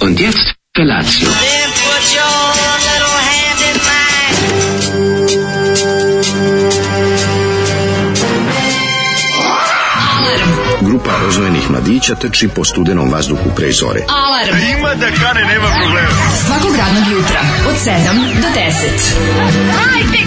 Und jetzt Felatio. Then put your little hand in mine. Grupa rozvojenih mladića teči po studenom vazduhu pre zore. Alarm. Ima da kane, nema problema. Svakog radnog jutra, od 7 do 10.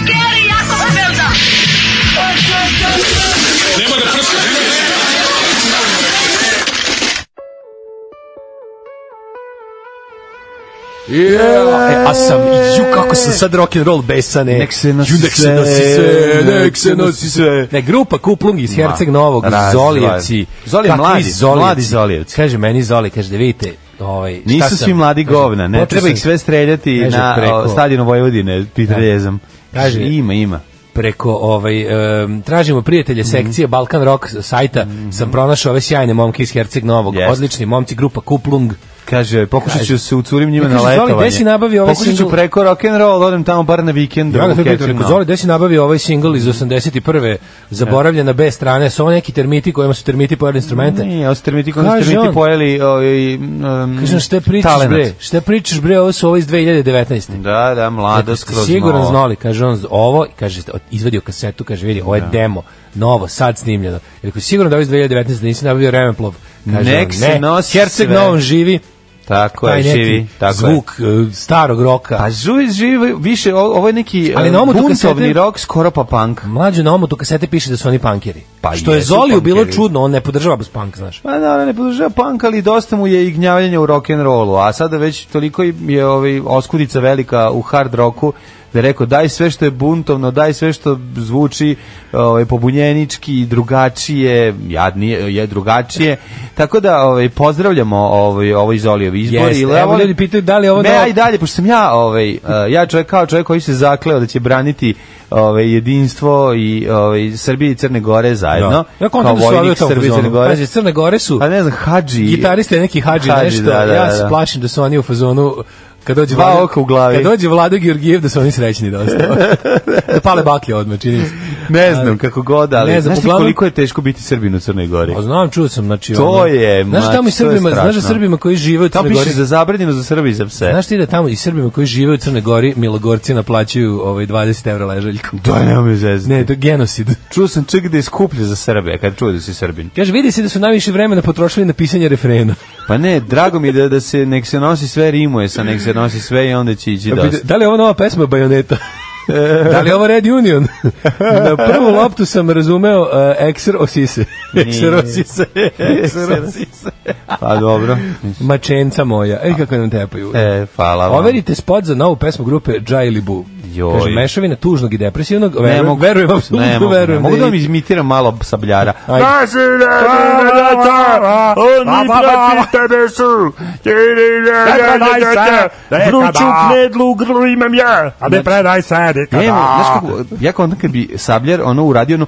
Yeah. E, a sam, ju, kako sam sad rock'n'roll besane. Nek se nosi Ju, nek se sve, nosi sve, nek se nosi sve. Ne, grupa Kuplung iz Herceg Novog, razvoj. Zolijevci. Zoli je Kakvi mladi, Zolijevci? mladi Zolijevci. Kaže meni Zoli, kaže da vidite, ovaj, šta Nisu sam- svi mladi kaže, govna, ne počeo treba sam ih sve streljati Kaže, na preko- Da. o, stadionu Vojvodine, pitrezam. Kaže- ima, ima. Preko ovaj em, tražimo prijatelje Mhm. sekcije Balkan Rock sajta sam pronašao ove sjajne momke iz Herceg Novog, Jeste. odlični momci grupa Kuplung. Kaže, pokušat ću se ucurim njima Ja, na kaže, Zoli, letovanje. gde si nabavio ovaj Pokušat ću singl? preko rock'n'roll, da odem tamo bar na vikend. Ja u ga sve pitam, Herceg E. rekao, Novi. Zoli, gde si nabavio ovaj singl iz 81. Zaboravljena B strane, su ovo neki termiti kojima su termiti pojeli instrumente? Nije, ovo su termiti, koji Kaže su termiti on. pojeli ovaj, um, Kažem, šta pričaš talenat. bre? Šta pričaš bre? Ovo su ovo iz 2019. Da, da, mlada, skroz Siguran nova. znali, kaže on z- ovo, i kaže od- izvadio kasetu, kaže vidi, Da. ovo je demo, novo, sad snimljeno. I Rekao sigurno da ovo iz 2019 da nisi nabavio Remenplov. Kaže Nek on, se ne, nosi Herceg sve. Novom živi. Tako taj je, neki živi. Tako je. zvuk e, starog roka. Pa živi, živi, više, o- ovo je neki Ali Ali na na ovom tu buntovni kasete- rock, skoro pa punk. Mlađe na omotu kasete piše da su oni pankeri. Pa Što je jesu Zoliju bilo pankeri. čudno, on ne podržava bez punk, znaš. Pa da, ne podržava punk, ali dosta mu je i gnjavljenja u rock'n'rollu, a sada već toliko je ovaj, oskudica velika u hard roku, da je rekao daj sve što je buntovno, daj sve što zvuči ovaj, pobunjenički, drugačije, jadnije, je drugačije. Tako da ovaj, pozdravljamo ovaj, ovo Zolijev izbor. Jeste, ili evo ovo- ljudi pitaju da li je ovo Me, novo- ja i dalje, pošto sam ja, ovaj, eh, ja čovjek kao čovjek koji se zakleo da će braniti ovaj, jedinstvo i ovaj, Srbije i Crne Gore zajedno. Ja kao kontam da su ovi u vojnik tom Srbije i Crne fazonu. Gore. Pa Pazi, Crne Gore su... A ne znam, Hadži. gitariste neki hađi Hadži, nešto, da, da, ja da. se plašim da su oni u fazonu kad dođe Dva Vlado- oka u glavi. Kad dođe Vlado Georgijev da su oni srećni dosta. da pale baklje odmah, čini se. Ne znam kako god, ali Ne ne znam, znam, znaš ti uglavnom- koliko je teško biti Srbin u Crnoj Gori? Pa znam, čuo sam, znači To ono- je, Znaš da tamo i mač, to je Srbima, znaš da strašno. Srbima koji žive u Tamo Crnoj piše Gori. za zabranjeno za Srbi i za pse. Znaš ti da tamo i Srbima koji žive u Crnoj Gori Milogorci naplaćuju ovaj 20 evra ležaljku. da, nema me zezati. Ne, to je genosid. Čuo sam čak da je skuplje za Srbe, kad čuo da si Srbin. Kaže, vidi se da su najviše vremena potrošili na pisanje refrena. Pa ne, drago mi je da, da se nek se nosi sve rimuje sa nek se nosi sve i onda će ići dosta. Da li je ovo nova pesma Bajoneta? da li je ovo Red Union? Na prvu loptu sam razumeo uh, Exer Osise. Exer Osise. Exer Osise. Pa dobro. Mačenca moja. Ej, kako nam tepaju. E, hvala vam. Overite spot za novu pesmu grupe Jaili Boo. Joj. Kaže, mešavina tužnog i depresivnog. Ne Verujem, mogu- verujem, apsolutno ne mogu, verujem. ne mogu da vam je- izmitiram malo sabljara. Ajde. Oni proti tebe su. Vruću knedlu u grlu imam ja, a ne predaj se, Ne, dekada. znaš kako, ja kao onda kad bi sabljar ono uradio ono,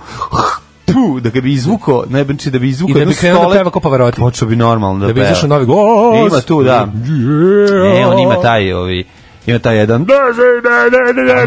pu, da kad bi izvuko, ne znači da bi I izvuko da jednu bi krenuo da stole, peva ko Pavarotti. počeo bi normalno da, Da bi peva. izašao novi gost. Ima tu, da. Ne, on ima taj, ovi, ima taj jedan,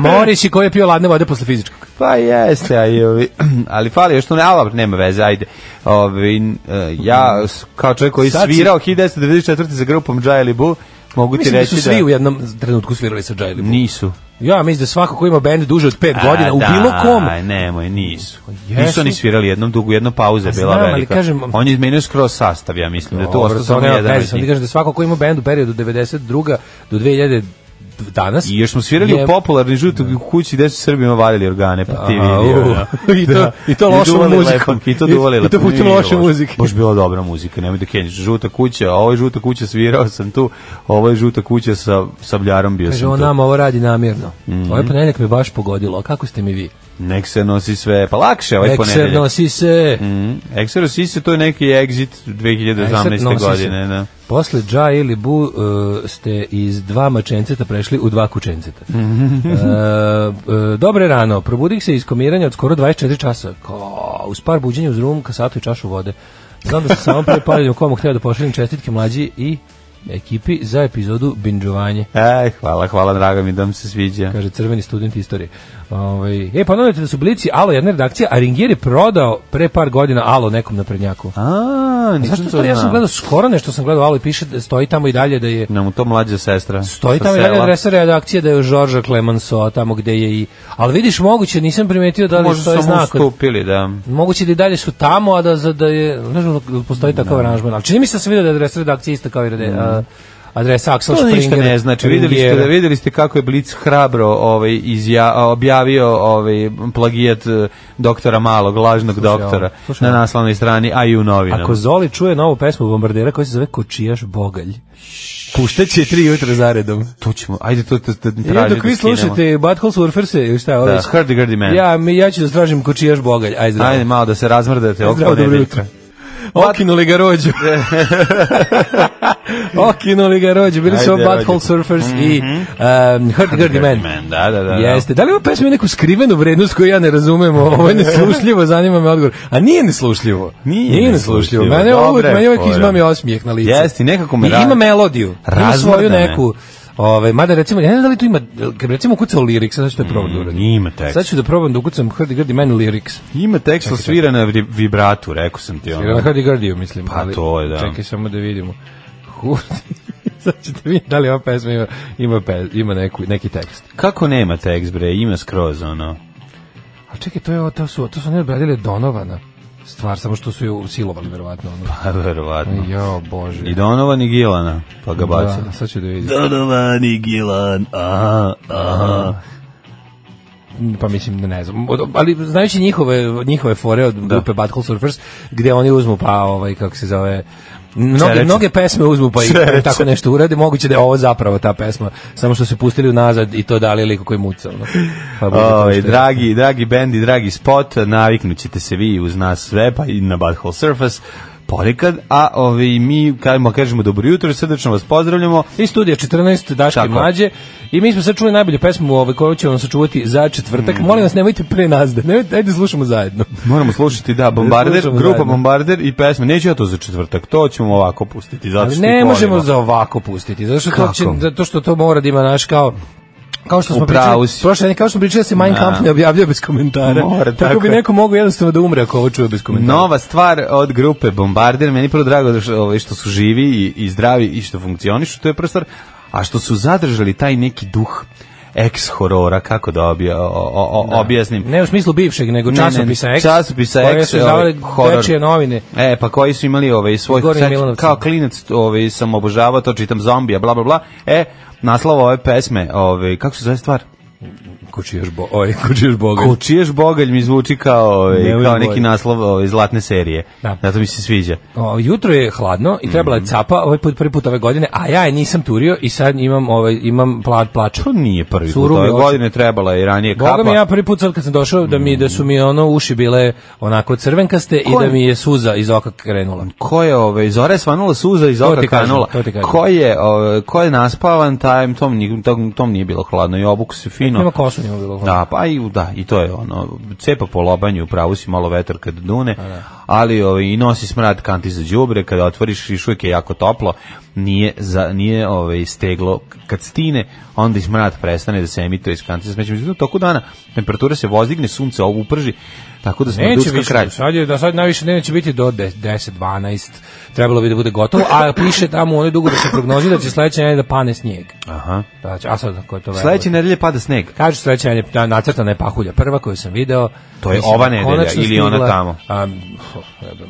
Morić i koji je pio ladne vode posle fizičkog. pa jeste, a i ovi, ali fali još tu ne, ali dobro, nema veze, ajde. Ovi, n- e, ja, s- kao čovjek koji je Sad si- svirao 1994. sa grupom Jaili Boo, mogu ti Mislim da reći su svi u jednom trenutku svirali sa Jaili Boo. Nisu. Ja mislim da svako ko ima bend duže od 5 A, godina u da, bilo kom Nemoj, nisu. Jesu. Nisu oni svirali jednom dugu, jedna pauza je Pa bila znam, ali velika. kažem- On je izmenio skroz sastav, ja mislim, da je tu Dobro, ostao to samo nema jedan veze, od sam ti njih. kažem da svako ko ima bend u periodu od 92. do 2000 danas I još smo svirali je- u popularni žutu u kući gde su Srbima valjali organe, pa ti A, vidio. u, da. i to- i to lošom duvali muzikom. lepom, I to I- duvali i to lepom. putem Nije loše loš. muzike. Baš bila dobra muzika, nemoj da kenjiš. Žuta kuća, a ovo je žuta kuća, svirao sam tu, ovo je žuta kuća sa sabljarom bio Kaže, sam Mhm. on tu. nam ovo radi namjerno. Ovaj ponedeljak me baš pogodilo. A kako ste mi vi? Nek se nosi sve, pa lakše ovaj Ekser ponedeljak. nosi se. Mm, Exero Sisi, to je neki exit 2018. nosi se. godine, da. Posle Dža ili Bu uh, ste iz dva mačenceta prešli u dva kučenceta. Mhm. uh, uh, dobre rano, probudih se iz komiranja od skoro 24 časa. Kao, uz par buđenja uz rum, kasatu i čašu vode. Znam da sam samo pre pariljem komu htio da pošaljem čestitke mlađi i ekipi za epizodu Binđovanje. E, hvala, hvala, drago mi da vam se sviđa. kaže crveni student istorije. Ovaj e, ponovite da su blici Alo jedna redakcija, a Ringier je prodao pre par godina Alo nekom naprednjaku. A, A, nisam Zašto to stvari, ja sam znao. gledao skoro nešto sam gledao, ali piše da stoji tamo i dalje da je Nam to mlađa sestra. Stoji sa tamo i dalje sela. adresa redakcije da je u Žorža Clemenceau, tamo gde je i... Ali vidiš, moguće, nisam primetio da li Možda stoji samo znak. od- ustupili, da. Moguće da i dalje su tamo, a da, za- da je, ne znam, postoji takav aranžman. Ali čini mi se da sam vidio da je adresa redakcije ista kao i rede, a, adresa Axel Mhm. To Springer. ništa ne znači. Videli ste, Ringera. videli ste kako je Blitz hrabro ovaj, izja, objavio ovaj, plagijat eh, doktora Malog, lažnog ovo, doktora, slušaj ovo. na naslovnoj strani, a i u novinama. Ako Zoli čuje novu pesmu bombardera koja se zove Kočijaš Bogalj, puštaće tri jutra zaredom. To ćemo, ajde to, to, to I traži dok vi skinemo. slušate Butthole Surfers, šta je ovo Da, već? Hurdy Gurdy Man. Ja, mi- ja ću da stražim Kočijaš Bogalj. Ajde, zdravo. Ajde malo da se razmrdate oko Zdravo, dobro jutro. ponedeljka. Okinuli ga rođu. Okinuli ga rođu. Bili su Ajde, Mhm. ovo Butthole rođu. Surfers i um, Hurt Gurdy Man. Man, da, da, da, da. Jeste. Da li ova pesma ima neku skrivenu vrednost koju ja ne razumem? Ovo je neslušljivo, zanima me odgovor. A nije neslušljivo. neslušljivo. Nije neslušljivo. Mene uvijek, Dobra je mene uvijek fora. izmami osmijeh na lice. Jeste, i nekako me I ra- Ima melodiju. Ima svoju Razmrda me. neku. Ove, mada recimo, ja ne znam da li tu ima, kad bi recimo ukucao lyrics, sad ću da probam da uradim. Mm, Ima tekst. Sad ću da probam da ukucam Hurdy Gurdy Man lyrics. Ima tekst ali svira na vri- vibratu, rekao sam ti. Jer na Ono. Hardy Gardiju, mislim. Pa to je, da. Čekaj samo da vidimo. Hurti. Sad ćete vidjeti da li ova pesma ima, ima, pe, ima neku, neki tekst. Kako nema tekst, bre, ima skroz, ono. A čekaj, to, je, ovo- to, su, to su oni obradili Donovana stvar, samo što su ju silovali, verovatno. Ono. Pa, verovatno. Jo, bože. I Donovan i Gilana, pa ga bacili. Da, sad ću da vidim. Donovan i Gilan, aha, aha. pa mislim da ne znam. Od- Ali znajući njihove njihove fore Da. od grupe Bad Cool Surfers gde oni uzmu pa ovaj kako se zove Mnoge, Čereče. mnoge pesme uzmu pa i Čereče. tako nešto urade, moguće da je ovo zapravo ta pesma, samo što su pustili unazad i to dali liku koji muca. Ono. Pa bude to Ove, što je. dragi, dragi bend i dragi spot, naviknut ćete se vi uz nas sve, pa i na Butthole Surface ponekad, a ove, mi kažemo, kažemo dobro jutro, srdečno vas pozdravljamo. I studija 14 Daške Tako. mlađe i mi smo sad čuli najbolju pesmu ovaj, koju ćemo vam sačuvati za četvrtak. Mhm. Molim vas, nemojte pre nas da, nemojte, ajde slušamo zajedno. Moramo slušati, da, Bombarder, Slušamo grupa zajedno. Bombarder i pesma. Neću ja to za četvrtak, to ćemo ovako pustiti. Zato Ali što ne ih možemo volimo. za ovako pustiti, zato što, to, Kako? će, zato što to mora da ima naš kao kao što smo U pravu pričali, si. prošle nedelje, kao što smo pričali da se Mein Kampf ne objavlja bez komentara. Mora, tako, tako bi je. neko mogao jednostavno da umre ako ovo čuje bez komentara. Nova stvar od grupe Bombarder, meni je prvo drago da što, ovaj, što su živi i, i zdravi i što funkcionišu, to je prva stvar, a što su zadržali taj neki duh ex horora, kako da obja, o, o, o, objasnim. Da. Ne u smislu bivšeg, nego Ne, ne, ne, časopisa X. časopisa koje X, su izdavale ovaj, horor. dečije novine. E, pa koji su imali ovaj svoj Goran sad, Milanovcem. kao klinac, ovaj sam obožavao, to čitam zombija, bla bla bla. E, naslov ove pesme, ovaj kako se zove stvar? Kučiš bo, oj, kučiš boga. Kočiješ bogalj mi zvuči kao, Ne, ovaj, kao ne, neki bolje. naslov ovaj, zlatne serije. Da. Zato mi se sviđa. O, jutro je hladno i trebala Mhm. je capa, ovaj put prvi put ove godine, a ja je nisam turio i sad imam ovaj imam plat plač. To nije prvi put. Surove Ove oči. godine trebala je i ranije kapa. Boga mi ja prvi put sad kad sam došao da mi da su mi ono uši bile onako crvenkaste i Ko je- da mi je suza iz oka krenula. Ko je ove, zora je svanula suza iz oka ti kažem, kanula. to ti kažem. Ko je, ove, ko je naspavan, tajem, tom, nije- tom, tom nije bilo hladno i obuku se fino. Nema kosu njima bilo. Da, pa i da, i to je ono, cepa po lobanju, pravu si malo vetar kad dune, Da, ali ovaj i nosi smrad kanti za đubre, kada otvoriš još uvijek je jako toplo, nije za nije ovaj steglo kad stine, onda i smrad prestane da se emituje iz kanti za smeće, međutim u toku dana temperatura se vozdigne, sunce ovo uprži, tako da smo Neće duska više, kralj. sad je, da sad najviše dnevno će biti do 10, 12, trebalo bi da bude gotovo, a piše tamo u onoj dugo da se prognozi da će sledeće nedelje da pane snijeg. Aha. Da će, a sad ko je to veruje? Sledeće nedelje pada sneg. Kaže sledeće nedelje, da, nacrtana je pahulja prva koju sam video. To je Mislim, ova nedelja konačno ili ona stigla, tamo? a,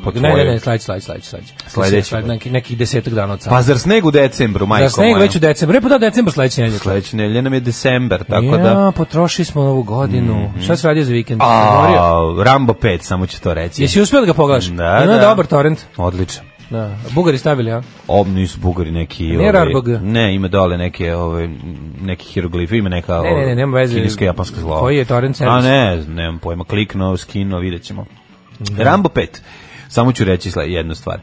Po ne, ne, tvojoj. ne, sledeće, sledeće, sledeće. sledeće. Sledeći Sled- neki, nekih desetak dana od sada. Pa zar sneg u decembru, majko Za sneg moja? već u decembru, ne pa da decembar sledeće nedelje. Sledeće nedelje nam je decembar, tako ja, da... Mhm. potrošili smo novu godinu. Šta si radio za vikend? Govorio? A, Rambo 5, samo ću to reći. Jesi uspio da ga pogledaš? Da, Ima da. dobar torrent. Odličan. Da. Bugari stavili, a? Ob nisu bugari neki... ovaj- Nije Rarbog? Ne, ima dole neke, ove, neki hieroglife, ima neka... ovaj, Ne, ne, ne, nema veze. Kineska, japanska slova. Koji je torrent servis? A ne, nemam Da. pojma, kliknuo, skinuo, vidjet ćemo. Rambo 5. Samo ću reći sle- jednu stvar.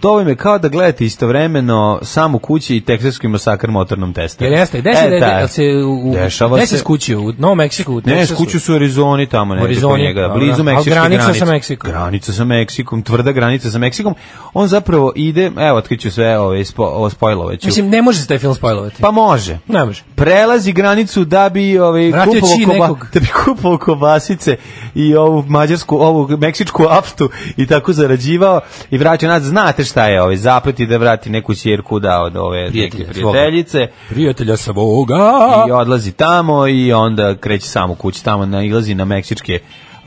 To vam je kao da gledate istovremeno sam u kući i teksaški masakr motornom testu. Jer jeste, desi E, da, da. da, se u, Dešava desi se. s kući, u Novom Meksiku, u Ne, Teksasu. skuću su u Arizoni tamo, ne, Arizoni, njega, da, dobro. blizu Ali Meksičke granica sa granice. Meksikom. Granica sa Meksikom, tvrda granica sa Meksikom. On zapravo ide, evo, otkriću sve ove, spo, ovo spojloveću. Mislim, ne može se taj film spojlovati. pa može. ne može. prelazi granicu da bi ovaj Vratio kupovao čin koba, nekog. da bi kupovao kobasice i ovu mađarsku ovu meksičku aftu i tako zarađivao i vraćao nas znate šta je ovaj zaplet i da vrati neku ćerku da od ove Prijatelja neke svoga. prijateljice Prijatelja svoga. i odlazi tamo i onda kreće samo kući tamo nailazi na meksičke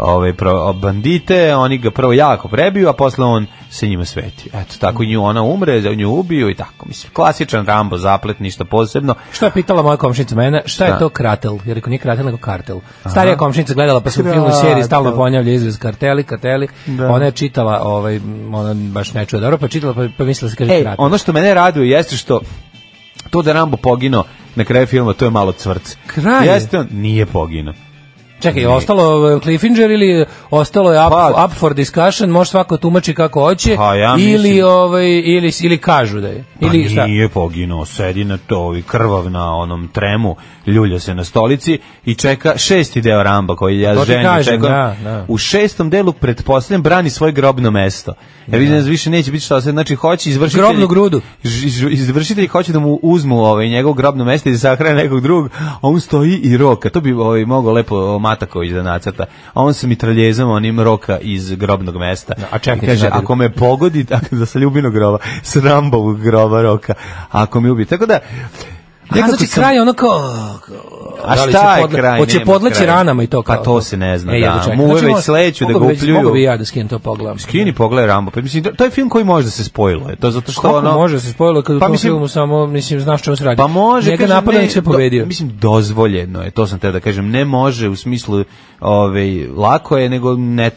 ove pro, bandite, oni ga prvo jako prebiju, a posle on se njima sveti. Eto, tako nju ona umre, nju ubiju i tako. Mislim, klasičan Rambo zaplet, ništa posebno. Šta je pitala moja komšinica mene? Šta je Da. to kratel? Jer rekao nije kratel, nego kartel. Starija komšinica gledala pa se u filmu i seriji stalno ponavlja izraz karteli, karteli. Da. Ona je čitala, ovaj, ona baš ne čuje dobro, pa je čitala pa, pa mislila da se kaže E, kratel. ono što mene raduje jeste što to da Rambo pogino na kraju filma, to je malo cvrc. Kraj je. Jeste on, nije pogino. Čekaj, je ostalo e, Cliffinger ili ostalo je up, Pa- up for discussion, može svako tumači kako hoće, Pa, ja ili, mislim- ovaj, ili, ili kažu da je. Pa Ili šta? nije poginuo, sedi na to i krvav na onom tremu, ljulja se na stolici i čeka šesti deo Ramba koji ja To ti želim kažem, čekam. da, da. U šestom delu pretpostavljam brani svoje grobno mesto. Ja vidim da više neće biti šta se, znači hoće izvršitelji... Grobnu grudu. Ž- ž- izvršitelji hoće da mu uzmu ovaj njegov grobno mesto i da sahrane nekog drugog, a on stoji i roka. To bi ovaj mogao lepo o, Mataković da nacrta. A on se mitraljezom onim roka iz grobnog mesta. Da, A čekaj, I kaže, sad- ako me pogodi, ako da sa ljubinog groba, s Rambovog groba roka, ako me ubi. Tako da, A nekako znači sam- kraj je ono kao... kao- A da li šta će je podle- kraj? Hoće Nema podleći kraja. ranama i to Pa kao. to se ne zna, E, da. jedva čekam. Muve već može- sleću da mogu ga bi već- upljuju. Mogu bi ja da skinem to pogledam. Kini pogledaj Rambo. Pa, mislim, to je film koji može da se spojilo. Je. To zato što Kako ono... može da se spojilo kad u Pa tom mislim- filmu samo, mislim, znaš čemu se radi. Pa može, Njega kažem, napada ne, nek se do- pobedio. mislim, dozvoljeno je, to sam te da kažem. Ne može u smislu, ovaj, lako je, nego ne,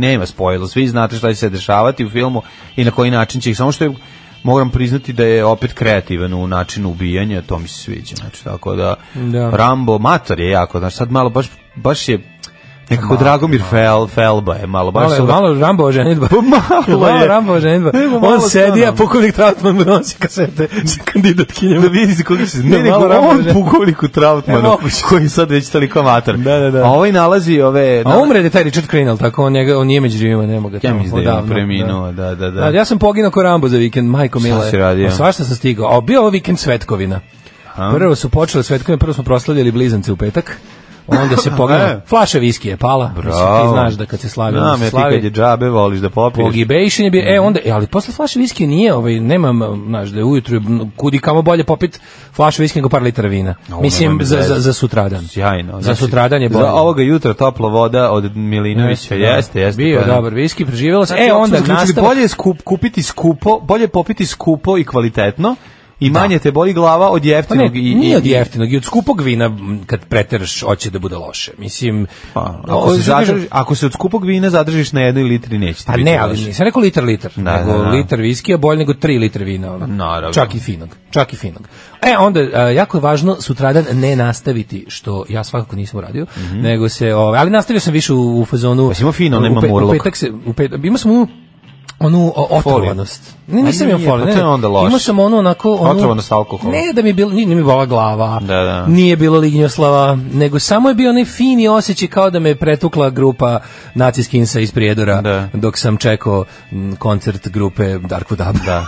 nema spojilo. Svi znate šta će se dešavati u filmu i na koji način će ih. Samo što je, moram priznati da je opet kreativan u načinu ubijanja, to mi se sviđa. Znači, tako da, Da. Rambo, mator je jako, znači, sad malo baš, baš je, nekako Dragomir Fel, Felba je malo, baš Malo, je- su ga- malo Rambova ženitba. Pa malo je. Rambova ženitba. Nema On malo sedi, a stvarno. pukovnik Trautman mu nosi kasete sa kandidatkinjama. da vidi E, se koliko se ne, Da, nego malo on Rambo- pukovniku Ne, Trautmanu moguće. koji je sad već toliko amator. Da, da, da. A ovaj nalazi ove... A umre je taj Richard Crane, ali tako on njega, on nije među živima, nema ga. Ja tamo, mislim da je on odavno, preminuo, da, da, Da. da. A, ja sam poginuo ko Rambo za vikend, majko mila. si radio? Svašta sam stigao. A bio ovo vikend Svetkovina. Prvo su počele Svetkovine, prvo smo proslavljali blizance u petak. Onda se pogledalo. E. Flaša viski je pala. Mislim, ti znaš da kad se slavi, onda Znam, se ja ti slavi. kad je džabe voliš da popiješ. Pogibejšin je bio, Mhm. e onda, e, ali posle flaše viski nije, ovaj, nemam, znaš, da je ujutru m, kudi kamo bolje popit flašu viski nego par litara vina. O, Mislim, nema mi za, veze. za, za sutradan. Sjajno. znači, Za sutradan je bolje. Za ovoga jutra topla voda od Milinovića, da. jeste, jeste. Bio pa da. dobar viski, preživjela se. Znači, E, opet smo onda zaključili, nastavak. Bolje je skup, kupiti skupo, bolje je popiti skupo i kvalitetno i manje te boli glava od Pa ne, jeftinog. i, i- nije od i- jeftinog i od skupog vina m, kad preteraš hoće da bude loše. Mislim, Pa, ovo ako, se što kažem- zadrži, ako se od skupog vina zadržiš na jednoj litri, neće ti Pa biti ne, ali loše. nisam rekao litar litar, Da, nego da, da. litar viskija bolje nego 3 litre vina. Ono. Naravno. Čak i finog, čak i finog. E, onda, a, jako je važno sutradan ne nastaviti, što ja svakako nisam uradio, nego se, ovaj, ali nastavio sam više u, u fazonu... Mhm. Pa si imao fino, nema u pe- murlog. U petak se, u petak, imao sam onu onu o, otrovanost. Ne, nisam imao nije, pa foliju. ne, to je onda loše. Imao sam onu onako... Onu, Otrovanost alkoholom. Ne, da mi je bilo, nije, nije mi bola glava, Da, da. nije bilo lignjoslava, nego samo je bio onaj fini osjećaj kao da me je pretukla grupa nacijskinsa iz Prijedora Da. dok sam čekao m, koncert grupe Darko Dab. Da,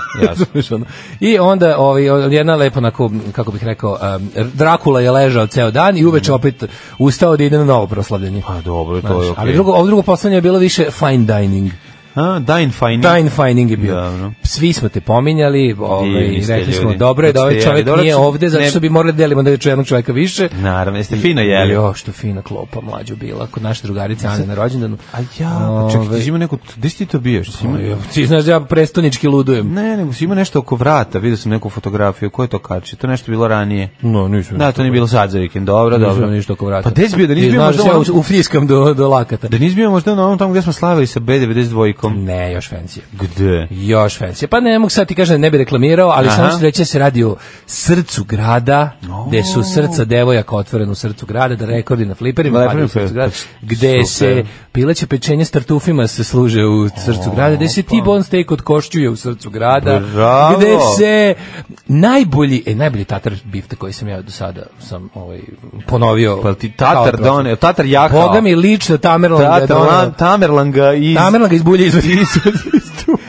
jasno. I onda ovaj, jedna lepo, onako, kako bih rekao, um, Drakula je ležao ceo dan i uveče opet ustao da ide na novo proslavljanje. Mhm. Pa dobro, to Znaš, je okej. Ali drugo, ovo drugo poslednje je bilo više fine dining. A, dine fine. Fine fining je bio. Dobro. Svi smo te pominjali, ovaj, Divni ste rekli smo, ljudi. dobro je da ovaj Jeste čovjek jeli, dobro nije što- ovde, zato ne- što bi morali da delimo da je jednog čovjeka više. Naravno, jeste fino jeli. Jo, što fina klopa mlađo bila, kod naše drugarice Ane na rođendanu. A ja, pa čekaj, ti si imao neku, gde si ti to bio? Što si imao? Jo, Ti znaš da ja prestonički ludujem. Ne, nego si imao nešto oko vrata, vidio sam neku fotografiju, ko je to kači? To je nešto bilo ranije. No, nisam. Da, to nije bilo sad za vikend, dobro, Nisam dobro. ništa oko vrata. Pa da, gde si bio, da nisi Ti bio znaš možda da ja ono- u- ufriskam do, do lakata. Da nisi bio možda na onom tamo gde smo slavili sa B92 likom? Ne, još fancy. Gde? Još fancy. Pa ne mogu sad ti kažem, ne bi reklamirao, ali Aha. samo ću reći da se radi o srcu grada, gde su srca devojaka otvorene u srcu grada, da rekordi na fliperima, Na padaju u fliperima, pa srcu grada, super. gde se pileće pečenje s tartufima se služe u srcu grada, gde se T-bone steak od košćuje u srcu grada, pa. Bravo. gde se najbolji, e, najbolji tatar bifte koji sam ja do sada sam ovaj, ponovio. Pa ti kao Tatar prošli. doneo, Tatar jahao. Boga mi lično Tamerlan ga je Tatar, doneo. Lan- Tamerlan ga iz... Tamerlan ga iz bulje izvadi.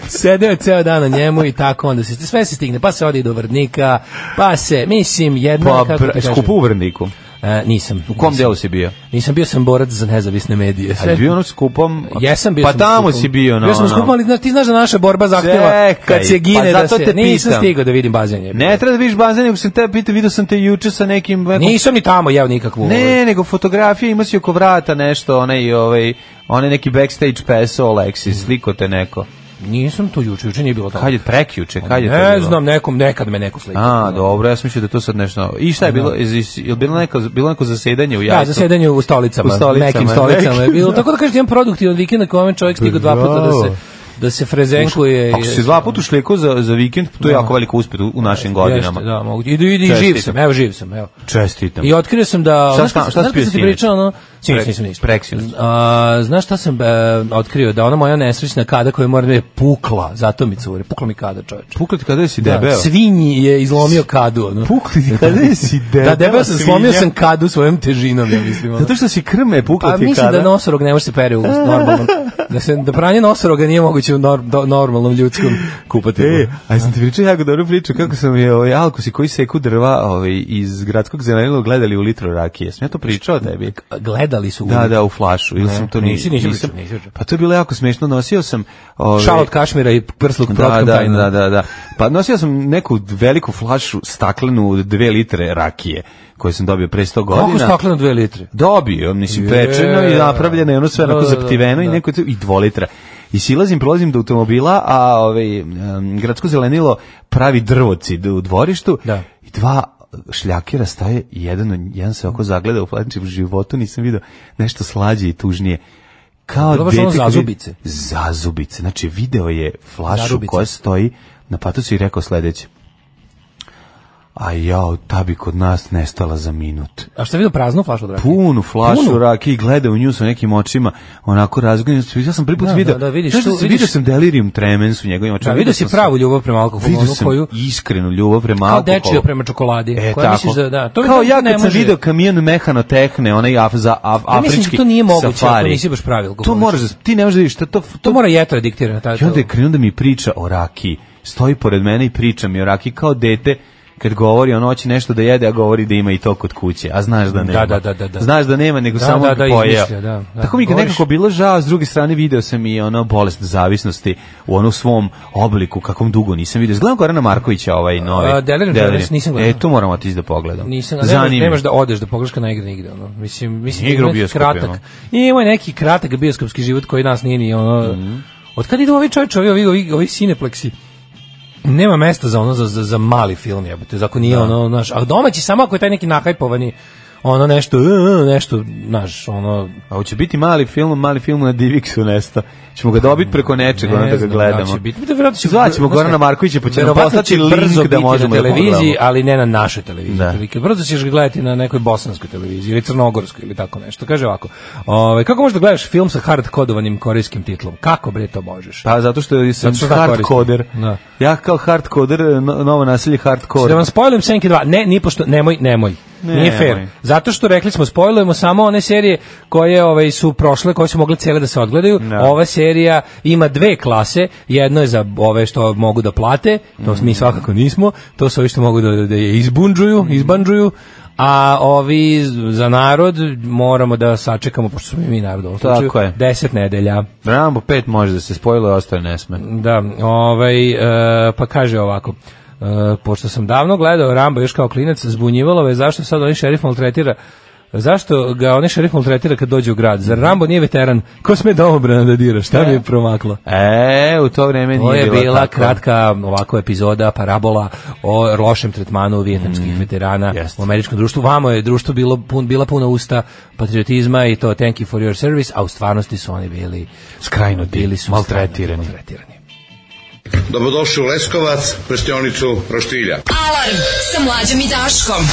Sedeo je ceo dan na njemu i tako onda se sve se stigne, pa se ode i do Vrdnika, pa se, mislim, jedno, Pa, kako ti br- kažem, skupo u Vrniku. E, nisam. U kom delu si bio? Nisam bio sam borac za nezavisne medije. Ali bio ono skupom... Jesam bio Pa sam tamo skupom. si bio na Bio sam ono. skupom, ali znaš, ti znaš da naša borba zahteva Čekaj, kad se gine pa da zato se... te nisam pitam. stigao da vidim bazen je. Ne treba da vidiš bazen, nego sam te pitao, vidio sam te juče sa nekim... nekom- Nisam ni tamo jeo nikakvu. ovaj, Ne, nego fotografije ima si oko vrata nešto, onaj, ovaj, onaj neki backstage peso, Alexis, Mm. sliko te neko. Nisam to juče, juče nije bilo tamo. Kad je prekjuče, kad je to ne bilo? znam, nekom, nekad me neko slika. A, dobro, ja sam mislio da je to sad nešto... I šta je bilo? Iz, iz, je bilo neko, bilo neko zasedanje u jajcu? Da, zasedanje u stolicama, U stolicama, nekim stolicama je nekim, bilo. da. Tako da kažeš, jedan produktivan vikend na kojem čovjek stigao dva puta da se, da se frezenkuje. Ako si dva puta u šleku za, za vikend, to je jako veliko uspet u, u našim godinama. Da. Jeste, da, mogu. I, i, i živ Čestitam. sam, evo živ sam, evo. Čestitam. I otkrio sam da... Šta- znaš šta- kad- šta si znaš kad pio sam ti sinoć? pričao, ono... Sinoć Pre- nisam ništa. preksinoć. A, znaš šta sam e, otkrio? Da ona moja nesrećna kada koja moram je pukla, zato mi curi. Pukla mi kada, čoveče. Pukla ti kada si debel? Da, svinji je izlomio kadu, ono. Pukla ti kada si debel? Da, debel sam, slomio sam kadu svojom težinom, ja mislim. Ono. Zato što si krme pukla Pa ti mislim kada? da nosorog ne može se pere u normalnom. Da se da pranje nosoroga nije moguće u nor, do, normalnom ljudskom kupatilu. E, a sam ti pričao jako dobru priču kako sam je ovaj alkosi koji seku drva ovaj, iz gradskog zelenila gledali u litru rakije. Sam ja to pričao tebi? Gledali su. Da, da, u flašu. Ili sam to ni- nisi, nisi nisam- pričao, nisi pričao. Pa to je bilo jako smešno, nosio sam... Ovaj, Šal od kašmira i prsluk Da, protkom da, tajna. da, da, da. Pa nosio sam neku veliku flašu staklenu od dve litre rakije koju sam dobio pre 100 Kako godina. stakleno dve litre? Dobio, mislim, Je. pečeno i napravljeno i ono sve Da, onako da, da, zaptiveno i da. neko i dvo litra. I silazim, prolazim do automobila, a ovaj, em, gradsko zelenilo pravi drvocid u dvorištu Da. i dva šljakera staje, jedan, od- jedan se oko zagleda u planči, u životu nisam video nešto slađe i tužnije. Kao Dobro, što ono dete kad vidi- zazubice. Zazubice. Znači, video je flašu Zarubice. koja stoji na patosu i rekao sledeće. A jao, ta bi kod nas nestala za minut A šta je vidio praznu flašu od rakije? punu flašu Punu? rakije i gleda u nju sa nekim očima, onako razgledaju. Ja sam prvi put Da, video. da, da, vidiš znaš tu, sam- vidiš- video sam delirium tremens u njegovim očima. Da, vidio si sam- pravu ljubav prema alkoholu, Vidio onu sam koju iskrenu ljubav prema kao alkoholu. dečija prema čokoladi. E, koja tako. misliš da, da, to Kao to ja ne kad sam može. video kamion mehanotehne, onaj af, za, af, Ja mislim da afrički to nije moguće, safari. ako nisi baš pravi alkoholič. To moraš, da, ti ne možeš da vidiš, to, to, To mora jetra diktirati. Taj, I onda je krenuo da mi priča o rakiji. Stoji pored mene i priča mi o rakiji kao dete kad govori ono hoće nešto da jede, a govori da ima i to kod kuće, a znaš da nema. Da, da, da, da, da. Znaš da nema, nego Da, samo da, da, pojeo. izmišlja, da, da. Tako mi je Govoriš- nekako bilo žao, s druge strane video sam i ono bolest zavisnosti u onom svom obliku, kakvom dugo nisam video. Gledam Gorana Markovića ovaj novi. A, Delirium Tremens nisam gledao. E, tu moram otići da pogledam. Nisam, a nemaš, Zanima. me. nemaš da odeš da pogledaš kad ne igra nigde, ono. Mislim, mislim Nije igra u neki bioskopu, kratak. ono. I ima neki kratak bioskopski život koji nas nije ni ono. Mhm. Od kad idu ovi čoveče, ovi ovi ovi, ovi cinepleksi? Nema mesta za ono za za, za mali film jebote. Zakon nije Da. ono, znaš, a domaći samo ako je taj neki nahajpovani ono nešto, e, nešto, znaš, ono A hoće biti mali film, mali film na Divixu nesta. Ćemo ga dobiti preko nečega, onda da ga znam gledamo. Da će biti, da verovatno će, Zvaćemo znaš šta, Gorana Markovića, pa će nam verovatno poslati će link brzo da biti možemo na da televiziji, pogledamo. ali ne na našoj televiziji. Da. otprilike. Brzo ćeš ga gledati na nekoj bosanskoj televiziji ili crnogorskoj ili tako nešto. Kaže ovako. Ovaj kako možeš da gledaš film sa hard kodovanim korejskim titlom? Kako bre to možeš? Pa zato što sam Zato što tako hardkoder. koristim. Da. Ja kao hardkoder, no- novo nasilje Da hardcore. vam spojlujem Senki 2. Ne, ni pošto nemoj, nemoj. Ne, Nije fair. nemoj. Zato što rekli smo spojlujemo samo one serije koje ovaj su prošle, koje su mogle cele da se odgledaju. Da. Ova serija ima dve klase. Jedno je za ove što mogu da plate, to Mm. mi svakako nismo. To su ovi što mogu da da je izbundžuju, izbandžuju. A ovi za narod moramo da sačekamo, pošto smo i mi narod u ovom Tako slučaju, je. 10 nedelja. Rambo 5 može da se spojilo, a ostaje ne sme. Da, ovaj, e, pa kaže ovako, e, pošto sam davno gledao Rambo još kao klinac, zbunjivalo me zašto sad onaj šerif maltretira Zašto ga onaj šerif maltretira kad dođe u grad? Zar Rambo nije veteran? Ko sme domobrana da dira? Šta mi je promaklo? E, u to vreme Ovo nije je bilo bila tako. kratka ovako epizoda parabola o lošem tretmanu vijetnamskih veterana Jeste. u američkom društvu. Vamo je društvo bilo pun, bila puna usta patriotizma i to thank you for your service, a u stvarnosti su oni bili Skrajnuti, bili su maltretirani. skrajnuti, maltretirani. Dobrodošli u Leskovac, prštionicu Roštilja. Alarm sa mlađom i Daškom.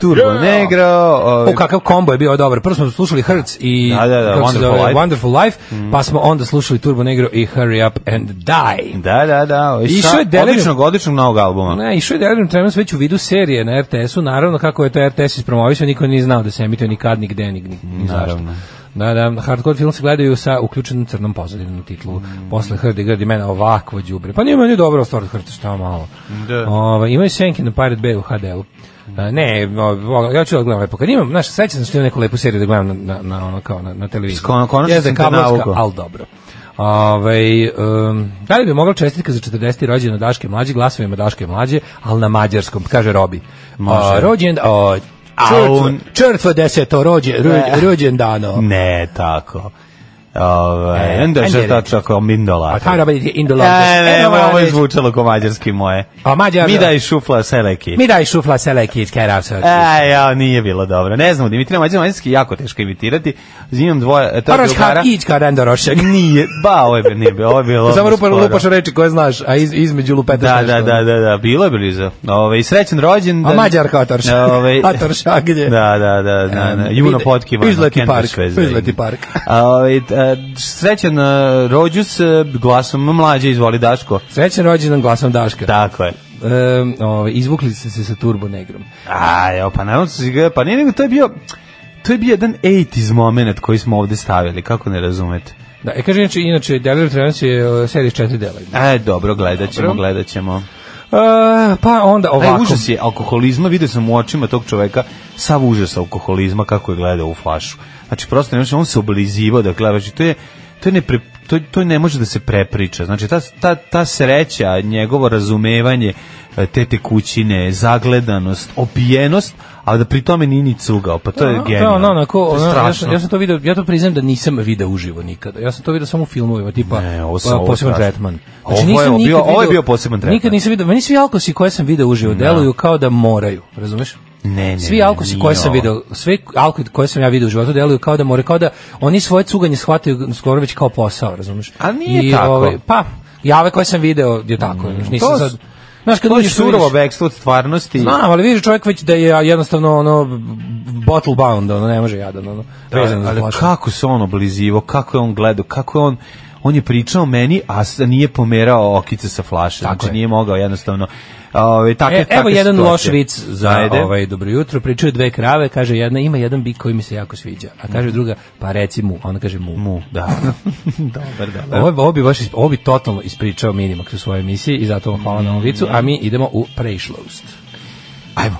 Turbo Negro. O, Ovaj, kakav kombo je bio dobar. Prvo smo slušali Hurts i Da, da, da, kako se Wonderful zove, Life. Mm. Wonderful Life, pa smo onda slušali Turbo Negro i Hurry Up and Die. Da, da, da. ovaj, Išao sa je Delirium. Odličnog, odličnog novog albuma. Ne, išao je Delirium Tremens već u vidu serije na RTS-u, naravno kako je to RTS ispromovisao, niko nije znao da se emituje nikad, nigde, ni, ni zašto. Naravno. Da, da, hardcore film se gledaju sa uključenom crnom pozadinom u titlu. Mm. Posle Hrdi Grdi mena ovakvo đubre. Pa nije meni dobro stvar od Hrta, šta malo. Da. Ove, imaju senke na Pirate Bay u HD-u. A, ne, o, ja ću da gledam lepo. Kad imam, znaš, sećam se što imam neku lepu seriju da gledam na, na, na, ono, kao na, na televiziji. Skon- konačno Jeste sam te kablovska, navukao. ali dobro. Ove, um, da li bi mogla čestitka za 40. rođendan Daške mlađe, glasovima Daške mlađe, ali na mađarskom, kaže Robi. A, rođen, o, Črtvo- črtvo deseto rođe, Da. rođe, rođendano. Ne, tako. Ovaj, E, onda ajde, je to čako mindola. A kaj robiti in the E, ne, Evo, ovo je već- zvučalo ko mađarski moje. A mađar, Mi daj šufla seleki. mi daj šufla seleki iz Kerasa. E, ja, nije bilo dobro. Ne znam, Dimitrija Mađar mađarski je jako teško imitirati. Imam dvoje, e, to je Oroš drugara. kak ić kao rendo rošek. Nije, ba, ovo je bi- nije bilo, ovo je bilo. Samo rupa, skoro. lupaš reči koje znaš, a iz, između lupetaš Da, nešto. da, da, da, da, bilo je blizu. Ove, i srećen rođen. A mađar kao Atorš. Atorš, a gdje? Da, da, da, da, da. Em, Juno ide- Potkiva. izleti park, izleti park. Ove, srećen e, rođus e, glasom mlađe, izvoli Daško. Srećan rođendan glasom Daška. Tako je. Um, ovaj, izvukli ste se sa Turbo Negrom. A, evo, pa naravno su si ga, pa nije nego, to je bio, to je bio jedan 80s moment koji smo ovde stavili, kako ne razumete. Da, e, kaže, inače, inače Delirium Tremens je uh, serija iz četiri dela. E, dobro, gledat ćemo, gledat ćemo. Uh, pa onda Taj ovako. užas je alkoholizma, vidio sam u očima tog čoveka sav užas alkoholizma kako je gledao u flašu. Znači prosto ne može, on se oblizivao da gleda, znači to je to je nepre, to, to ne može da se prepriča. Znači ta, ta, ta sreća, njegovo razumevanje e, te tekućine, zagledanost, opijenost, a da pri tome nije ni cugao, pa to je Da, genijalno. Da, ono, onako, to je ono, ja, strašno. sam, ja sam to video, ja to priznam da nisam video uživo nikada. Ja sam to video samo u filmovima, tipa Ne, ovo sam- pa, ovo je poseban strašno. tretman. Ovo je bio- nikad ovo je bio poseban tretman. Nikad nisam video, meni svi alkosi koje sam video uživo deluju kao da moraju, razumeš? Ne, ne, Svi ne, alkosi nije koje sam ovo. video, sve alkosi koje sam ja video u životu deluju kao da more, kao da oni svoje cuganje shvataju skoro već kao posao, razumeš? A nije tako. pa, jave koje sam video je tako, mm, nisam To s- sad... Znaš, kad to je uđeš, surovo vidiš- bekstvo od stvarnosti. Znam, ali vidi čovjek već da je jednostavno ono bottle bound, ono ne može jadan, ono vezan za Da, ali flašu. kako se on oblizivo, kako je on gledao, kako je on on je pričao meni, a s- nije pomerao okice sa flaše. Tako znači je. nije mogao jednostavno. Ovaj E, takve, evo takve jedan situacije. loš vic za Ajde. ovaj dobro jutro. Pričaju dve krave, kaže jedna ima jedan bik koji mi se jako sviđa, a kaže druga pa reci mu, a ona kaže mu. mu, da. dobar, dobar. Ovo, ovo bi baš is- ovo bi totalno ispričao Minimax u svojoj emisiji i zato vam hvala na ovom Mm. vicu, a mi idemo u prešlost. Ajmo.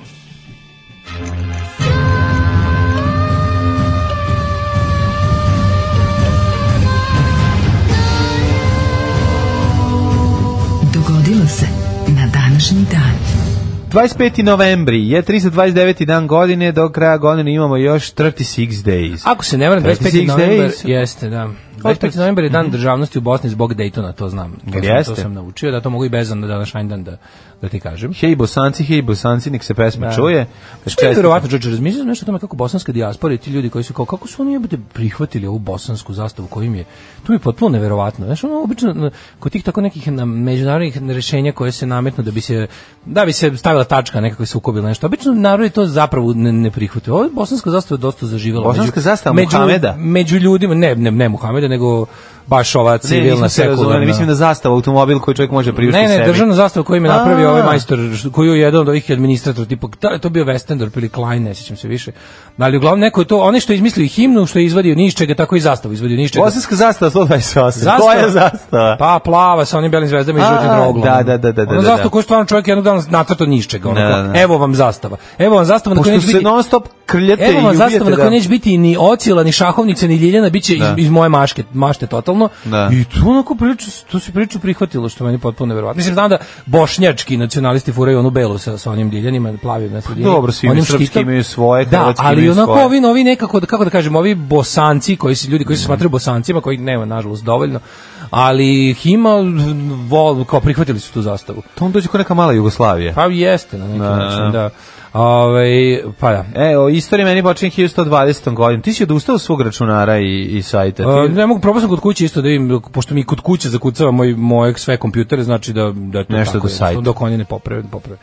Dogodilo se na današnji dan. 25. novembri je 329. dan godine, do kraja godine imamo još 36 days. Ako se ne varam 25. 36 novembar days. Mhm. jeste, da. 25. novembar je dan državnosti u Bosni zbog Daytona, to znam. To sam, Jeste. to sam naučio, da to mogu i bez na današnji dan da, da ti kažem. Hej bosanci, hej bosanci, nek se pesma čuje. Da. Što je verovatno, Đorđe, razmišljaš nešto o tome kako bosanska dijaspora i ti ljudi koji su kao, kako su oni jebate prihvatili ovu bosansku zastavu koju im je, to mi je potpuno neverovatno. Znaš, ono, obično, na- kod tih tako nekih na, međunarodnih rešenja koje se nametnu da bi se, da bi se stavila tačka, nekako se ukobila nešto, obično narodi to zapravo ne, ne prihvataju. Ovo je bosanska zastava je dosta zaživjela. Bosanska zastava Muhameda? Među ljudima, ne, ne, ne Muhameda, nego baš ova Ne, civilna, nismo se sekularna. razumeli, mislim da zastava automobil koji čovjek može priuštiti Ne, sebi. ne, državna zastava koju mi je napravio A. ovaj majstor, š- koju je jedan od ovih administrator, tipa, da li je to bio Westendorp ili Klein, ne sjećam se više. Ali uglavnom neko je to, onaj što je izmislio i himnu, što je izvadio ni iz čega, tako i zastavu izvadio ni iz čega. Bosanska zastava 128. Koja zastava? Pa plava sa onim belim zvezdama i A, žutim troglom. da, da, da, da, Ona da, da. zastava koju stvarno čovjek jednog dana nacrtao ni iz čega. ono Da, kao, da, da. Evo vam zastava. Evo vam zastava na kojoj Pošto neće se biti non stop krljate Evo i vam ubijate. zastava na kojoj neće biti ni ocila, ni šahovnica, ni ljiljana, bit će iz, Da. iz moje maške, mašte totalno. Da. I tu onako priču, tu se priču prihvatilo, što je meni potpuno neverovatno. Mislim, znam da bošnjački nacionalisti furaju onu belu sa, sa onim ljiljanima, plavim na sredini. dobro, svi onim srpski štitom. imaju svoje, Da, hrvatski ali imaju onako svoje. Da. ovi novi nekako, da- kako da kažem, ovi bosanci, koji se ljudi koji se smatraju bosancima, koji nema, nažalost, dovoljno, ali ih ima, vol, kao prihvatili su tu zastavu. To on dođe kao neka mala Jugoslavija. Pa jeste na neki Da, način, da. Ovaj, pa da. E, o istoriji meni počinje 1120. godinu. Ti si odustao od svog računara i, i sajta. Ti- A, ne mogu, probao sam kod kuće isto da vidim, pošto mi kod kuće zakucava moj, mojeg sve kompjutere, znači da, da je to Nešto tako, do sajta. jednostavno, dok oni ne poprave, ne poprave.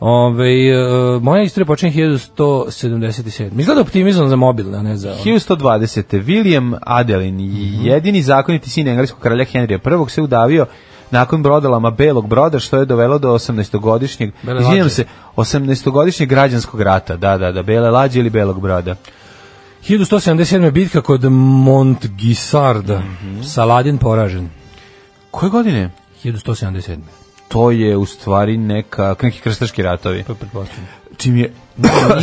Ove, e, moja istorija počinje 1177. Izgleda optimizam za mobilne, a ne za... 1120. William Adelin, jedini zakoniti sin engleskog kralja Henrija I, se udavio nakon brodalama Belog broda, što je dovelo do 18-godišnjeg, Bele izvinjam lađe. se, 18-godišnjeg građanskog rata, da, da, da, Bele lađe ili Belog broda. 1177. je bitka kod Montgisarda. Mhm. Saladin poražen. Koje godine? 1177. To je u stvari neka, neki krstaški ratovi. To je pretpostavljeno. Čim je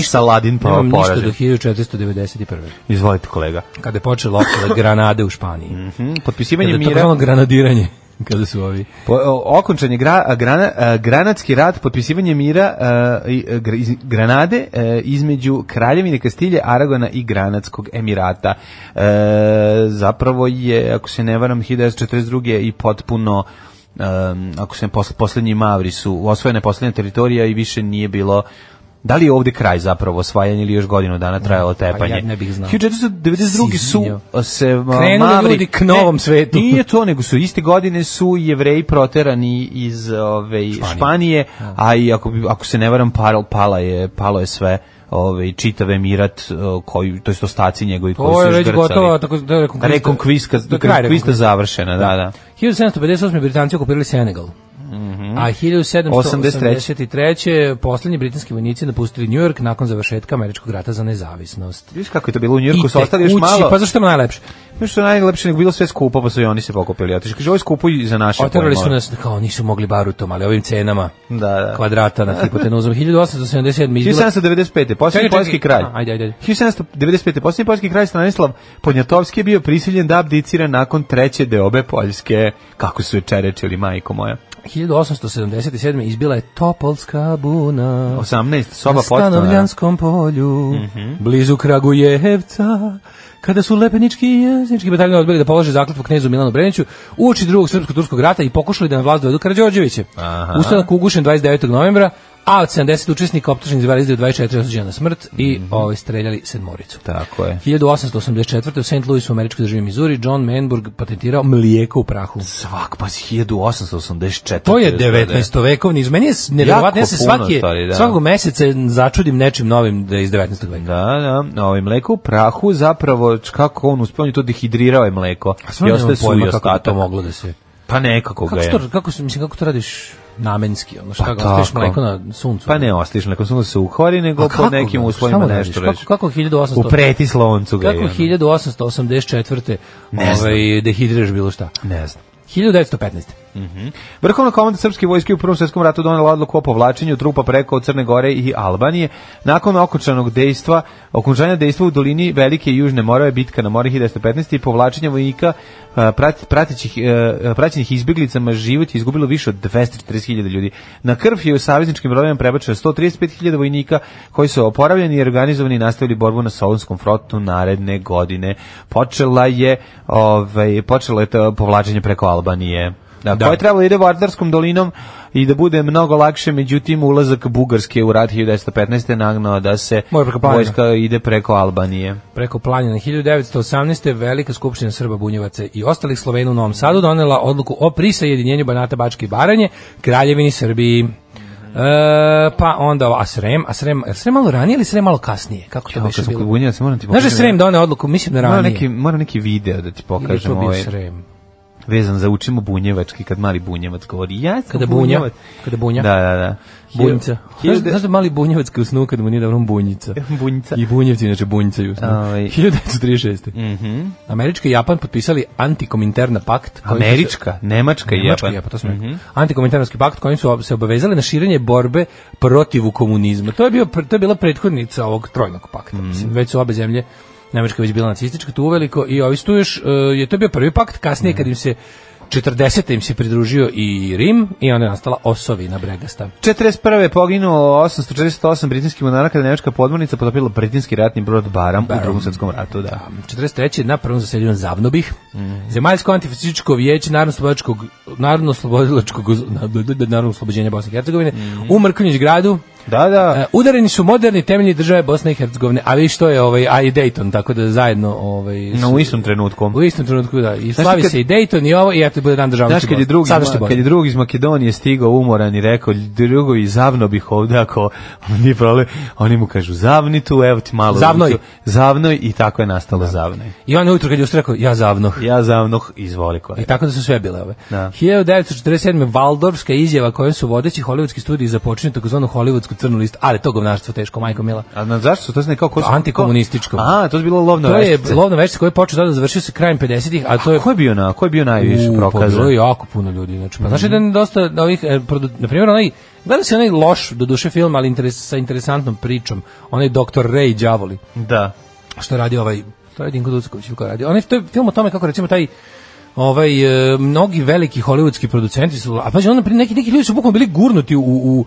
Saladin pa Nemam ništa do poražen. 1491. Izvolite kolega. Kada je počelo okolo Granade u Španiji. Mm Mhm, Kada Potpisivanje je to mira... bilo granadiranje. Kada su ovi... Po, o- okončan je gra, a, grana, a, granatski rat, potpisivanje mira e, i, e, gra- iz- Granade e, između Kraljevine Kastilje, Aragona i Granadskog Emirata. E, zapravo je, ako se ne varam, 1942. i potpuno em, ako se ne posle, poslednji Mavri su osvojene poslednja teritorija i više nije bilo Da li je ovde kraj zapravo osvajanje ili još godinu dana trajalo tepanje? ja ne Pa bih znao. 1492. su Sizinjo. a, se a, Krenuli Mavri... ljudi k novom Ne, svetu. Nije to, nego su iste godine su jevreji proterani iz ove, Španije, Da. a i ako, bi- ako se ne varam, palo, pala je, palo je sve ove, čitav emirat, e, koji, to je ostaci njegovi To koji su Pa je još već grcali. gotova, tako da je rekonkvista. Rekonkvista, Da, kraj rekonkvista rekonkvista. završena, da, da. 1758. Britanci okupirali Senegal. Mhm. A 1783. poslednji britanski vojnici napustili New York nakon završetka američkog rata za nezavisnost. Viš kako je to bilo u Njurku, su ostali još tekući, malo, Pa zašto je najlepše? još što je najlepše, nego bilo sve skupo, pa su i oni se pokupili. Otišli, kaže, ovo je skupo i za naše Oterali su pojmove. nas, kao nisu mogli barutom, ali ovim cenama Da, da. kvadrata na hipotenuzom. 1877. izbila- 1795. Čekaj, posljednji čekaj. poljski kralj. A, ajde, ajde, ajde. 1795. posljednji poljski kralj Stanislav Poniatovski je bio prisiljen da abdicira nakon treće deobe Poljske. Kako su je čerečili, majko moja. 1877. izbila je Topolska buna. 18. Soba na podstana. Stanovljanskom polju, Mhm. blizu Kragujevca, kada su lepenički i jesnički bataljon odbili da polože zakletvu knezu Milanu Breniću uoči drugog srpsko-turskog rata i pokušali da na vlast dovedu Karađorđeviće. Ustanak ugušen 29. novembra, a od 70 učesnika optuženih za verizde 24 osuđena na smrt i ovaj, streljali sedmoricu. Mhm. Tako je. 1884. u St. Louisu u američkoj državi Missouri John Manburg patentirao mlijeko u prahu. Svak, pa si 1884. To je 19. vekovni izum. Meni je s- nevjerovatno, ja se da. puno svaki, stvari, da. svakog meseca začudim nečim novim da je iz 19. veka. Da, da, ovaj mleko u prahu zapravo č- kako on uspeo on je to dehidrirao je mleko. A stvarno I nemam ostaje pojma suvi kako bi to ostatak. moglo da se... Pa nekako ga Kako, je. se to, kako, se, mislim, kako to radiš namenski? Ono, šta Pa pa ga ostaviš tako. mleko na suncu? Pa ne ostaviš mleko, samo da se uhvari, nego A po kako nekim ga? uslovima Šta mu da nešto radiš? reći. Kako, kako 1800... Upreti sloncu ga je. Kako ono. 1884. Ne znam. Ovaj, dehidriraš bilo šta? Ne znam. 1915. Vrhovna komanda srpske vojske u Prvom svjetskom ratu donela odluku o povlačenju trupa preko Crne Gore i Albanije. Nakon okončanog dejstva, okončanja dejstva u dolini Velike i Južne Morave, bitka na more 1915 i povlačenja vojnika e, prat- pratećih, e, praćenih izbjeglicama život je izgubilo više od 240.000 ljudi. Na krv je u savezničkim brojevima prebačeno 135.000 vojnika koji su oporavljeni i organizovani i nastavili borbu na Solunskom frontu naredne godine. Počela je, ovaj, počelo je to povlačenje preko Albanije. Da, da. koje je trebalo da ide Vardarskom dolinom i da bude mnogo lakše, međutim ulazak Bugarske u rat 1915. nagnao da se Mora preko planina. vojska ide preko Albanije. Preko planina 1918. Velika skupština Srba Bunjevaca i ostalih Slovena u Novom Sadu donela odluku o prisajedinjenju Banata Bačke i Baranje, Kraljevini Srbiji. E, pa onda ovo, a Srem, a Srem, a Srem malo ranije ili Srem malo kasnije? Kako to Kao beše kad smo kod bilo? Bunjevaca, moram ti Znaš da je pokažem- Srem doneo odluku, mislim da Moram ranije. neki, moram neki video da ti Ili je pokažem to bio ovaj. Srem? vezan za učimo bunjevački, kad mali bunjevac govori, ja sam Kada bunja, bunjevac. kada bunja. Da, da, da. Bunjica. Znaš, Hiljade- znaš da mali bunjevac kao snu kad mu nije dobro bunjica. Bunjica. I bunjevci inače bunjicaju. u snu. Ovaj. Mhm. 1936. Amerika i Japan potpisali antikominterna pakt. kojim su se- Američka, Nemačka, i Nemačka i Japan. Japan, pa to smo rekli. Antikominterarski pakt kojim su ob- se obavezali na širenje borbe protiv komunizma. To je, bio, pr- to je bila prethodnica ovog trojnog pakta. Mislim, već su obe zemlje Nemačka je već bila nacistička tu uveliko i ovi su tu još, e, je to bio prvi pakt, kasnije kad im se 40. im se pridružio i Rim i onda je nastala osovina bregasta. 41. poginulo 848 britanskih monarha kada je nemačka podmornica potopila britanski ratni brod Baram, u drugom svetskom ratu, da. 43. Pa, na prvom zasedanju Zavnobih, Zemaljsko antifašističko vijeće narodno-slobodilačkog narodno-slobodilačkog narodno-slobođenja Bosne i Hercegovine u Mrkonjić gradu Da, da. E, udareni su moderni temelji države Bosne i Hercegovine, a vi što je ovaj a i Dayton, tako da zajedno ovaj Na su- u istom trenutku. u istom trenutku da i Znaš slavi kad- se i Dayton i ovo i eto bude dan državnosti. Znaš, kad je, Bosne. drugi, Sadašnje kad Bosne. je drugi iz Makedonije stigao umoran i rekao, drugovi, zavno bih ovde ako nije problem, oni mu kažu, zavni tu, evo ti malo. Zavnoj. ulicu." Zavnoj Da. i tako je nastalo zavnoj. I on je ujutro kad je ustao rekao ja zavno. Ja zavnoh, izvoli koja. I tako da su sve bile ove. Da. 1947. Valdorfska izjava kojom su vodeći hollywoodski studiji započinju takozvanu hollywoodsku crnu listu, ali to govnarstvo teško, majko mila. A na, zašto su to znači kao... ko su- Antikomunističko. A, to je bilo lovno To je veštice. lovno veštice koje je počeo tada završio se krajem 50-ih, a to je Ko je bio, na, ko je bio najviše U, Pa prokazan? bilo je jako puno ljudi, znači. Pa Mhm. znači da je dosta ovih e, produ, na primjer onaj gleda se onaj loš do duše film, ali interes, sa interesantnom pričom, onaj doktor Ray đavoli Da. što radi ovaj to je Dinko Ducković ili ko radi. Onaj to je film o tome kako recimo taj ovaj e, mnogi veliki holivudski producenti su a pađe onda pri neki neki ljudi su bukvalno bili gurnuti u, u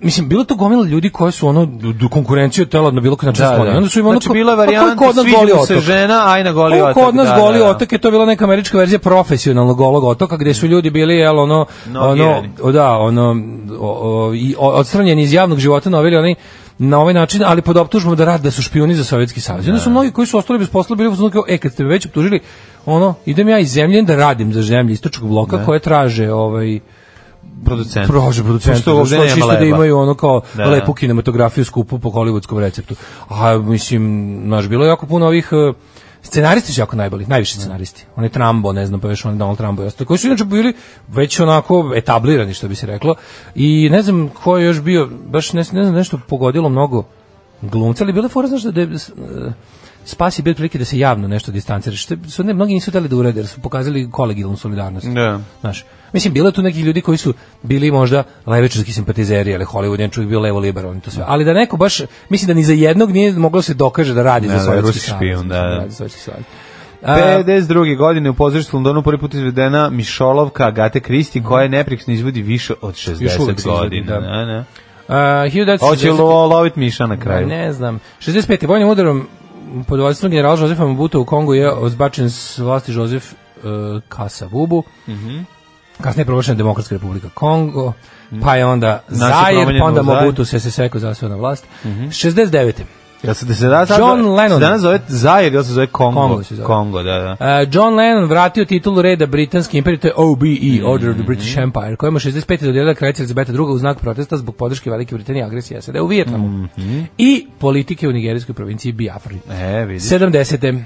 mislim bilo je to gomila ljudi koji su ono du- du- konkurenciju tela na bilo koji način skloni. Onda su im ono znači, ko- bila pa je ko je varijanta, kod nas sviđa Goli mu se otok? žena, aj na goli Ovo otok. Kod nas da, Goli da, da. otok je to bila neka američka verzija profesionalnog golog otoka gde su ljudi bili jel ono ono Nogirani. o, da ono o, o, i o- odstranjeni iz javnog života noveli oni na ovaj način, ali pod optužbom da rad da su špijuni za Sovjetski savez. I Da. Onda su mnogi koji su ostali bez posla bili u fazonu kao e kad ste me već optužili, ono idem ja iz zemlje da radim za zemlje istočnog bloka Da. koje traže ovaj Producent. Prože producenti, Pošto zato ovde što nema čisto da leba. imaju ono kao Da. lepu kinematografiju skupu po hollywoodskom receptu. A mislim, znaš, bilo je jako puno ovih eh, scenaristi su jako najbolji, najviše scenaristi. Da. Oni Trambo, ne znam, pa već oni Donald Trambo i ostali, koji su inače bili već onako etablirani, što bi se reklo. I ne znam ko je još bio, baš ne, ne znam, nešto pogodilo mnogo glumca, ali bila je fora, znaš, da je, eh, spas je bio prilike da se javno nešto distancira, što su ne, mnogi nisu hteli da urede, jer su pokazali kolegijalnu solidarnost. Da. Znaš, mislim, bilo je tu nekih ljudi koji su bili možda levičarski simpatizeri, ali Hollywood je čovjek bio levo liberalan i to sve. Ali da neko baš, mislim da ni za jednog nije moglo se dokaže da radi da, za Sovjetski ruski savez. špijun, da, mislim, da. radi za Sovjetski savez. A, 52. godine u pozorištu u Londonu prvi put izvedena Mišolovka Agate Kristi koja je neprekasno izvodi više od Još 60 uvek se izvodi, da. godina. Da. Da, a, 1960 Hoće lo, lovit Miša na kraju. Ne znam. 65. vojnim udarom pod vodstvom generala Žozefa Mabuta u Kongu je ozbačen s vlasti Žozef uh, Kasavubu. Mm Mhm. Kasnije je proglašena Demokratska republika Kongo, pa je onda Znači, Zajer, promenjeno pa onda u Mhm. Zair. Mobutu se se seko zasveo na vlast. 69. Jel se da se da sad John zove- Lennon. Se danas zove Zajer ili se zove Kongo? Kongo se zove. Kongo, da, da. Uh, John Lennon vratio titulu reda britanske imperije, to je OBE, Mhm. Order of the British Empire, kojemu 65. dodelila kraljica Elizabeta II u znak protesta zbog podrške Velike Britanije i agresije SAD u Vijetnamu i politike u nigerijskoj provinciji Biafri. Mhm. E, vidiš. 70.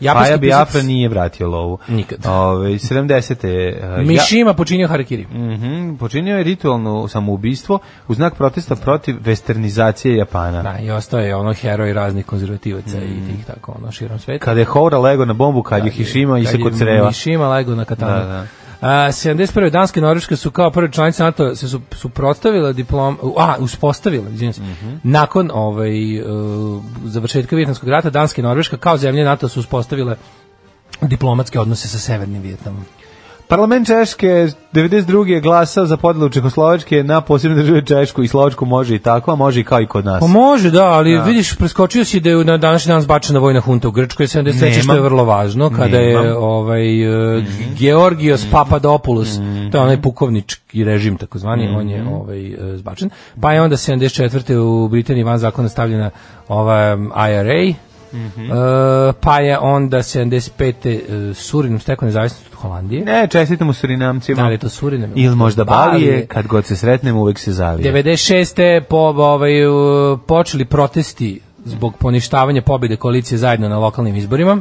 Japanski Paja pisac Biafra nije vratio lovu. Nikad. Ove, 70. Mishima počinio harakiri. Mhm, počinio je ritualno samoubistvo u znak protesta protiv westernizacije Japana. Da, i ostao je ono heroj raznih konzervativaca Mhm. i tih tako ono širom sveta. Kada je Houra lego na bombu, kad je Hišima i Kad Da, je seko creva. Mishima lego na katana. Da, da. A, 71. Danske i Norveške su kao prve članice NATO se su, suprotstavile diplom, a, uspostavile, izvinjam se, Mhm. nakon ovaj, e, završetka Vjetnamskog rata, Danska i Norveška kao zemlje NATO su uspostavile diplomatske odnose sa Severnim Vjetnamom. Parlament Češke 92. je glasao za podelu Čekoslovačke na posebne države Češku i Slovačku može i tako, a može i kao i kod nas. Pa može, da, ali vidiš, preskočio si da je na današnji dan zbačena vojna hunta u Grčkoj 73. što je Nemam. vrlo važno, kada je Nemam. Mhm. ovaj, e, Georgios Papadopoulos, to je onaj pukovnički režim takozvani, on Mhm. je ovaj, e, zbačen. Pa je onda 74. u Britaniji van zakona stavljena ova em, IRA, Mhm. E, pa je onda 75. E, Surinom stekao nezavisnost od Holandije. Ne, čestitamo Surinamcima. Da li je to Surinem? Ili možda Balije, Balije. kad god se sretnemo uvek se zavije. 96. Po, ovaj, u, počeli Mm. protesti zbog poništavanja pobjede koalicije zajedno na lokalnim izborima.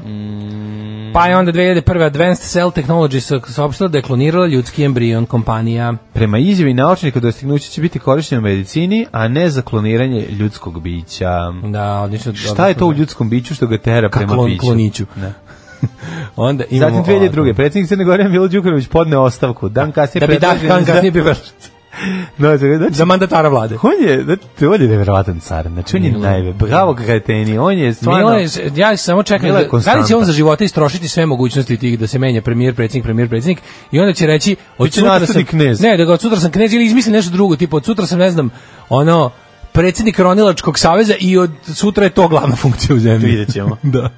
Pa je onda 2001. Advanced Cell Technology saopštila da je klonirala ljudski embrion kompanija. Prema izjavi naučnika dostignuće će biti korišćeno u medicini, a ne za kloniranje ljudskog bića. Da, odlično. Šta je to u ljudskom biću što ga tera prema klon- biću? kloniću. Da. Onda imamo Zatim 2002. Predsjednik Crne Gore Milo Đukanović podne ostavku. Dan kasnije Da bi dan predložen dan kasnije bio za... No, znači, za mandatara vlade. on je, znači, on je nevjerovatan car. Znači, on je najve. Bravo, kreteni. On je stvarno... Milo je, ja samo čekam Milo je da, da li će konstanta. on za života istrošiti sve mogućnosti tih da se menja premijer, predsjednik, premijer, predsjednik i onda će reći od Biće sutra sam naslednik knez. Ne, da ga od sutra sam knez ili izmisli nešto drugo, tipa od sutra sam ne znam, ono predsjednik Ronilačkog saveza i od sutra je to glavna funkcija u zemlji. Vidjet ćemo. da.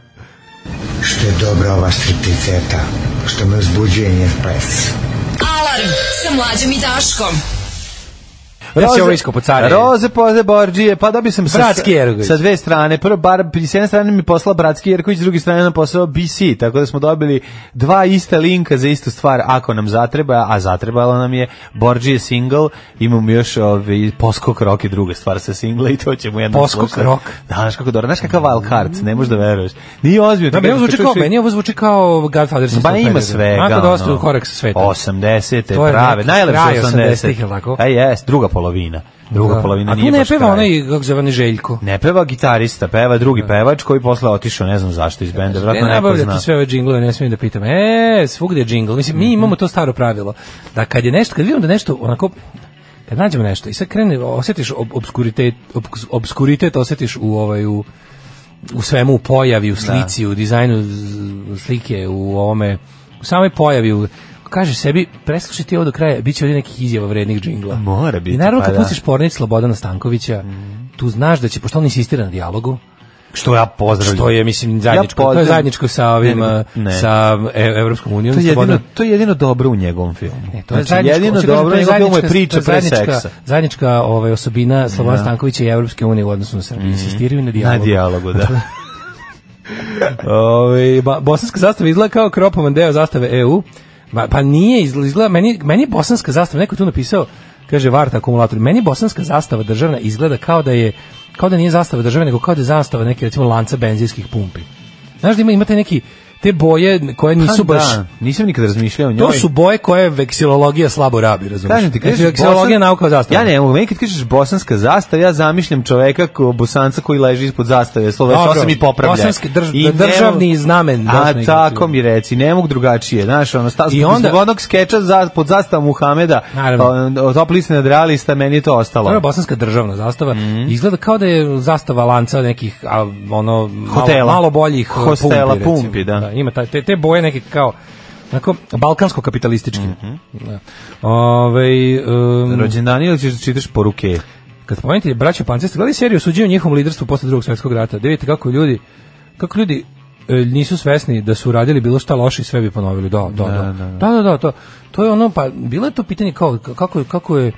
Što je dobra ova stripticeta, što me uzbuđuje njen ples. Alarm sa mlađom i Daškom. Da se ovo iskopo care. Roze poze Borđije, pa dobio sam sa, Bratski Jerković. sa dve strane. Prvo, bar, s jedne strane mi poslao Bratski Jerković, s druge strane nam poslao BC, tako da smo dobili dva ista linka za istu stvar, ako nam zatreba, a zatrebalo nam je Borđije single, imamo još ovaj, poskok rock i druga stvar sa singla i to ćemo jednom Poskok slušati. rock. Da, znaš kako dobro, znaš kakav wild card, ne možeš da veruješ. Nije ozbiljno. Da, ti meni ovo kažem, zvuči kad kao, čuješ- meni ovo zvuči kao Godfather. Ba Pa ima svega. Ako da ostaju ono. korak sa svetom. 80-te, To je prave, neki najlepše kraj 80-te. 80-ih, jel tako? Da. A jes, druga polovina. Druga polovina A tu nije ne baš peva kraj. onaj, kako zove, onaj Željko. Ne peva gitarista, peva drugi pevač koji posle otišao, ne znam zašto iz benda, Ne vratno neko zna. Mhm. nabavljati sve ove džinglove, ne smijem da pitam. E, svugde je džingl. Mislim, mi imamo to staro pravilo. Da kad je nešto, kad vidimo da nešto onako kad nađemo nešto i sad krene, osjetiš ob, obskuritet, ob, obskuritet osjetiš u ovaj u, u svemu, u pojavi, u Da. slici, u dizajnu z- slike, u ovome, u samoj pojavi, u, kažeš sebi, preslušaj ti ovo do kraja, bit će ovdje nekih izjava vrednih džingla. Mora biti, I naravno pa kad da. Mhm. pustiš pornić Slobodana Stankovića, tu znaš da će, pošto on insistira na dijalogu, Što ja pozdravljam. što je mislim zajedničko, Ja to je pozdravljam- zajedničko sa ovim Ne, eh, ne. sa E- evropskom unijom. To je, jedino, Slobodan- to je jedino dobro u njegovom filmu. E, to Znači, je zajedničko, jedino hoću kažem, dobro u to njegovom filmu je zajednička- priča to je pre zajednička- seksa. Da. Zajednička ovaj, osobina Slobodana Stankovića i Evropske unije u odnosu na Srbiju. Insistiraju na Mhm. Na dijalogu. dijalogu, da. Ovaj, ba- bosanska zastava izgleda kao kropovan deo zastave EU. Ba- pa nije izgl- izgleda, meni, meni je bosanska zastava, neko je tu napisao, kaže Varta akumulator, meni bosanska zastava državna izgleda kao da je kao da nije zastava države, nego kao da je zastava neke recimo lanca benzinskih pumpi. Znaš da ima, imate neki te boje koje nisu Pa baš Da, nisam nikad razmišljao o njoj. To su boje koje veksilologija slabo rabi, razumiješ? Kažem ti, kažeš veksilologija je bosan- nauka o zastavi. Ja ne, mogu, meni kad kažeš bosanska zastava, ja zamišljam čoveka ko bosanca koji leži ispod zastave, slovo Dobro. osam i popravlja. Bosanski drž- I ne mogu- državni znamen Bosne A i tako Hercegovine. mi reci, ne mogu drugačije, znaš, ono sta I I onda- onda onog skeča za pod zastavom Muhameda, Naravno. pa, toplisni nad realista, meni je to To je ostalo. bosanska državna zastava. Mhm. Izgleda kao da je zastava lanca nekih a, ono malo, Hotela. malo boljih e, Hostela, pumpi, recimo. pumpi, da. ima taj, te, te boje neke kao onako balkansko kapitalistički. Mhm. Da. Ovaj um, Rođendani ili ćeš da čitaš poruke? kad spomenite braću Panceste, gledaj seriju o suđenju njihovom liderstvu posle drugog svjetskog rata. Da vidite kako ljudi kako ljudi e, nisu svesni da su radili bilo šta loše i sve bi ponovili. Da, da, da. Da, da, da, to, to je ono, pa bilo je to pitanje kao, kako, je- kako je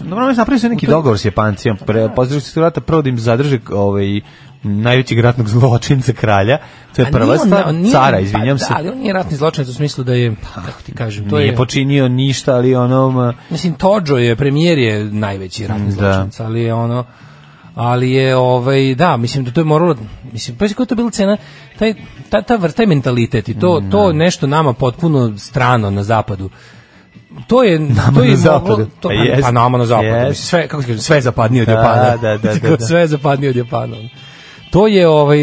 Dobro, mi napravili su neki To je- dogovor s Japancima, pre pozdravili su rata prvo da im zadrže ovaj najvećeg ratnog zločinca kralja. To je A prva nije on- stvar, on nije- cara, izvinjam pa se. Da, ali on nije ratni zločinac u smislu da je, kako ti kažem, to Nije je... počinio ništa, ali ono Mislim, Tođo je, premijer je najveći ratni Da. zločinac, ali je ono... Ali je, ovaj, da, mislim da to je moralo, mislim, pa koja je to bila cena, taj, ta, ta, vr- taj mentalitet i Mm, to, da. to nešto nama potpuno strano na zapadu. To je to na je zapadu. Moglo, to, Pa pa, jest. pa nama na zapadu. Jest. mislim, Sve kako ti kažem, sve je zapadnije od Da, Japana. da, da, da, da. sve je zapadnije od Japana. To je ovaj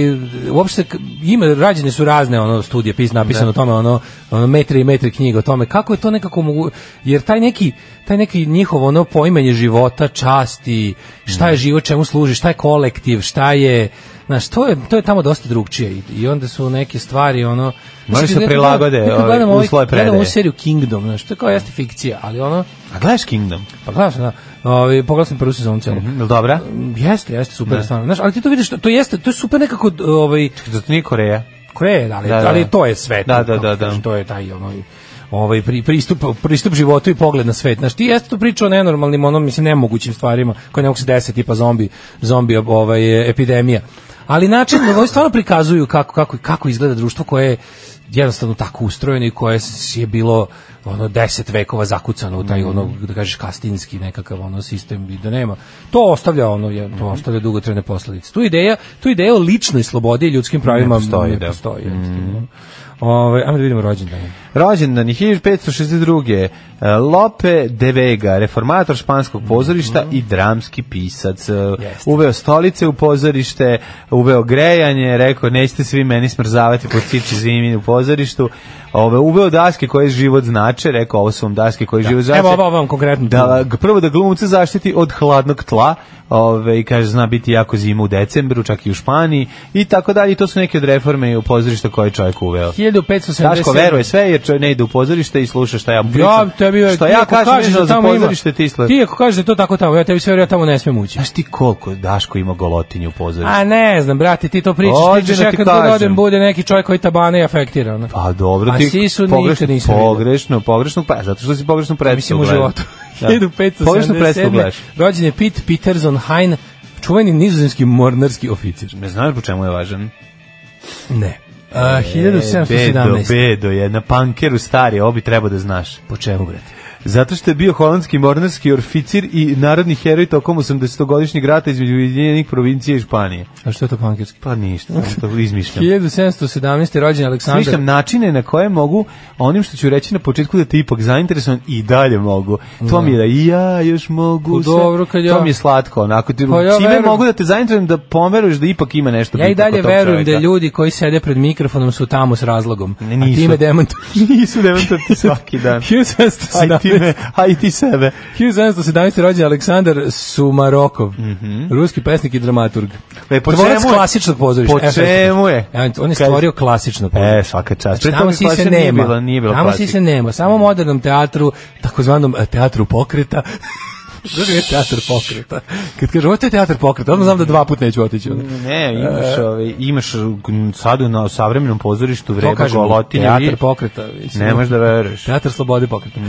uopšte k- ima rađene su razne ono studije pis Da. napisano o tome ono, ono metri i metri knjiga o tome kako je to nekako mogu jer taj neki taj neki njihov ono poimanje života, časti, šta Mm. je život, čemu služi, šta je kolektiv, šta je Znaš, to je, to je tamo dosta drugčije i, i onda su neke stvari, ono... Moraju se Nekad prilagode, gledam- nekad ovaj, gledam ovaj- uslove gledam ovu predaje. seriju Kingdom, znaš, to je kao jeste fikcija, ali ono... A gledaš Kingdom? Mhm, Pa gledam sam, da. Ovaj, pogledao sam prvu sezonu celu. Jel dobra? Jeste, jeste super stvarno. Znaš, ali ti to vidiš, to, to jeste, to je super nekako d- ovaj Da to nije Koreja. Koreje, ali, Da, da. ali to je svet. Da, da, kako da, da. kažem, To je taj ono ovaj pri, pristup pristup životu i pogled na svet. Znaš, ti jeste tu priča o nenormalnim, ono mislim nemogućim stvarima koje ne mogu se desiti, tipa zombi, zombi ovaj epidemija. Ali način na koji stvarno prikazuju kako kako kako izgleda društvo koje je jednostavno tako ustrojeno i koje s- je bilo ono 10 vekova zakucano u taj ono Mhm. da kažeš kastinski nekakav ono sistem i da nema. To ostavlja ono je Mhm. to ostavlja dugotrajne posledice. Tu ideja, tu ideja o ličnoj slobodi i ljudskim pravima postoji, ne da. postoji, jednostavno. Ovaj ajmo da vidimo rođendan. Rođendan je 1562. e, Lope de Vega, reformator španskog pozorišta Mhm. i dramski pisac. E, Uveo stolice u pozorište, uveo grejanje, rekao nećete svi meni smrzavati pod ciči zimi u pozorištu. Ove, uveo daske koje život znače, rekao ovo su vam daske koje život znače. Da. Evo ovo vam konkretno. Da, g- prvo da glumce zaštiti od hladnog tla, ove, i kaže zna biti jako zima u decembru, čak i u Španiji, i tako dalje. I to su neke od reforme u pozorišta koje je čovjek uveo. 1570. Daško veruje sve jer čovjek ne ide u pozorište i sluša šta ja mu Ja pričam. tebi šta ti ja ako kažem kažeš vezano da za tamo ima. pozorište ti sluša. Ti ako kažeš da je to tako tamo, ja tebi sve vjerujem, ja tamo ne smem ući. Znaš ti koliko Daško ima golotinje u pozorištu? A ne znam, brate, ti to pričaš, Ozbiljno pričaš, ja da ti kad god kažem. odem bude neki čovjek koji tabane i afektira. ono. Pa dobro, A ti svi su pogrešno, nikad nisam vidio. pogrešno, pogrešno, pa zato što si pogrešno predstavu Mislim u gledao. životu. Da. 1577. Pogrešnu predstavu gledaš. Rođen je Pete Peterson Hein, čuveni nizozemski mornarski oficir. Ne znaš po čemu je važan? Ne. A, E, Bedo, 1717. Bedo je na pankeru stari, ovo bi trebao da znaš. Po čemu, brate? Zato što je bio holandski mornarski orficir i narodni heroj tokom 80-godišnjeg rata između Ujedinjenih provincija i Španije. A što je to pankerski? Pa ništa, samo to izmišljam. 1717. rođen je Aleksandar. Smišljam načine na koje mogu onim što ću reći na početku da ti ipak zainteresovan i dalje mogu. To mi je da i ja još mogu. Pa sve. dobro, kad ja- To mi je slatko. Onako, ti, Pa ja čime verujem. mogu da te zainteresujem da poveruješ da ipak ima nešto Ja i bitno dalje kod tog verujem da čoveka. ljudi koji sede pred mikrofonom su tamo s razlogom. Ne, A nisu. ti me demantuju. Nisu demantovati svaki dan. 1717. Aj ti, me, aj ti sebe. 1717. rođen je Aleksandar Sumarokov, ruski pesnik i dramaturg. Mhm. E, po Tvorac čemu je? klasičnog pozorišta. Po E, čemu je? e, On je stvorio klasično pozorište. E, svaka čast. Pre Tamo toga si se klasika nema. Nije bila, nije bila Tamo si klasika. se nema. Samo u modernom teatru, takozvanom e, teatru pokreta. Drugi je teatr pokreta. Kad kažu, ovo je teatr pokreta, odmah znam da dva puta neću otići. ono. Ne, imaš, ovaj, imaš g- sad u na savremenom pozorištu To vreba kažem, golotinje. teatr vidi. pokreta. mislim. Ne možeš da veruješ. Teatr slobode pokreta. E,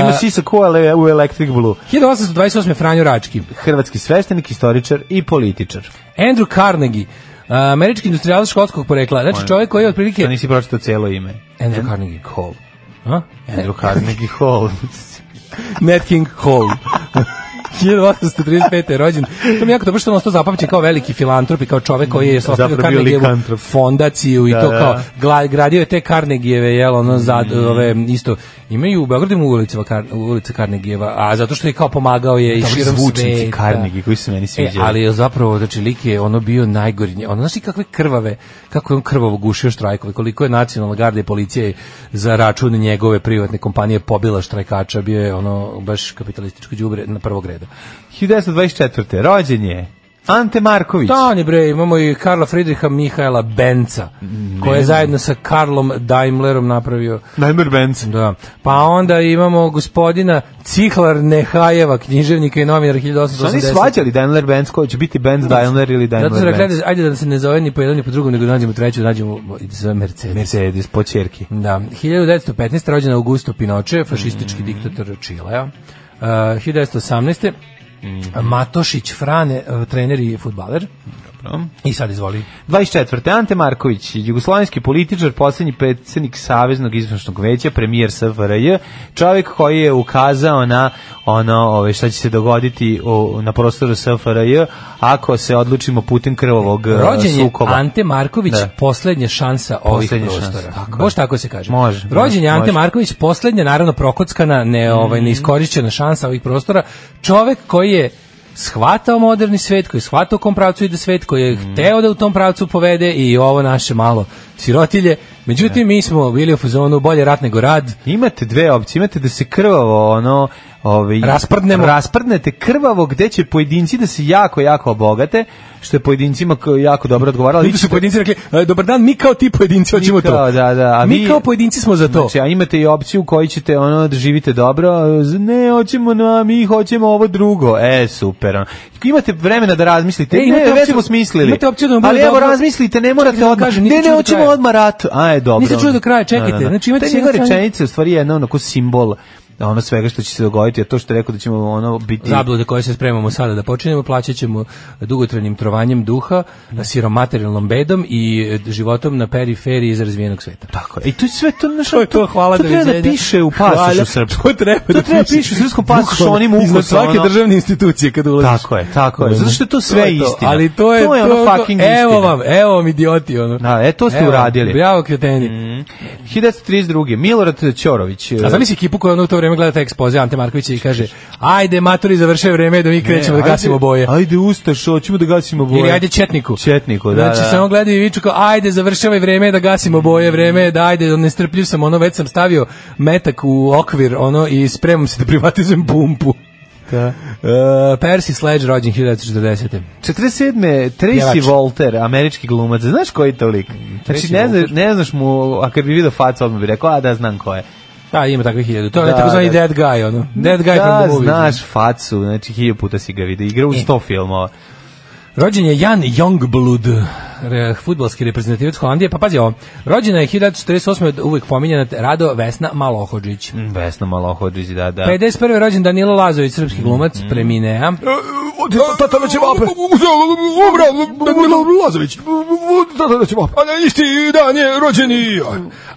Ima A, sisa koale u Electric Blue. 1828. Franjo Rački. Hrvatski sveštenik, historičar i političar. Andrew Carnegie, e, američki industrijalac škotskog porekla. Znači čovjek koji je otprilike... Što nisi pročitao celo ime? Andrew Carnegie. Hall. A? Andrew Carnegie Hall. Nat King Hall. 1835. je rođen. To mi je jako dobro što on ostao zapamćen kao veliki filantrop i kao čovek koji je ostavio Mm, Zapravo bio Carnegievu likantrop. fondaciju i Da, to da. Mm. kao gla- gradio je te Carnegieve, jel, ono, za, ove, isto, imaju u Beogradu ima ulica, Kar, ulica Carnegieva, a zato što je kao pomagao je i Dobri širom zvučnici sveta. Carnegie koji se meni E, sviđaju. ali je zapravo, znači, lik je ono bio najgori. Ono, znaš ti kakve krvave, kako je on krvavo gušio štrajkove, koliko je nacionalna garda i policija za račun njegove privatne kompanije pobila štrajkača, bio je ono baš kapitalističko đubre na prvog reda. 1924. Rođen je Ante Marković. Da, ne bre, imamo i Karla Friedricha Mihajla Benca, koji je zajedno sa Karlom Daimlerom napravio Najmer Benz. Da. Pa onda imamo gospodina Cihlar Nehajeva, književnika i novinar 1880. Su oni svađali Daimler Benz koji će biti Benz Daimler ili Daimler Zato Benz? su rekli, ajde, ajde da se ne zove ni po jednom ni po drugom, nego da nađemo treću, nađemo i da se zove Mercedes. Mercedes po čerki. Da, 1915. rođen Augusto Pinochet, fašistički diktator Čilea. Uh, 1918. Mm. Matošić Frane, uh, trener i futbaler. I sad izvoli. 24. Ante Marković, jugoslovenski političar, posljednji predsjednik Saveznog izvršnog veća, premijer SFRJ, čovjek koji je ukazao na ono ove, šta će se dogoditi u- na prostoru SFRJ ako se odlučimo putem krvovog e, Rođen je sukoba. Ante Marković, Da. posljednja šansa ovih Poslednja prostora. šansa, tako je. Boš tako da se kaže. Može, Rođen je može, Ante može. Marković, posljednja, naravno prokockana, ne, ovaj, neiskorišćena šansa ovih prostora. Čovek koji je shvatao moderni svet, koji je shvatao u kom pravcu ide svet, koji je hteo da u tom pravcu povede i ovo naše malo sirotilje. Međutim, mi smo bili u fazonu bolje rat nego rad. Imate dve opcije, imate da se krvavo ono ovaj Rasprdnemo. rasprdnete krvavo gde će pojedinci da se jako jako obogate, što je pojedincima k- jako dobro odgovaralo. Ljudi su pojedinci rekli, "E, dobar dan, mi kao ti pojedinci hoćemo Mi kao, to. da, da, a mi, vi- kao pojedinci smo za to. Znači, a imate i opciju u kojoj ćete ono da živite dobro, z- ne, hoćemo, na, mi hoćemo ovo drugo, e, super. ono. Imate vremena da razmislite, E, e, imate ne, već opciju- smo smislili. imate opciju da vam bude Ali evo, dobro. razmislite, ne morate Čekajte da vam odmah, kažem, nisam ne, čuo ne, do hoćemo kraja. odmah rat, a je dobro. Da, Nisam čuo ono. do kraja, čekajte, znači imate Taj s jedne njegova strane- rečenica je u stvari jedna onako simbol ono svega što će se dogoditi, a to što je rekao da ćemo ono biti zablude koje se spremamo sada da počinjemo plaćat ćemo dugotrenim trovanjem duha, Mm. siromaterijalnom bedom i e, životom na periferiji iz razvijenog sveta. Tako je. I to je sve to naša To je to, hvala to treba da doviđenja. piše u pasošu Hvala. srpskom. To treba da, To treba piše u srpskom pasošu, Bukvalno, onim ukusom, iznad svake ono. državne institucije kad ulaziš. Tako je, tako je. Zato što je to sve je istina. Ali to je To je ono fucking Evo istina. vam, evo vam idioti ono. Da, e, to ste Evo, uradili. Mm. Bravo kreteni. 1932. Milorad Ćorović. A zamisli ekipu koja ono u to vreme gleda taj ekspoze Ante Markovića i kaže Ajde maturi završe vreme da mi krećemo da Ajde, gasimo boje. Ajde Ustaš, hoćemo da gasimo boje. Ili ajde Četniku. Četniku, da, Znači da. samo gledaju i viču kao ajde završavaj vreme da gasimo boje, vreme je da ajde, nestrpljiv sam, ono već sam stavio metak u okvir, ono i spremam se da privatizujem pumpu. Da. Uh, Percy Sledge rođen 1940. 47. Tracy Pjevač. Walter, američki glumac. Znaš koji je to lik? Znači, Tracy ne, zna, Walter. ne znaš mu, a kad bi vidio facu, odmah bi rekao, a da, znam ko je. Da, ima takvih hiljadu. To je Da, da, takozvani da. dead guy, ono. Dead guy from da, the movie. znaš facu, znači, hilju puta si ga vidio. Igra u sto filmova. Rođen je Jan Youngblood, re, futbalski reprezentativac Holandije. Pa pazi ovo, rođena je 1948. uvek pominjena Rado Vesna Malohođić. Mm, Vesna Malohođić, da, da. 51. rođen Danilo Lazović, srpski glumac, preminea. Tata na ćevape. Danilo Lazović. Tata na ćevape. A na isti dan je rođeni,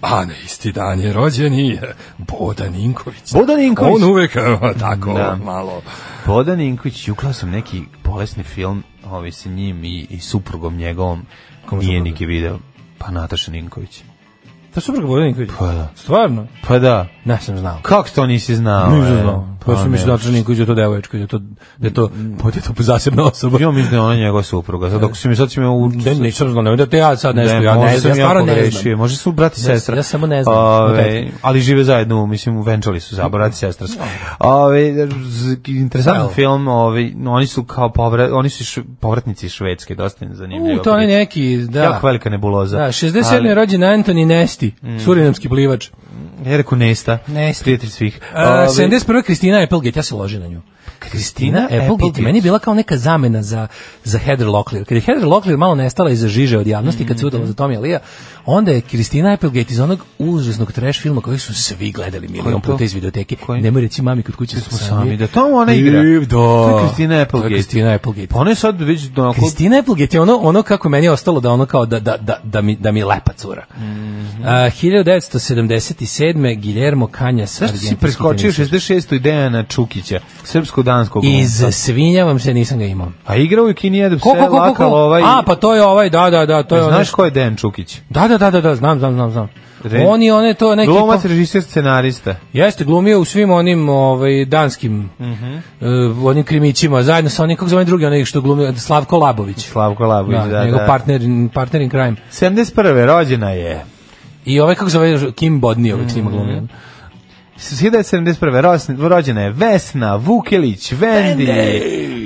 a na isti dan je rođeni Boda Ninković. Bodan Inković. uvek tako Da. malo. Bodan Inković, juklao sam neki bolesni film ovaj, sa njim i, i suprugom njegovom. Nije supruga? niki video. Pa Nataša Ninković. Ta supruga Boda Ninković? Pa da. Stvarno? Pa da. Ne sam znao. Kako to nisi znao? Nisam e? znao. Pa sam ne. mislio da Nataša Ninković je to devoječka, da je to, da je to, da je to zasebna osoba. Ja mislim da je ona njegova supruga. Sad dok si mi sad si me u... Ne, nisam znao, nemoj da te ja sad nešto, ja možda ne sam znam, ja stvarno ne pogrešio. znam. Može su brat i Ja- sestra. ja samo ne znam. Ove, ali žive zajedno, mislim, venčali su za brat i sestra. su. Ove, z- interesantan Evo. film, ove, oni su kao povrat, oni su š, povratnici iz Švedske, dosta zanimljivo. U, to je neki, da. Jako velika nebuloza. Da, 67. Ali- Mm. je rođen Antoni Nesti, surinamski plivač. Ja reku Nesta, Nesta. prijatelj svih. Uh, 71. Kristina Applegate, ja se ložim na nju. Kristina Applegate, Applegate. meni je bila kao neka zamena za, za Heather Locklear. Kada je Heather Locklear malo nestala iza žiže od javnosti, Mhm. kad se udala za Tommy Alija, onda je Kristina Applegate iz onog užasnog trash filma kojeg su svi gledali milion to? puta iz videoteke. Koji? Nemoj reći mami kod kuće smo sami, sami. da to ona igra. Iv, Da. To je Kristina To Applegate. je Kristina Applegate. Pa ona je sad već onako... Kristina Applegate je ono, ono kako meni je ostalo da ono kao da, da, da, da, mi, da mi lepa cura. Mm Mhm. -hmm. 1977. Guillermo Kanja sa Zašto si preskočio 66. i Dejana Čukića, srpsko-danskog Iz glumca? svinjavam se, nisam ga imao. A igrao je Kini Edep Ko, ko, se ko, ko, lakal ko? ovaj... E, A, pa to je ovaj, da, da, da, to je onaj. Znaš ko je Dejan Čukić? Da, da, da, da, da, znam, znam, znam, znam. Re- On je one to neki Glumac, režiser, scenarista. Jeste glumio u svim onim ovaj danskim Mhm. eh, onim krimićima zajedno sa onim kako se zove drugi onaj što glumio Slavko Labović. Slavko Labović, da, da. njegov partner partner in crime. 71. rođena je. I ovaj kako se zove Kim Mhm. Bodniović mm. ima glumio. 1971. ros- rođena je Vesna Vukelić, Vendi,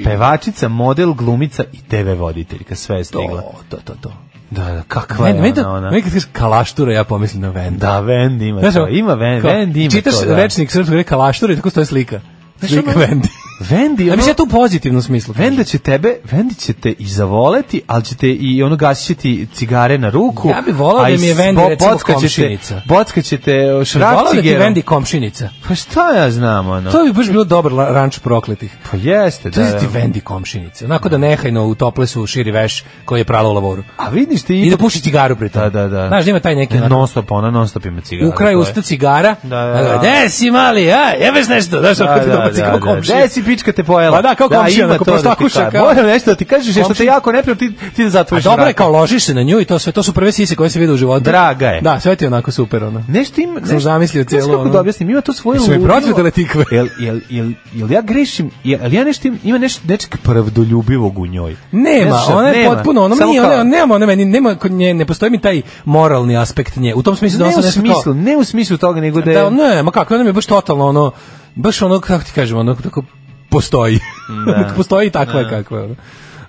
pevačica, model, glumica i TV voditeljka, sve je stigla. To, to, to, to. Da, da, kakva Meni, meni, je to- ona, ona. meni kad da kažeš kalaštura, ja pomislim na Venda. Da, Vendi ima Znaš, to, ima Vendi, kao, Vendi ima Čitaš to, da. rečnik srpskog reka kalaštura i tako stoje slika. Znaš, Slika ono- da Vendi. Vendi, Ja ono, mislim da ja to u pozitivnom smislu. kažem. Venda će tebe, Vendi će te i zavoleti, ali će te i ono gasiti cigare na ruku. Ja bi volao a da i mi je s- Vendi, bo- recimo, bockat će te- komšinica. Bockat će te uh, šraf Volao da ti cigerom. Vendi komšinica. Pa šta ja znam, ono? To bi baš bilo dobar la- ranč prokletih. Pa jeste, To da. je ti da. Vendi komšinica. Onako da nehajno u toplesu širi veš koji je prala u lavoru. A vidiš ti... I da ipak- puši cigaru pri tom. Da, da, da. Znaš, da ima taj neki... onako- Non stop, ona non stop ima cigare. Ukraj to je. usta cigara. Da, da, da. De si mali, a, jebeš nešto. Znaš, Da, ako ti da, dobaci da, kao da. komšija. Gde si pička te pojela? Pa da, kao komšija, ima onako to da ti prostakuša, kažem. kao- Moram nešto da ti kažeš, jer što te Komšija. jako ne ti, ti da A zatvoriš dobro je vrata. kao ložiš se na nju i to sve, to su prve sise koje se vide u životu. Draga je. Da, sve ti je onako super ono. Nešto ima, Sam zamislio znaš cijelo kako ono. da objasnim, ima to svoje Jesu mi ludilo. procvetale tikve? Jel, jel, jel, jel ja grešim, jel ja nešto, im- ima nešto, nečeg pravdoljubivog u njoj. Nema, Znaš šta, ona je nema. potpuno, ona Samo mi, kao- ona, nema, ona meni, nema, kod nje, ne postoji mi taj moralni aspekt nje. U tom smislu da Ne ona u sam nešto kao- smislu, ne u smislu toga, nego da je... Da, ne, ma kako, ona mi je baš totalno ono, baš ono, kako ti kažem, ono, tako postoji. Da. postoji i takva je kakva je. Ono.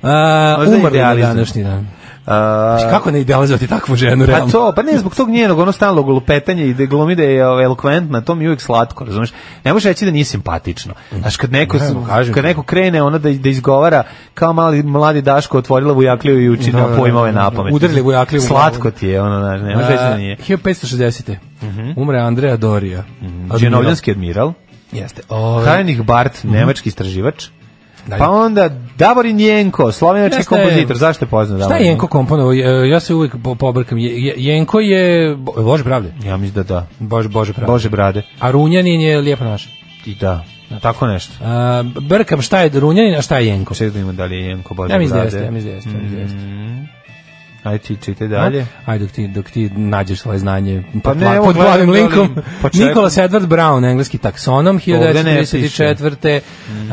A, Možda umrla na idealizam. današnji dan. A, Kako ne idealizovati takvu ženu, Pa realno? to, pa ne zbog tog njenog ono stalnog lupetanja i da glumi da je ovaj, elokventna, to mi je uvijek slatko, razumeš? Ne možeš reći da nije simpatično. Znaš, kad neko, s- kažem kad ti. neko krene ono da, da izgovara kao mali, mladi Daško otvorila vujakliju i uči Da, na da, pojmove da, da. na pamet. Udarili vujakliju u glavu. Slatko ti je, ono, znaš, ne možeš reći da nije. 1560. Umre Andreja Dorija. Admiral. Mhm. Dženovljanski admiral. Jeste. Ove, Heinrich Barth, Mhm. nemački istraživač. Da, Pa onda Davor Jenko, slovenački Jeste. kompozitor. Zašto je poznat Šta Davor je Jenko komponovao? E, Ja se uvek po- pobrkam. Je- Je- Jenko je... Bo- Bože pravde. Ja mislim da da. Bože, Bože pravde. Bože brade. A Runjanin je lijepa naša. I da. Tako nešto. A, brkam šta je Runjanin, a šta je Jenko. Čekaj da imamo da li je Jenko Bože Ja mislim da brade. jeste, ja mislim da jeste. ja mislim da jeste. Ajde ti čitaj dalje. Ajde dok ti, dok ti nađeš svoje znanje pod, ne, pla- evo, pod gledam glavnim da li- linkom. pa čekaj. Nicholas Edward Brown, engleski taksonom, Ovde ne Mhm. 1934. Mm. Uh,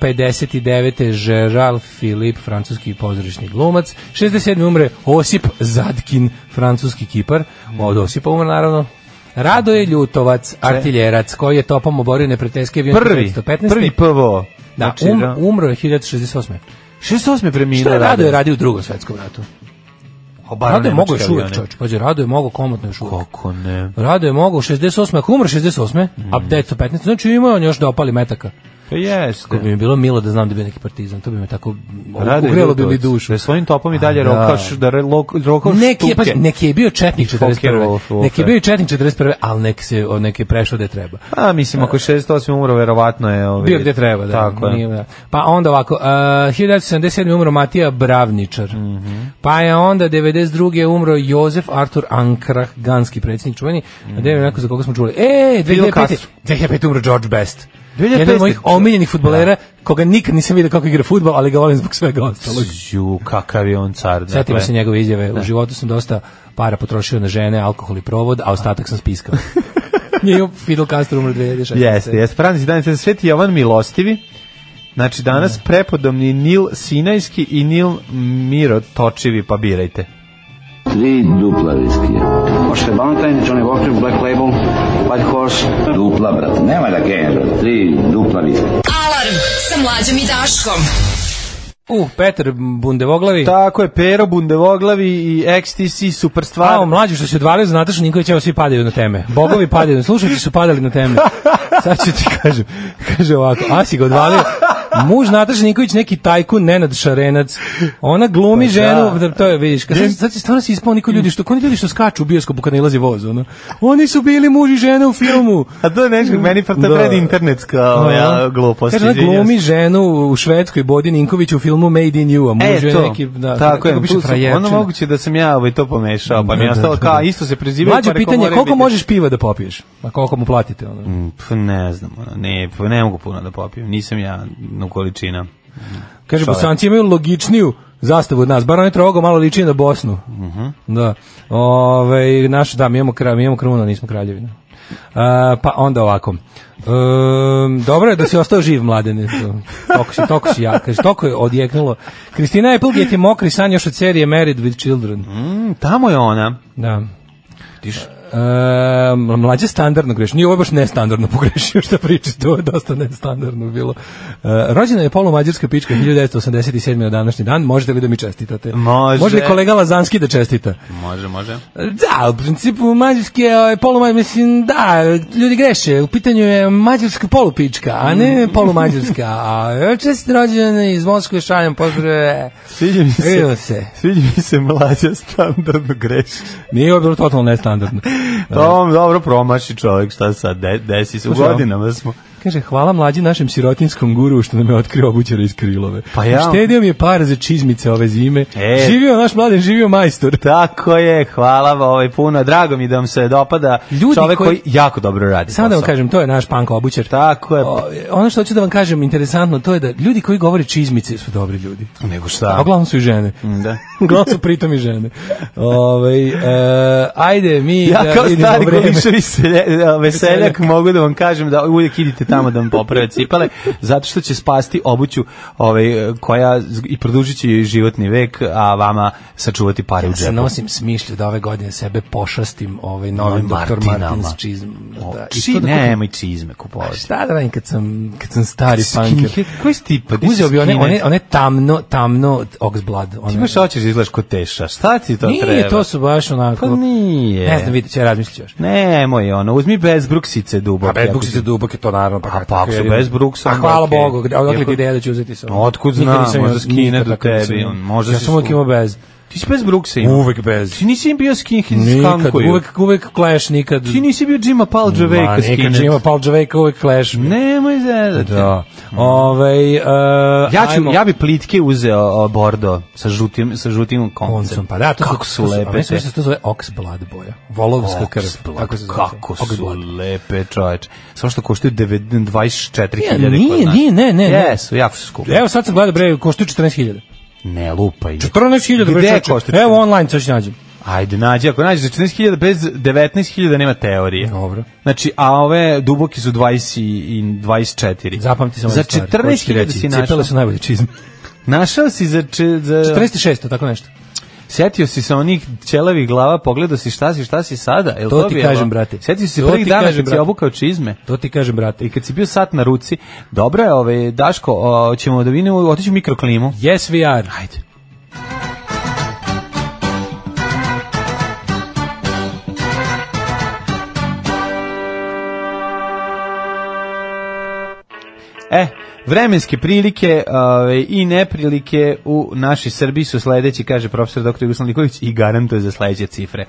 59. Gerald Philippe, francuski pozorišni glumac. 67. umre Osip Zadkin, francuski kipar. Mhm. Od Osipa umre, naravno. Radoje Ljutovac, artiljerac, koji je topom oborio neprijateljski avion Prvi, 1915. prvi PVO. Da, Znači, um, ra- umro je 1068. 68 je preminuo Šta je Radoje radio u drugom svetskom ratu? Rado je mogo još uvijek, čovječ. Pađe, Rado je mogo komotno još uvijek. Kako ne? Mm. Rado je mogo u 68. Ako umre 68. A 1915. Znači imao je on još da opali metaka. Pa jeste. Kako bi mi bilo milo da znam da bi neki partizan. To bi me tako Rade ugrelo bi mi dušu. Da svojim topom i dalje A, da. rokaš, da re- lo- rokaš Neki je, štuke. pazi, neki je bio četnik Fuckerov, 41. fucker. Neki je bio i četnik 41. Ali neki se, o, neki je prešao gde treba. A, mislim, ako je 68 umro, verovatno je... Ovaj, Bio gde treba, da. Tako Nije, je. da. Pa onda ovako, uh, 1977. umro Matija Bravničar. Mhm. Pa je onda 92. umro Jozef Artur Ankrah, ganski predsjednik čuveni. Mhm. A da je neko za koga smo čuli. E, Fidel 2005. Castro. 2005. umro George Best. 2005. Jedan od mojih omiljenih futbolera, Da. koga nikad nisam vidio kako igra futbol, ali ga volim zbog svega ostalog. Ju, kakav je on car. dakle. Sjetimo se njegove izjave, u životu sam dosta para potrošio na žene, alkohol i provod, a ostatak sam spiskao. Nije Fidel Castro umro 2016. Jeste, da jeste. Franci danas Sveti Jovan Milostivi. Znači, danas prepodobni Nil Sinajski i Nil Miro Točivi, pa birajte. Tri dupla viskija. Možete Valentine, Johnny Walker, Black Label, White Horse. Dupla, brate, nema da genja, brate. Tri dupla viskija. Alarm sa mlađom i Daškom. Uh, Petar Bundevoglavi. Tako je, Pero Bundevoglavi i XTC, super stvar. A, o mlađi što se odvalio za Natašu Nikolić, evo svi padaju na teme. Bogovi padaju, slušajci su padali na teme. Sad ću ti kažem, kaže ovako, Asi ga odvalio, muž Nataša Nikolić, neki tajkun, Nenad Šarenac, ona Pa glumi ženu, da. to je, vidiš, kad, sad, sad si stvarno si ispao niko ljudi, što, ko oni ljudi što skaču u bioskopu kad nalazi voz, ono, oni su bili muž i žena u filmu. A to je nešto, meni pa to Da. pred internetska ovaj, Aha. glupost. Kaže, ona izvinjam glumi se. ženu u Švedskoj, Bodi Ninković u filmu Made in You, a muž E, je to, neki, da, tako kako je, Da, biše tu sam- ono frajerčina. moguće da sam ja ovaj, to pomešao, pa mi je ostalo kao, isto se prezivaju. Mlađe pa rekao, pitanje, moraju koliko biti- Mm, možeš piva da popiješ? A koliko mu platite? Ono? Pf, ne znam, ono, ne, pf, ne mogu puno da popijem, nisam ja u količina. Kaže, Bosanci imaju logičniju zastavu od nas, bar onaj trogo malo liči na Bosnu. Da. Ove, naš, da, mi imamo, kra, mi imamo kruna, nismo kraljevina. A, pa onda ovako. Ehm, dobro je da si ostao živ, mladene. Toko si, toko si ja. Kaže, toko je odjeknulo. Kristina Applegate je mokri san još od serije Married with Children. Mm, tamo je ona. Da. Tiš. E, mlađe standardno greš. Nije ovo je baš nestandardno pogrešio što priči, to je dosta nestandardno bilo. E, rođena je polumađarska pička 1987. na današnji dan. Možete li da mi čestitate? Može. Može li kolega Lazanski da čestita? Može, može. Da, u principu mađarski je ovaj, polumađ- mislim, da, ljudi greše, u pitanju je mađarska polupička, a Mm. ne polumađarska. A čest rođena iz Moskve šaljem pozdrave. Sviđa mi Vidimo se, se. sviđa mi se mlađa standardno greši. Nije ovo bilo totalno nestandardno. To dobro promaši čovjek, šta sad, de, desi se, u Slušaj, godinama smo. Kaže, hvala mlađi našem sirotinskom guru što nam je otkrio obućara iz Krilove. Pa ja. Štedio mi je par za čizmice ove zime. E. Živio naš mladen, živio majstor. Tako je, hvala vam ovaj puno, drago mi da vam se dopada Ljudi čovjek koji, koji- jako dobro radi. Samo da vam posao. kažem, to je naš punk obućar. Tako je, O, ono što hoću da vam kažem interesantno, to je da ljudi koji govore čizmice su dobri ljudi. nego A šta. uglavnom su i žene. Da. uglavnom su pritom i žene. Ove, e, ajde, mi Ja da kao vidimo stari vreme. koliševi veseljak, veseljak mogu da vam kažem da uvijek idite tamo da vam poprave cipale, zato što će spasti obuću ovaj, koja z- i produžit će joj životni vek, a vama sačuvati pare u Ja se džepu. nosim s mišlju da ove godine sebe pošastim ovaj novim Novim Dr. Martinama. Martins čizm. Da, i Či, to da kupim- nemoj čizme kupovati. Šta da radim kad sam, kad sam stari punker? Skinhead, koji si ti pa? Ti si Uzeo bi one, skinhead. one, one tamno, tamno oxblad. One, Ti baš hoćeš da izgledaš kod teša. Šta ti to nije, treba? to su baš onako... Pa nije. Ne znam, vidit će, razmislit ću još. Nemoj, ono, uzmi bez bruksice dubok. A bez buksice dubok je to naravno. A pa ako su jedino. bez bruksa, A onda hvala okej. Bogu, gde- odakle Iako- ti ideja da ću uzeti sa Otkud Nikad znam, nisam možda imao- skine nikad do tako nisam tebi, imao. on možda Ja si sam uvijek slu- imao bez. Ti Ti si bez Brooksa imao. Uvek bez. Ti nisi bio skinhead s Nikad, kankuju. uvek, uvek Clash, nikad... Ti nisi bio Jima Palđevejka skinhead. skinhead. Nikad ima Paul Javeka, uvek Clash. Nemoj zezati. Da. Ovaj uh, Ja ću, ajmo- ja bi plitke uzeo o, bordo sa žutim, sa žutim koncem. koncem. Pa da, to kako su lepe. Sve da se to zove Oxblood boja. Volovska krv. Kako, se zove. kako su Oxblood. lepe, čoveče. Samo što koštaju 24.000 Nije, nije, nije, ne, ne, ne. Jesu, jako su skupi. Evo sad sam gledao bre, koštaju 14.000. Ne lupaj. 14.000 bre. Gde čoveče. košta Evo online sad ću nađem. Ajde, nađi, ako nađeš za 14.000 bez 19.000 nema teorije. E, Dobro. Znači, a ove duboki su 20 i i 24. Zapamti samo Za jednu stvar, hoću ti 14.000 reći, si Cipele našao. Da. su najbolje čizme. Našao si za... če- za 46, tako nešto. Sjetio si se onih ćelavih glava, pogledao si šta si, šta si sada. Jel To ti bilo? kažem, brate. Sjetio si se To prvih ti dana kažem, kad si brate. obukao čizme. To ti kažem, brate. I kad si bio sat na ruci, dobro je, ove, Daško, o, ćemo da vidimo, otići u mikroklimu. Yes, we are. Ajde. E, vremenske prilike ove, i neprilike u našoj Srbiji su sledeći, kaže profesor dr. Jugoslav Nikolić, i garantuje za sledeće cifre.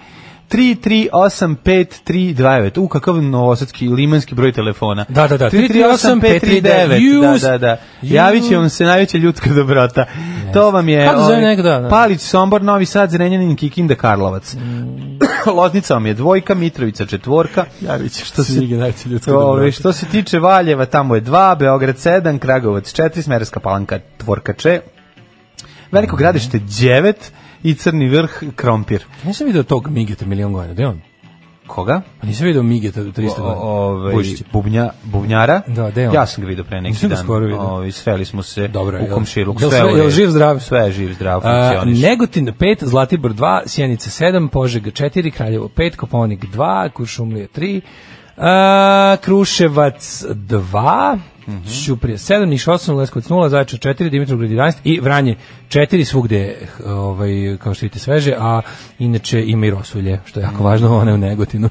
338539. U, kakav novosadski limanski broj telefona. Da, da, da. 338539. Jus. Da, da, da. Javit će vam se najveća ljudska dobrota. To vam je Kako zove da, ovaj, nekog dana? Palić, Sombor, Novi Sad, Zrenjanin, Kikinda, Karlovac. Mm. Loznica vam je dvojka, Mitrovica četvorka. Javit će što se- generacije ljudskog Ove, što se tiče Valjeva, tamo je 2, Beograd 7, Kragovac 4, Smerska palanka Tvorkače, Veliko Mhm. gradište 9 i Crni vrh Krompir. Nisam vidio tog Migeta milion godina, gde je on? Koga? Pa nisam vidio Migeta 300 godina. Ove, Ovaj, Vučića. bubnja, bubnjara. Da, gde je on? Ja sam ga vidio pre neki Nisam ga dan. skoro vidio. Ove, sreli smo se Dobro, u jel- komšiluku. jel sve sve- u jel redu. živ, zdrav? Sve je živ, zdrav, A, funkcioniš. Negotin 5, Zlatibor 2, Sjenica 7, Požega 4, Kraljevo 5, Koponik 2, Kuršumlija 3, a, Kruševac 2, Mhm. Ćuprija 7, Niš 8, Leskovac 0, Zaječar 4, Dimitrovgrad 11 i Vranje 4, svugde je, h- ovaj, kao što vidite sveže, a inače ima i Rosulje, što je jako važno, ona je u Negotinu.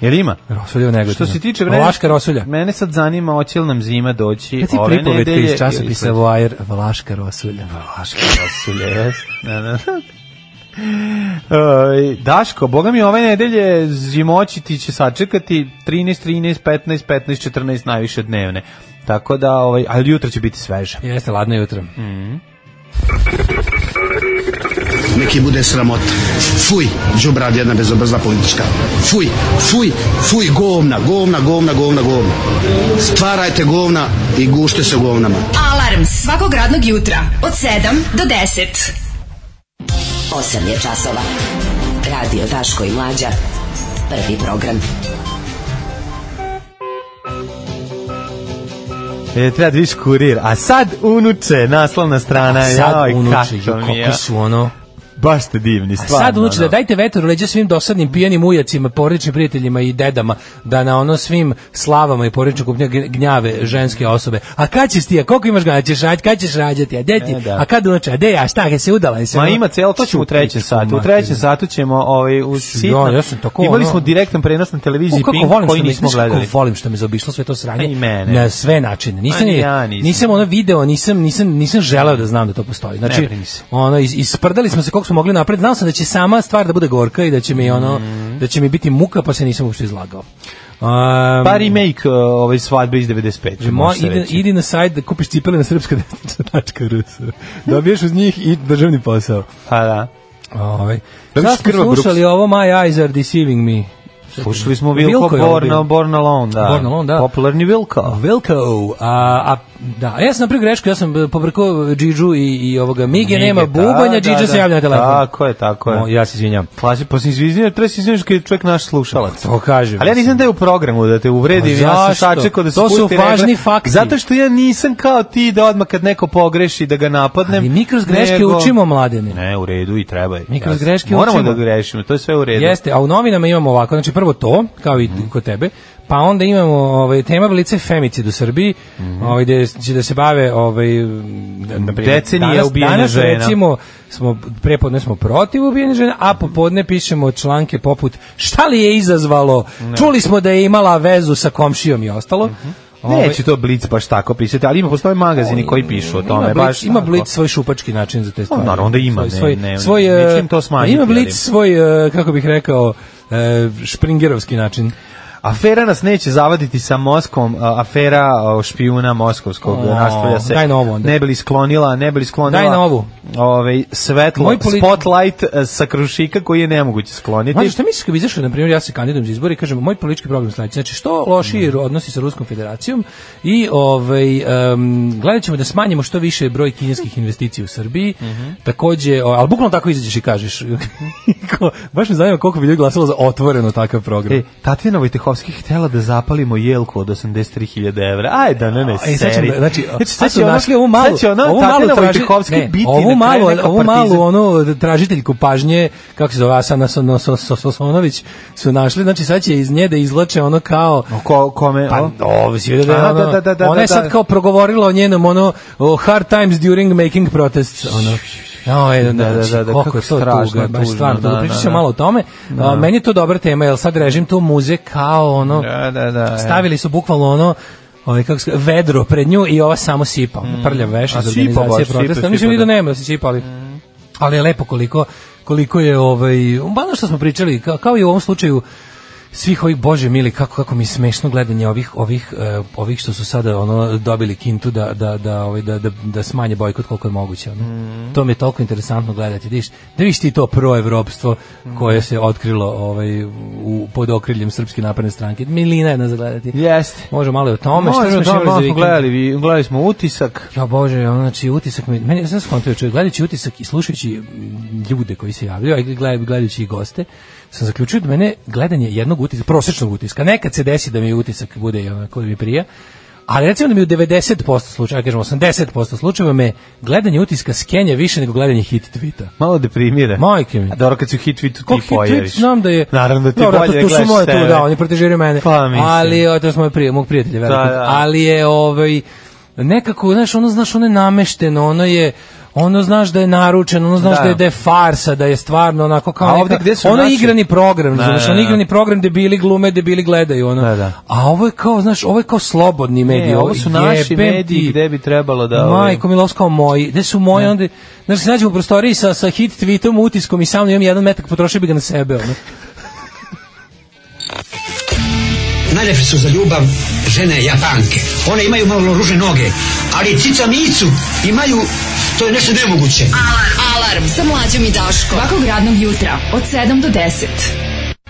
Jel ima? Rosulje u Negotinu. Mhm. Što se tiče vremena... vremena, Vlaška Rosulja. Mene sad zanima hoće li nam zima doći Reci ove pripovetke nedelje. iz časopisa ili Wire, Vlaška Rosulja. Vlaška sledeće. Jes, da, da. Oj, Daško, boga mi ove nedelje zimoći ti će sačekati 13, 13, 15, 15, 14 najviše dnevne. Tako da, ovaj, ali jutro će biti sveže. Jeste, ladno jutro. Neki bude sramot. Fuj, džubrad jedna bezobrazna politička. Fuj, fuj, fuj, govna, govna, govna, govna, govna. Stvarajte govna i gušte se govnama. Alarm svakog radnog jutra od 7 do 10. 8 je časova. Radio Daško i Mlađa. Prvi program. E, treba da viš kurir. A sad unuče, naslovna strana. Sad joj, unuče, kako mi je. kako su ono... Baš ste divni, A stvarno. sad unuče da ono. dajte vetar u leđa svim dosadnim pijanim ujacima, porodičnim prijateljima i dedama, da na ono svim slavama i porodičnom kupnja gn- gnjave ženske osobe. A kad ćeš ti, a koliko imaš gana, ćeš rađati, kad ćeš rađati, a deti, E, da. a kad unuče, a de ja, šta, kad se udala, je se... Ma ono- ima celo, to ćemo u trećem Pičku satu. U materinu. trećem satu ćemo ovaj, u sitno. ja sam tako, Imali ono- smo direktan prenos na U, televiziji kako Pink volim koji što me, nismo znaš gledali. Kako volim što me zaobišlo sve to sranje. A i mene. Na sve načine. Nisam, A ni je- ja nisam. nisam. ono video, nisam, nisam, nisam želeo da znam da to postoji. Znači, Ne brini se. ono, is, isprdali smo se koliko smo mogli napred. Znao sam da će sama stvar da bude gorka i da će mi, ono, Mhm. da će mi biti muka, pa se nisam uopšte izlagao. Um, Pa remake uh, ovaj svadbe iz 95. Mo, može se idi, reći. idi na sajt da kupiš cipele na srpskadesnica.rs Dobiješ uz njih i državni posao. Pa da. Ovaj. Šta Da misliš smo Krva Brooks? slušali ovo My Eyes Are Deceiving Me? Slušali smo Vilko Vilko, je Born, ovo Borna, bio. Born Alone, da. Born Alone, da. Popularni Vilko. Wilco, a, a da, ja sam napravio grešku, ja sam e, pobrkao Džidžu i, i ovoga Mige, Mige, nema da, bubanja, da, Džidža da. se javlja na telefon. Tako je, tako je. O, ja se izvinjam. Klasi, pa se izvizinio, treba se izvinješ kad je čovjek naš slušalac. To kažem. Ali ja nisam da je u programu da te uvredim, Ma ja sam Pa zašto? sačekao da se To su pusti važni regle. fakti. Zato što ja nisam kao ti da odmah kad neko pogreši da ga napadnem. Ali mi kroz greške nego- učimo mladene. Ne, u redu i treba je. Mi kroz Ja sam- greške Moramo učimo. da grešimo, to je sve u redu. Jeste, a u novinama imamo ovako, znači prvo to, kao i kod tebe, pa onda imamo ovaj, tema blice femicid u Srbiji, Mhm. ovaj, gde će da se bave ovaj, da- na primjer, Mm, Decenije danas, ubijene danas, žena. recimo, smo, prepodne smo protiv ubijene žene, a popodne pišemo članke poput šta li je izazvalo, čuli smo da je imala vezu sa komšijom i ostalo, Ovaj- Mhm. Neće to Blitz baš tako pisati, ali ima postoje magazini koji pišu o tome. Ima Blitz, baš ima tako. Blitz svoj šupački način za te stvari. naravno da ima, ne, svoj, ne, svoj, neću eh, im to smanjiti, Ima ali- Blitz svoj, eh, kako bih rekao, eh, špringerovski način. Afera nas neće zavaditi sa Moskom, a, afera o, špijuna moskovskog O, nastavlja se. daj novu onda. Ne bili sklonila, ne bili sklonila. Daj novu. Ovaj svetlo, Moj politi- spotlight e, sa krušika koji je nemoguće skloniti. Mađo, šta misliš kad bi izašao, na primjer, ja se kandidujem za izbore i kažem, moj politički program je sledeći. Znači, što lošiji Mm. odnosi sa Ruskom federacijom i ovaj, em, gledat ćemo da smanjimo što više broj kineskih investicija u Srbiji. Mhm. Takođe, o, ali bukvalno tako izađeš i kažeš. Ko- Baš me zanima koliko bi ljudi glasalo za otvoreno takav program. E, Tatjana Vojtehovski htela da zapalimo jelku od 83.000 evra. Ajde, da ne, ne, E, sad seri. ćemo, znači, Znači, sad će su ona- našli ovu malu, sad će ona ovu malu Tatjana traži- Vojtehovski ne, biti ovu na kraju malu, neka ovu malu partizan. onu tražiteljku pažnje, kako se zove, Asana Sono- So- So- Sosonović, su našli, znači sad će iz nje da izlače ono kao, O, Ko, kome? Pa, o? ovo si vidio da, je Aha, ono, da, da, da, ona je da, sad da. kao progovorila o njenom ono o hard times during making protests ono. No, je, da, da, da, da, koliko je to strašno, tuga, baš tužno, stvarno, da, da, da, pričat da. ćemo malo o tome. A, meni je to dobra tema, jer sad režim to muze kao ono, Da, da, da, stavili su bukvalno ono, ovaj, kako se kaže, vedro pred nju i ova samo sipa, mm. prlja veš A iz sipa organizacije baš, sipa, protesta. sipa, Mislim i da da. nema da se sipa, ali, ali je lepo koliko, koliko je, ovaj, ono što smo pričali, kao, kao i u ovom slučaju, svih ovih bože mili kako kako mi je smešno gledanje ovih ovih eh, ovih što su sada ono dobili kintu da da da ovaj da da, da smanje bojkot koliko je moguće ono. Mhm. To mi je toliko interesantno gledati, da vidiš, da vidiš ti to proevropstvo Mhm. koje se otkrilo ovaj u pod okriljem srpske napredne stranke. Milina je nas gledati. Jeste. Može malo i o tome Možemo, šta smo još da, imali za malo smo vikend? gledali, vi- gledali smo utisak. Ja bože, ono, znači utisak mi, meni sam skontao čovjek gledajući utisak i slušajući mm, ljude koji se javljaju, a i gleda- gledajući i goste, sam zaključio da mene gledanje jednog utiska, prosečnog utiska, nekad se desi da mi utisak bude i onako da mi prija, ali recimo da mi u 90% slučajeva, kažemo 80% slučajeva me gledanje utiska skenja više nego gledanje hit tweeta. Malo deprimira. Majke mi. A dobro, kad si u hit tweetu ti Koliko hit pojaviš. tweet znam da je... Naravno da ti je Dobro, bolje to- da tu su gledaš moje sebe. tu, da, oni protežiraju mene. Pa, mislim. Ali, o, to su moje prije, mog prijatelja velikog. da. Ali je, ovaj, nekako, znaš, ono, znaš, ono je namešteno, ono je ono znaš da je naručeno, ono znaš Da. da, je, da je farsa, da je stvarno onako kao A neka- ovde gde su ono je naši? igrani program, Da, znaš, da, ono je da. igrani program debili glume, debili gledaju, ono. Da, da. A ovo je kao, znaš, ovo je kao slobodni mediji. Ne, ovo su naši jebem mediji ti. gde bi trebalo da... ovaj, Majko Milovsko kao moji. Gde su moji onda? Znaš, se nađem u prostoriji sa, sa hit tweetom, utiskom i sam imam jedan metak, potrošio bi ga na sebe. Ono. Najljepše su za ljubav žene Japanke. One imaju malo ruže noge, ali cica micu imaju, to je nešto nemoguće. Alarm sa mlađom i Daškom. Svakog radnog jutra od 7 do 10.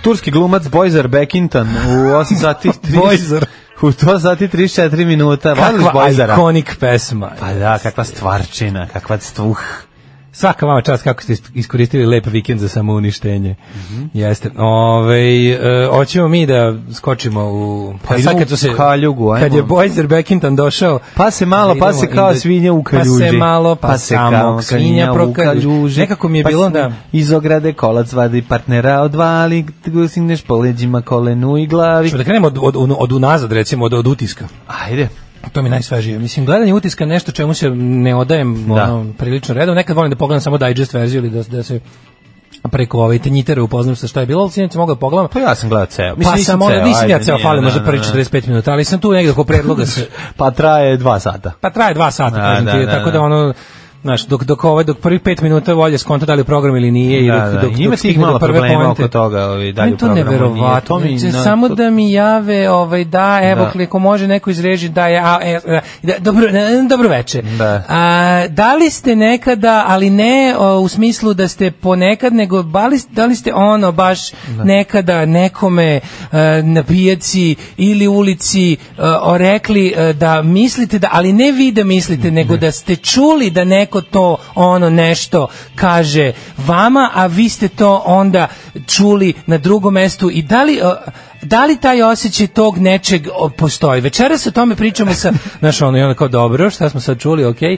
Turski glumac Bojzer Bekinton u 8 sati 30 Bojzer. U 2 sati 34 minuta. Voliš Kakva Bojzera? ikonik pesma. Pa da, kakva stvarčina, kakva stuh. Svaka vama čast kako ste iskoristili lep vikend za samouništenje. Jeste. Ove, e, hoćemo mi da skočimo u... Pa idemo u kaljugu, ajmo. Kad je Boyzer Beckington došao... Pa se malo, da pa idemo se kao i da- svinja u kaljuži. Pa se malo, pa, se samo kao svinja u prokaljuži. Nekako mi je Pa bilo se da... Iz ograde kolac vadi partnera odvali, gusigneš po leđima, kolenu i glavi. Čemo da krenemo od, od, od unazad, recimo, od, od utiska. Ajde. To mi je najsvežije. Mislim, gledanje utiska je nešto čemu se ne odajem Da. ono, prilično redom. Nekad volim da pogledam samo digest verziju ili da, da se preko ove tenjitera upoznam sa šta je bilo, ali sinoć sam mogao da pogledam. Pa ja sam gledao ceo. Pa nisam sam ono, ceo, nisam ja ajde, ceo nije, falim da, možda da, prvi da. 45 minuta, ali sam tu negdje oko predloga se... Pa traje dva sata. Pa traje dva sata, Da, kažem da, ti, da, tako da. da ono, znaš, dok, dok, ovaj, dok prvi pet minuta volje skonta da li je program ili nije, i Da, dok, da, dok, dok, ima tih stigne do malo prve problema pointe. oko toga, ovaj, da li Meni u to programu nije, neverovatno. to mi Znači, na- samo to- da mi jave, ovaj, da, evo, Da. kliko može neko iz režije, da je, a, e, da, da, dobro, e, dobro veče. Da. A, da li ste nekada, ali ne o, u smislu da ste ponekad, nego ba li- da li ste ono baš Da. nekada nekome e, na pijaci ili ulici e, o, rekli e, da mislite, da, ali ne vi da mislite, nego da ste čuli da neko to ono nešto kaže vama, a vi ste to onda čuli na drugom mestu i da li... e, da li taj osjećaj tog nečeg o, postoji? Večeras o tome pričamo sa, znaš, ono, i onda kao, dobro, šta smo sad čuli, okej.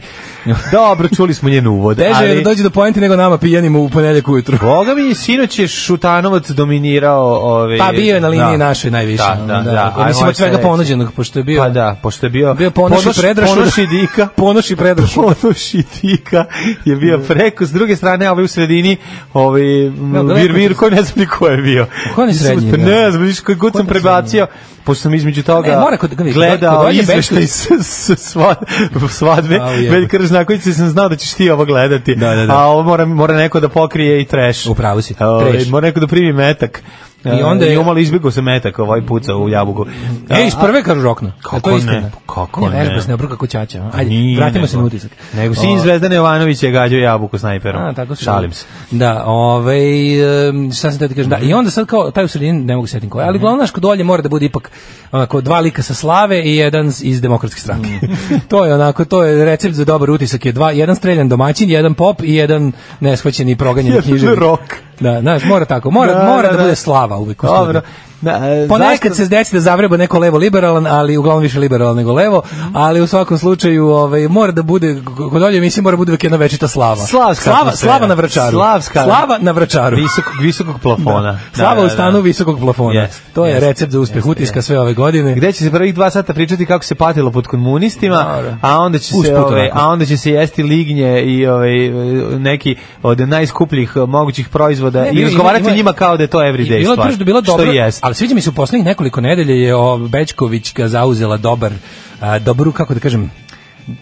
Dobro, čuli smo njen uvod. Teže je ali- da dođe do poente nego nama pijanima u ponedeljak ujutru. Boga mi, sinoć je Šutanovac dominirao... Ove, Pa bio je na liniji našoj najviše. Da, ono, da, da. Ja Mislim Ajmo od svega sledeći. ponuđenog, pošto je bio... Pa da, pošto je bio... Bio ponoš i Predraš. Ponoš i Dika. Ponoš i Predraš. Ponoš i Dika je bio preko. S druge strane, a ovaj u sredini, ovaj, m, Da, daleko. Vir Virko, ne znam ni ko je bio. pa Ko je onaj srednji, da? Ne znam, viš, koji god Ko je sam onaj prebacio, pošto sam između toga E, mora kod- kod- kod gledao Olje izveštaj Bećković- s, s, sva- svadbe A, ujebe. Veljka Ražnakovića sam znao da ćeš ti ovo gledati Da, da, da. a ovo mora, mora neko da pokrije i treš Upravo si, Ovaj, trash. mora neko da primi metak E, I onda je- I umalo izbjegao se metak ovaj puca u jabuku E, iz prve kažu rokno. Da. Kako A to je istina? ne? Kako ne? Vežba ne? se ne obruka kućaća. Ajde, Nije, vratimo se nego- na utisak. Ovaj- nego sin O, Zvezdana Jovanović je gađao jabuku snajperom A, tako se šalim se Da, ovaj em, šta sam teo ti kažem, da. I onda sad kao taj u sredini ne mogu se setim koji, Mhm. ali glavno naš kod Olje mora da bude ipak onako dva lika sa slave i jedan s- iz demokratske stranke. Mhm. to je onako to je recept za dobar utisak je dva, jedan streljan domaćin, jedan pop i jedan neshvaćeni i proganjeni Jedan književnik. rock. Da, znaš, mora tako. Mora Da, mora da, da, da. bude slava uvek. u studiju. Dobro. Da, Na, e, Ponekad zašto- se desi da zavreba neko levo liberalan, ali uglavnom više liberalan nego levo, Mhm. ali u svakom slučaju ovaj, mora da bude, kod olje emisije mora da bude uvijek jedna večita slava. Slavska slava, atmosfera. slava na vračaru. Slavska. Slava na vračaru. visokog, visokog plafona. Da. Slava u stanu visokog plafona. Jeste, to je jeste, recept za uspeh jeste, utiska jeste. sve ove godine. Gde će se prvih dva sata pričati kako se patilo pod komunistima, Dobro. a onda će Usput se ove, ovako. a onda će se jesti lignje i ove, e, neki od najskupljih eh, mogućih proizvoda Ne, i bilo- razgovarati ima- ima- njima kao da je to everyday Bilo je stvar. bilo dobro, Što i jeste. ali sviđa mi se u poslednjih nekoliko nedelje je o, Bećković ga zauzela dobar, a, dobru, kako da kažem,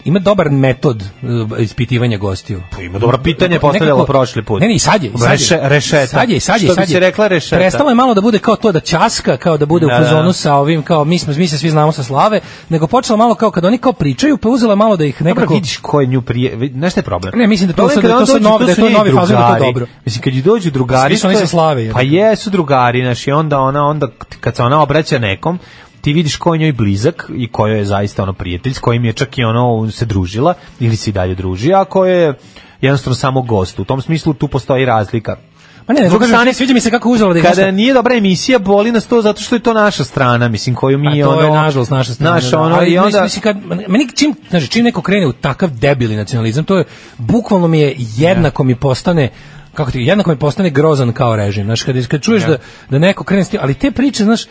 ima dobar metod e, ispitivanja gostiju. Ima dobra pitanja postavljala prošli put. Ne, ne, i sad je. i sad je. Reše- rešeta. Sad je, i sad je, i Što sad bi je. se rekla rešeta. Prestalo je malo da bude kao to da časka, kao da bude Da, u da. fazonu sa ovim, kao mi, smo, mi se svi znamo sa slave, nego počela malo kao kad oni kao pričaju, pa uzela malo da ih Dobro, nekako... vidiš ko je nju prije... vi- Znaš šta je problem? Ne, mislim da to Problem sad- je kada da je on to sad dođe, nov- da je su to njeni novi fazon, da je to drugari. dobro. Mislim, kad ju dođu drugari... Svi su oni to je- sa Slave, je. Pa jesu drugari, znaš, i onda ona, onda k- kad se ona obraća nekom, ti vidiš ko je njoj blizak i ko joj je zaista ono prijatelj, s kojim je čak i ono se družila ili se i dalje druži, a ko je jednostavno samo gost. U tom smislu tu postoji razlika. Ma ne, ne, S druge kažem, strane, sviđa mi se kako uzela da ih Kada nešto- nije dobra emisija, boli nas to zato što je to naša strana, mislim, koju mi A Pa to ono... je nažalost naša strana. Naša, da. ono, Ali i mislim- onda... mislim kad meni čim znači čim neko krene u takav debili nacionalizam, to je bukvalno mi je jednako mi postane kako ti jednako mi postane grozan kao režim. Znači kad kad čuješ da da neko krene s tim, ali te priče, znaš,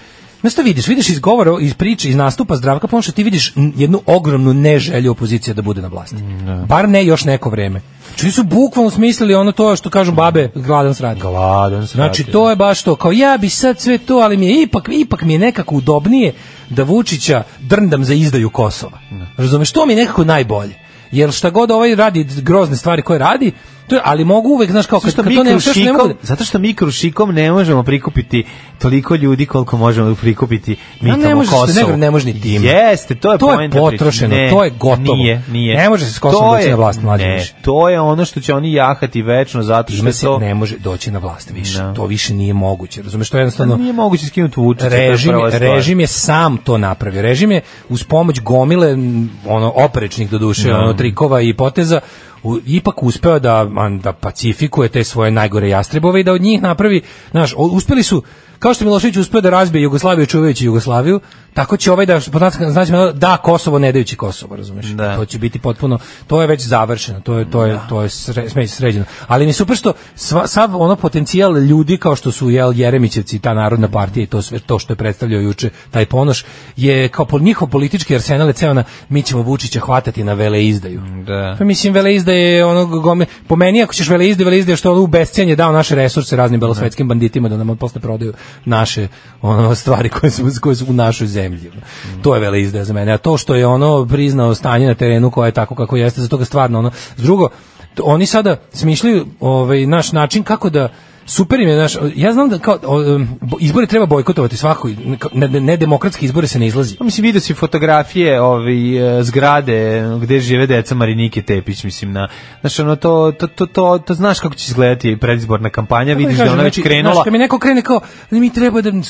Znaš šta vidiš? Vidiš iz govora, iz priče, iz nastupa Zdravka Ponoša, ti vidiš n- jednu ogromnu neželju opozicije da bude na vlasti. Mm, Bar ne još neko vreme. Znači oni su bukvalno smislili ono to što kažu babe, gladan srat. Gladan srat, Znači je. to je baš to. Kao ja bi sad sve to, ali mi je ipak ipak mi je nekako udobnije da Vučića drndam za izdaju Kosova. Da. Razumeš, to mi je nekako najbolje. Jer šta god ovaj radi grozne stvari koje radi, to je, ali mogu uvek, znaš, kao Zato kad, što, kad mi to ne, sve što ne mogu krušikom, da- zato što mi krušikom ne možemo prikupiti toliko ljudi koliko možemo prikupiti mi Ma tamo ne može se, Kosovu. nego ne može ni time. Jeste, to je To je poenta priče. potrošeno, Ne, to je gotovo. Nije, nije. Ne može se s Kosovom To doći je- na vlast, mlađe ne, više. To je ono što će oni jahati večno zato što Time je se to... ne može doći na vlast više. Da. To više nije moguće. Razumeš, to je jednostavno... Pa Nije moguće skinuti Vučića. to je režim, prva stvar. režim je sam to napravio. Režim je uz pomoć gomile m, ono oprečnih do duše, Da. ono trikova i poteza u- ipak uspeo da man, da pacifikuje te svoje najgore jastrebove i da od njih napravi, znaš, o- uspeli su kao što je Milošević uspeo da razbije Jugoslaviju čuvajući Jugoslaviju, tako će ovaj da pod znacima- znacima navoda, da Kosovo ne dajući Kosovo, razumeš? Da. To će biti potpuno to je već završeno, to je to je to je sre- sme- sređeno. Ali mi je super što sva, sav ono potencijal ljudi kao što su jel Jeremićevci, ta narodna partija i to sve to što je predstavljao juče taj Ponoš je kao po njihov politički arsenal je ceo na mi ćemo Vučića hvatati na veleizdaju. Da. Pa mislim veleizda je ono gome, po meni ako ćeš veleizde, veleizde je što ono u bescenje dao naše resurse raznim belosvetskim banditima da nam od posle prodaju naše ono stvari koje su koje su u našoj zemlji. To je veleizda za mene. A to što je ono priznao stanje na terenu koje je tako kako jeste, zato ga stvarno ono. S drugo, to- oni sada smišljaju ovaj naš način kako da Super im je, znaš, ja znam da kao, o, em, bo- izbore treba bojkotovati svako, ne, ne, ne demokratski izbore se ne izlazi. Pa mislim, vidio si fotografije ovi, e, zgrade gde žive deca Marinike Tepić, mislim, na, znaš, ono, to, to, to, to, to znaš kako će izgledati predizborna kampanja, vidiš da je ona već krenula, Znači, kad mi neko krene kao, mi treba da... Vidi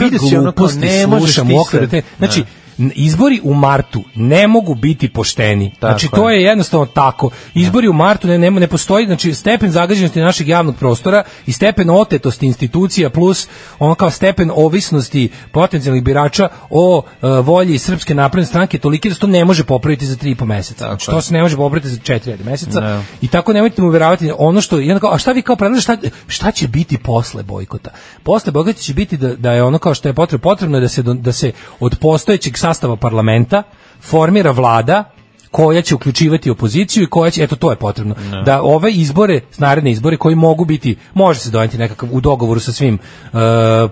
Vidi se ono kao, ne možeš ti sad. Znači, Da. n- izbori u martu ne mogu biti pošteni. Tako znači, to je. je jednostavno tako. Izbori u martu ne, ne, ne postoji, znači, stepen zagađenosti našeg javnog prostora i stepen otetosti institucija plus ono kao stepen ovisnosti potencijalnih birača o e, volji Srpske napredne stranke toliki da se to ne može popraviti za tri i po meseca. Znači, je. to se ne može popraviti za četiri ajde, meseca. Ne. I tako nemojte mu verovati ono što i onda kao, a šta vi kao predlažete šta, šta će biti posle bojkota? Posle bojkota će biti da, da je ono kao što je potrebno potrebno je da se do- da se od postojećeg sastava parlamenta formira vlada koja će uključivati opoziciju i koja će, eto to je potrebno, da ove izbore, naredne izbore koji mogu biti, može se doneti nekakav, u dogovoru sa svim e,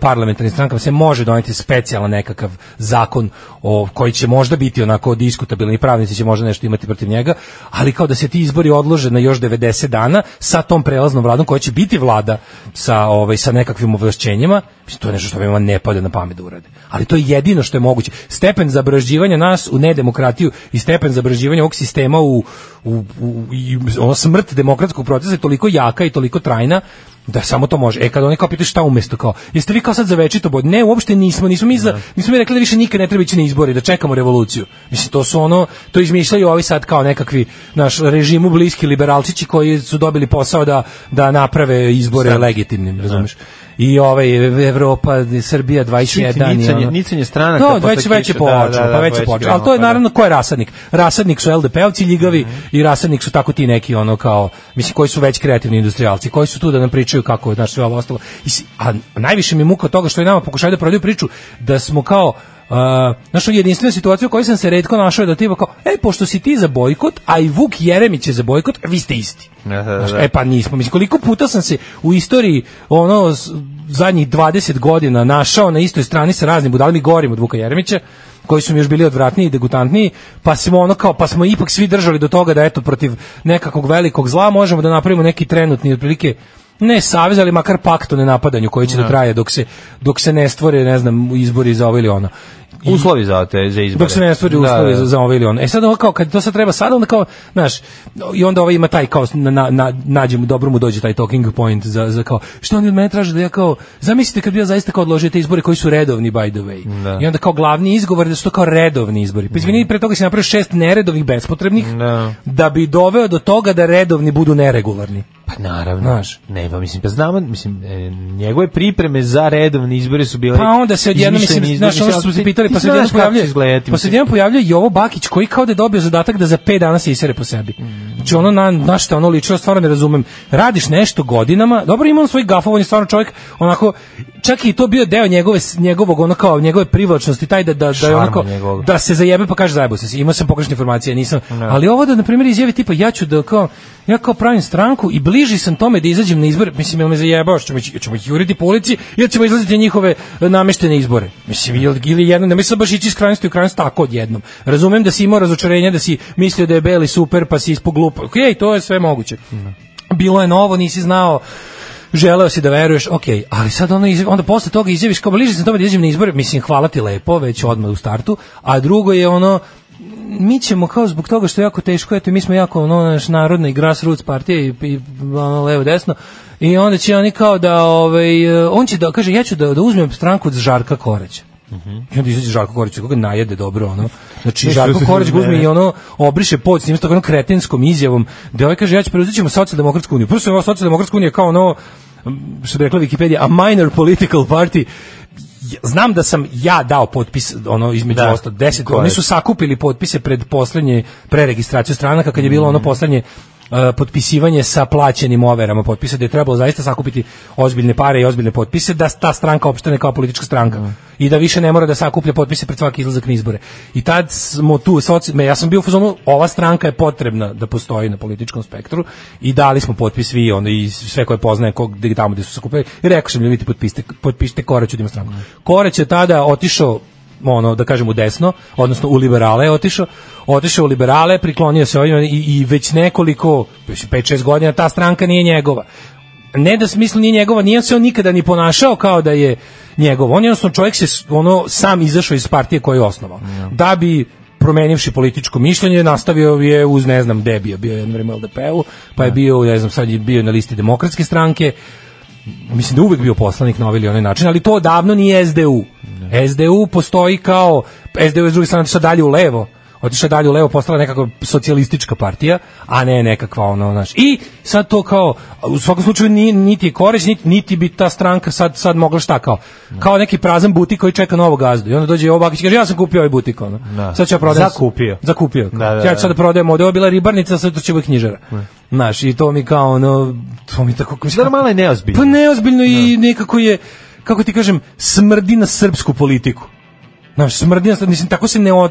parlamentarnim strankama se može doneti specijalan nekakav zakon o, koji će možda biti onako diskutabilni i pravnici će možda nešto imati protiv njega, ali kao da se ti izbori odlože na još 90 dana sa tom prelaznom vladom koja će biti vlada sa, ovaj, sa nekakvim ovlašćenjima, mislim, to je nešto što mi ne pada na pamet da urade. Ali to je jedino što je moguće. Stepen zabražđivanja nas u nedemokratiju i stepen zabražđivanja ovog sistema u, u, u i ono smrt demokratskog procesa je toliko jaka i toliko trajna da samo to može. E kad oni kao pitaju šta umesto kao, jeste vi kao sad za večito bod? Ne, uopšte nismo, nismo mi za, nismo mi rekli da više nikad ne treba ići na izbore, da čekamo revoluciju. Mislim to su ono, to izmišljaju ovi sad kao nekakvi naš režimu bliski liberalčići koji su dobili posao da da naprave izbore Da. legitimnim, razumeš? I ovaj Evropa, Srbija 21 Čujte, i nicanje- ono- nicanje stranaka To posle već već je kiše, počelo, da, da, pa da, već je već počelo. krenulo, Al to je pa da. Mhm. naravno ko je rasadnik. Rasadnik su LDP-ovci, ljigavi i rasadnik su tako ti neki ono kao mislim koji su već kreativni industrijalci, koji su tu da nam pričaju kako znaš sve ovo ostalo. I si- a najviše mi je muka od toga što i nama pokušaju da prodaju priču da smo kao Uh, znaš, ono, jedinstvena situacija u kojoj sam se redko našao je da ti kao, e, pošto si ti za bojkot, a i Vuk Jeremić je za bojkot, vi ste isti. Da, da, Znaš, da. E pa nismo. Mislim, koliko puta sam se u istoriji ono s- zadnjih 20 godina našao na istoj strani sa raznim budalama i gorim od Vuka Jeremića, koji su mi još bili odvratniji i degutantniji, pa smo ono kao, pa smo ipak svi držali do toga da eto protiv nekakvog velikog zla možemo da napravimo neki trenutni otprilike ne savez, ali makar pakt o nenapadanju koji će da traje dok se, dok se ne stvore, ne znam, izbori za ovo ili ono. I- Uslovi za te za izbore. Da, dok se ne stvori uslovi za, za ovo ili ono. E sad ovo kao, kad to sad treba sad, onda kao, znaš, i onda ovaj ima taj kao, na, na, na, nađe mu, dobro mu dođe taj talking point za, za kao, što oni od mene traže da ja kao, zamislite kad bi ja zaista kao odložio te izbore koji su redovni, by the way. Da. Mhm. I onda kao glavni izgovor je da su to kao redovni izbori. Pa izvini, pre toga si napravio šest neredovnih bespotrebnih, Da. da bi doveo do toga da redovni budu neregularni. Pa naravno. Znaš. Ne, pa mislim, pa znamo, mislim, e, njegove pripreme za redovne izbore su bile... Pa onda se odjednom izmišljeni mislim izbori. znaš ono što su se Ti- pitali ti pa se znaš odjednom kako će pojavljuje pa izgledati, se mislim. odjednom pojavljuje Jovo Bakić koji kao da je dobio zadatak da za 5 dana se isere po sebi. Znači ono na na šta ono ličilo stvarno ne razumem. Radiš nešto godinama, dobro ima on svoj gafov, on je stvarno čovjek onako čak i to bio deo njegove njegovog ono kao njegove privlačnosti taj da da da je Šarma onako njegovog. da se zajebe pa kaže zajebo se. Imao sam pogrešne informacije, nisam. Ali ovo da na primjer izjavi tipa ja ću da kao ja kao pravim stranku i bliži sam tome da izađem na izbore, mislim jel me zajebao što ćemo ići- ćemo ih juriti po ulici ili ćemo izlaziti na njihove e, nameštene izbore. Mislim ili, ili jedno, ne mislim baš ići iz krajnosti u krajnost tako odjednom. Razumem da si imao razočarenje, da si mislio da je beli super pa si ispog glupa. Okej, to je sve moguće. Bilo je novo, nisi znao želeo si da veruješ, ok, ali sad ono izjavi- onda posle toga izjaviš kao bliže sam tome da izađem na izbore, mislim hvala ti lepo, već odmah u startu, a drugo je ono, mi ćemo kao zbog toga što je jako teško, eto mi smo jako ono, naš narodna i grassroots partija i, i ono, levo desno, i onda će oni kao da, ovaj, eh, on će da, kaže, ja ću da, da uzmem stranku od Žarka Koraća. I onda izađe Žarko Korać, koga najede dobro, ono. Znači, Žarko Korać ga uzme i ono obriše pod s njim, s tako onom kretenskom izjavom, da ovaj kaže, ja ću preuzet ćemo socijaldemokratsku uniju. Prvo se ova socijaldemokratska unija kao ono, m, što bi rekla Wikipedia, a minor political party, Ja- znam da sam ja dao potpis ono između Da. ostalo 10 Koje? oni su sakupili potpise pred poslednje preregistraciju stranaka kad je bilo ono poslednje e, potpisivanje sa plaćenim overama potpisa da je trebalo zaista sakupiti ozbiljne pare i ozbiljne potpise da ta stranka opštane kao politička stranka i da više ne mora da sakuplja potpise pred svaki izlazak na izbore. I tad smo tu soci- me, ja sam bio u fazonu ova stranka je potrebna da postoji na političkom spektru i dali smo potpis vi onda i sve koje poznaje kog gde tamo gde su sakupili i rekao sam ljudi potpišite potpišite Koraću da ima stranku. Korać je tada otišao ono da kažem u desno, odnosno u liberale je otišao, otišao u liberale, priklonio se ovima i, i već nekoliko, već 5-6 godina ta stranka nije njegova. Ne da smislu nije njegova, nije se on nikada ni ponašao kao da je njegov. On je odnosno čovjek se s- ono sam izašao iz partije koju je osnovao. Da bi promenivši političko mišljenje, nastavio je uz ne znam gde je bio, bio je jedno vreme u LDP-u, pa je bio, ne znam, sad je bio na listi demokratske stranke, mislim da je uvek bio poslanik na ovaj ili onaj način, ali to odavno nije SDU. SDU postoji kao, SDU je s druge strane otišla dalje u levo, otišla dalje u levo, postala nekakva socijalistička partija, a ne nekakva ono, znaš. I sad to kao, u svakom slučaju ni, niti je koreć, niti, niti bi ta stranka sad, sad mogla šta kao, kao neki prazan butik koji čeka novog gazdu. I onda dođe ovo Bakić i kaže, ja sam kupio ovaj butik, ono. Da. Sad ću ja prodajem. Zakupio. Zakupio. Da, da, ja ću sad da. prodajem ovde, ovo je bila ribarnica, sad to će uvek knjižara. Znaš, i to mi kao, ono, to mi tako... Mislim, da malo je neozbiljno. Pa neozbiljno i nekako je, kako ti kažem, smrdi na srpsku politiku. Znaš, smrdnja, mislim, tako se ne... Od,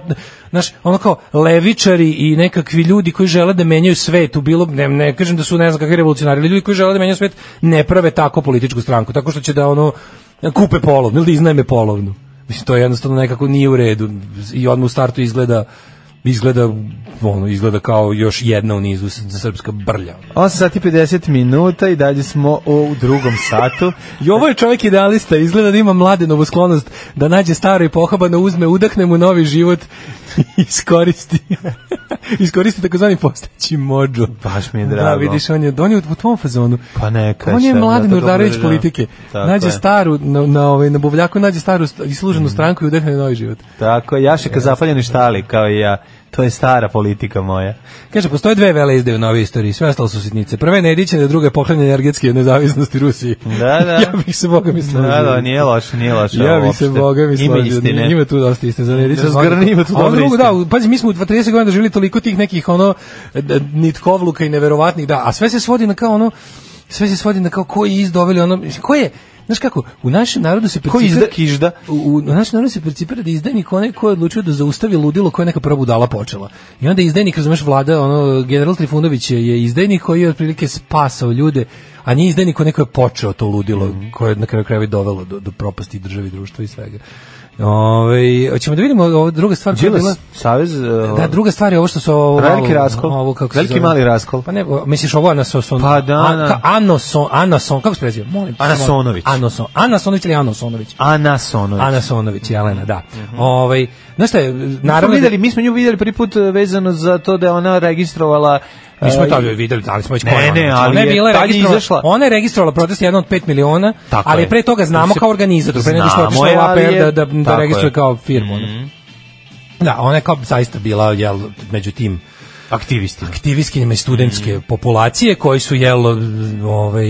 znaš, ono kao levičari i nekakvi ljudi koji žele da menjaju svet u bilo... Ne, ne kažem da su, ne znam kakvi revolucionari, ali ljudi koji žele da menjaju svet ne prave tako političku stranku, tako što će da, ono, kupe polovnu ili da iznajme polovnu. Mislim, to je jednostavno nekako nije u redu i odmah u startu izgleda izgleda ono izgleda kao još jedna u nizu srpska brlja. 8 sati 50 minuta i dalje smo u drugom satu. I ovo je čovjek idealista, izgleda da ima mlade novosklonost da nađe staro i pohabano, uzme, udahne mu novi život i iskoristi. iskoristi takozvani postojeći mođo. Baš mi je Pa, drago. Da, vidiš, on je, on je u tvojom fazonu. Pa neka. On je šta, mladi da, to Nurdarević dobro, da. politike. Tako nađe je. Mhm. staru, na, na, ovaj, na buvljaku nađe staru st- isluženu stranku i udahne novi život. Tako, Jašek zapaljeni štali kao i ja. To je stara politika moja. Kaže, postoje dve vele izdaje u novoj istoriji, sve ostalo su sitnice. Prva je Nedićene, druga je poklanje energetske nezavisnosti Rusiji. Da, da. ja bih se Boga mislio. Da, da, nije loše, nije loše. Ja ovo bih se uopšte. Boga mi Ima složio. istine. Ima tu dosta istine za Nedića. Da, zgrni, ima tu A ono dobre drugo, istine. Da, pazi, mi smo u 30 godina doživjeli toliko tih nekih ono d- nitkovluka i neverovatnih, da, a sve se svodi na kao ono sve se svodi na kao koji je izdoveli ono, mislim, ko je Znaš kako, u našem narodu se Ko izda percipira... kižda? U, u, u našem narodu se percipira da je izdajnik onaj ko je odlučio da zaustavi ludilo koje je neka prva budala počela. I onda je izdajnik, razumeš, vlada, ono, general Trifunović je, je izdajnik koji je otprilike spasao ljude, a nije izdajnik onaj ko je počeo to ludilo Mhm. koje je na kraju krajeva i dovelo do, do propasti države, i društva i svega. Ove, hoćemo da vidimo ovo druga stvar koja je bila... Đilas, savez... Da, druga stvar je ovo što su ovo... Veliki malo- raskol. Ovo, kako se Veliki zove? mali raskol. Pa ne, o, misliš ovo Anason... Pa da, da. Anason, Anason, kako se preziva? Molim, te, molim. Anasonović. Anason, Anasonović ili Anasonović? Anasonović. Anasonović, Jelena, da. Ovaj, znaš šta je, Naravno, naravno... Mhm. da- videli, mi smo nju videli prvi put eh, vezano za to da je ona registrovala Mi smo eh, tada videli, E, ali smo već Ne, ko je ne, ona. ali ona je je bila tad je registrovala, izašla. ona je registrovala protest jedan od 5 miliona, Tako ali je. pre toga znamo Se- kao organizator, pre nego što je Znamo otišla je, u ali APR da, je- da, da tako registruje je. Mhm. kao firmu. ono. Da, ona je kao zaista bila jel, među tim aktivisti. aktivistkinjama i Mm. studentske populacije koji su jel ovaj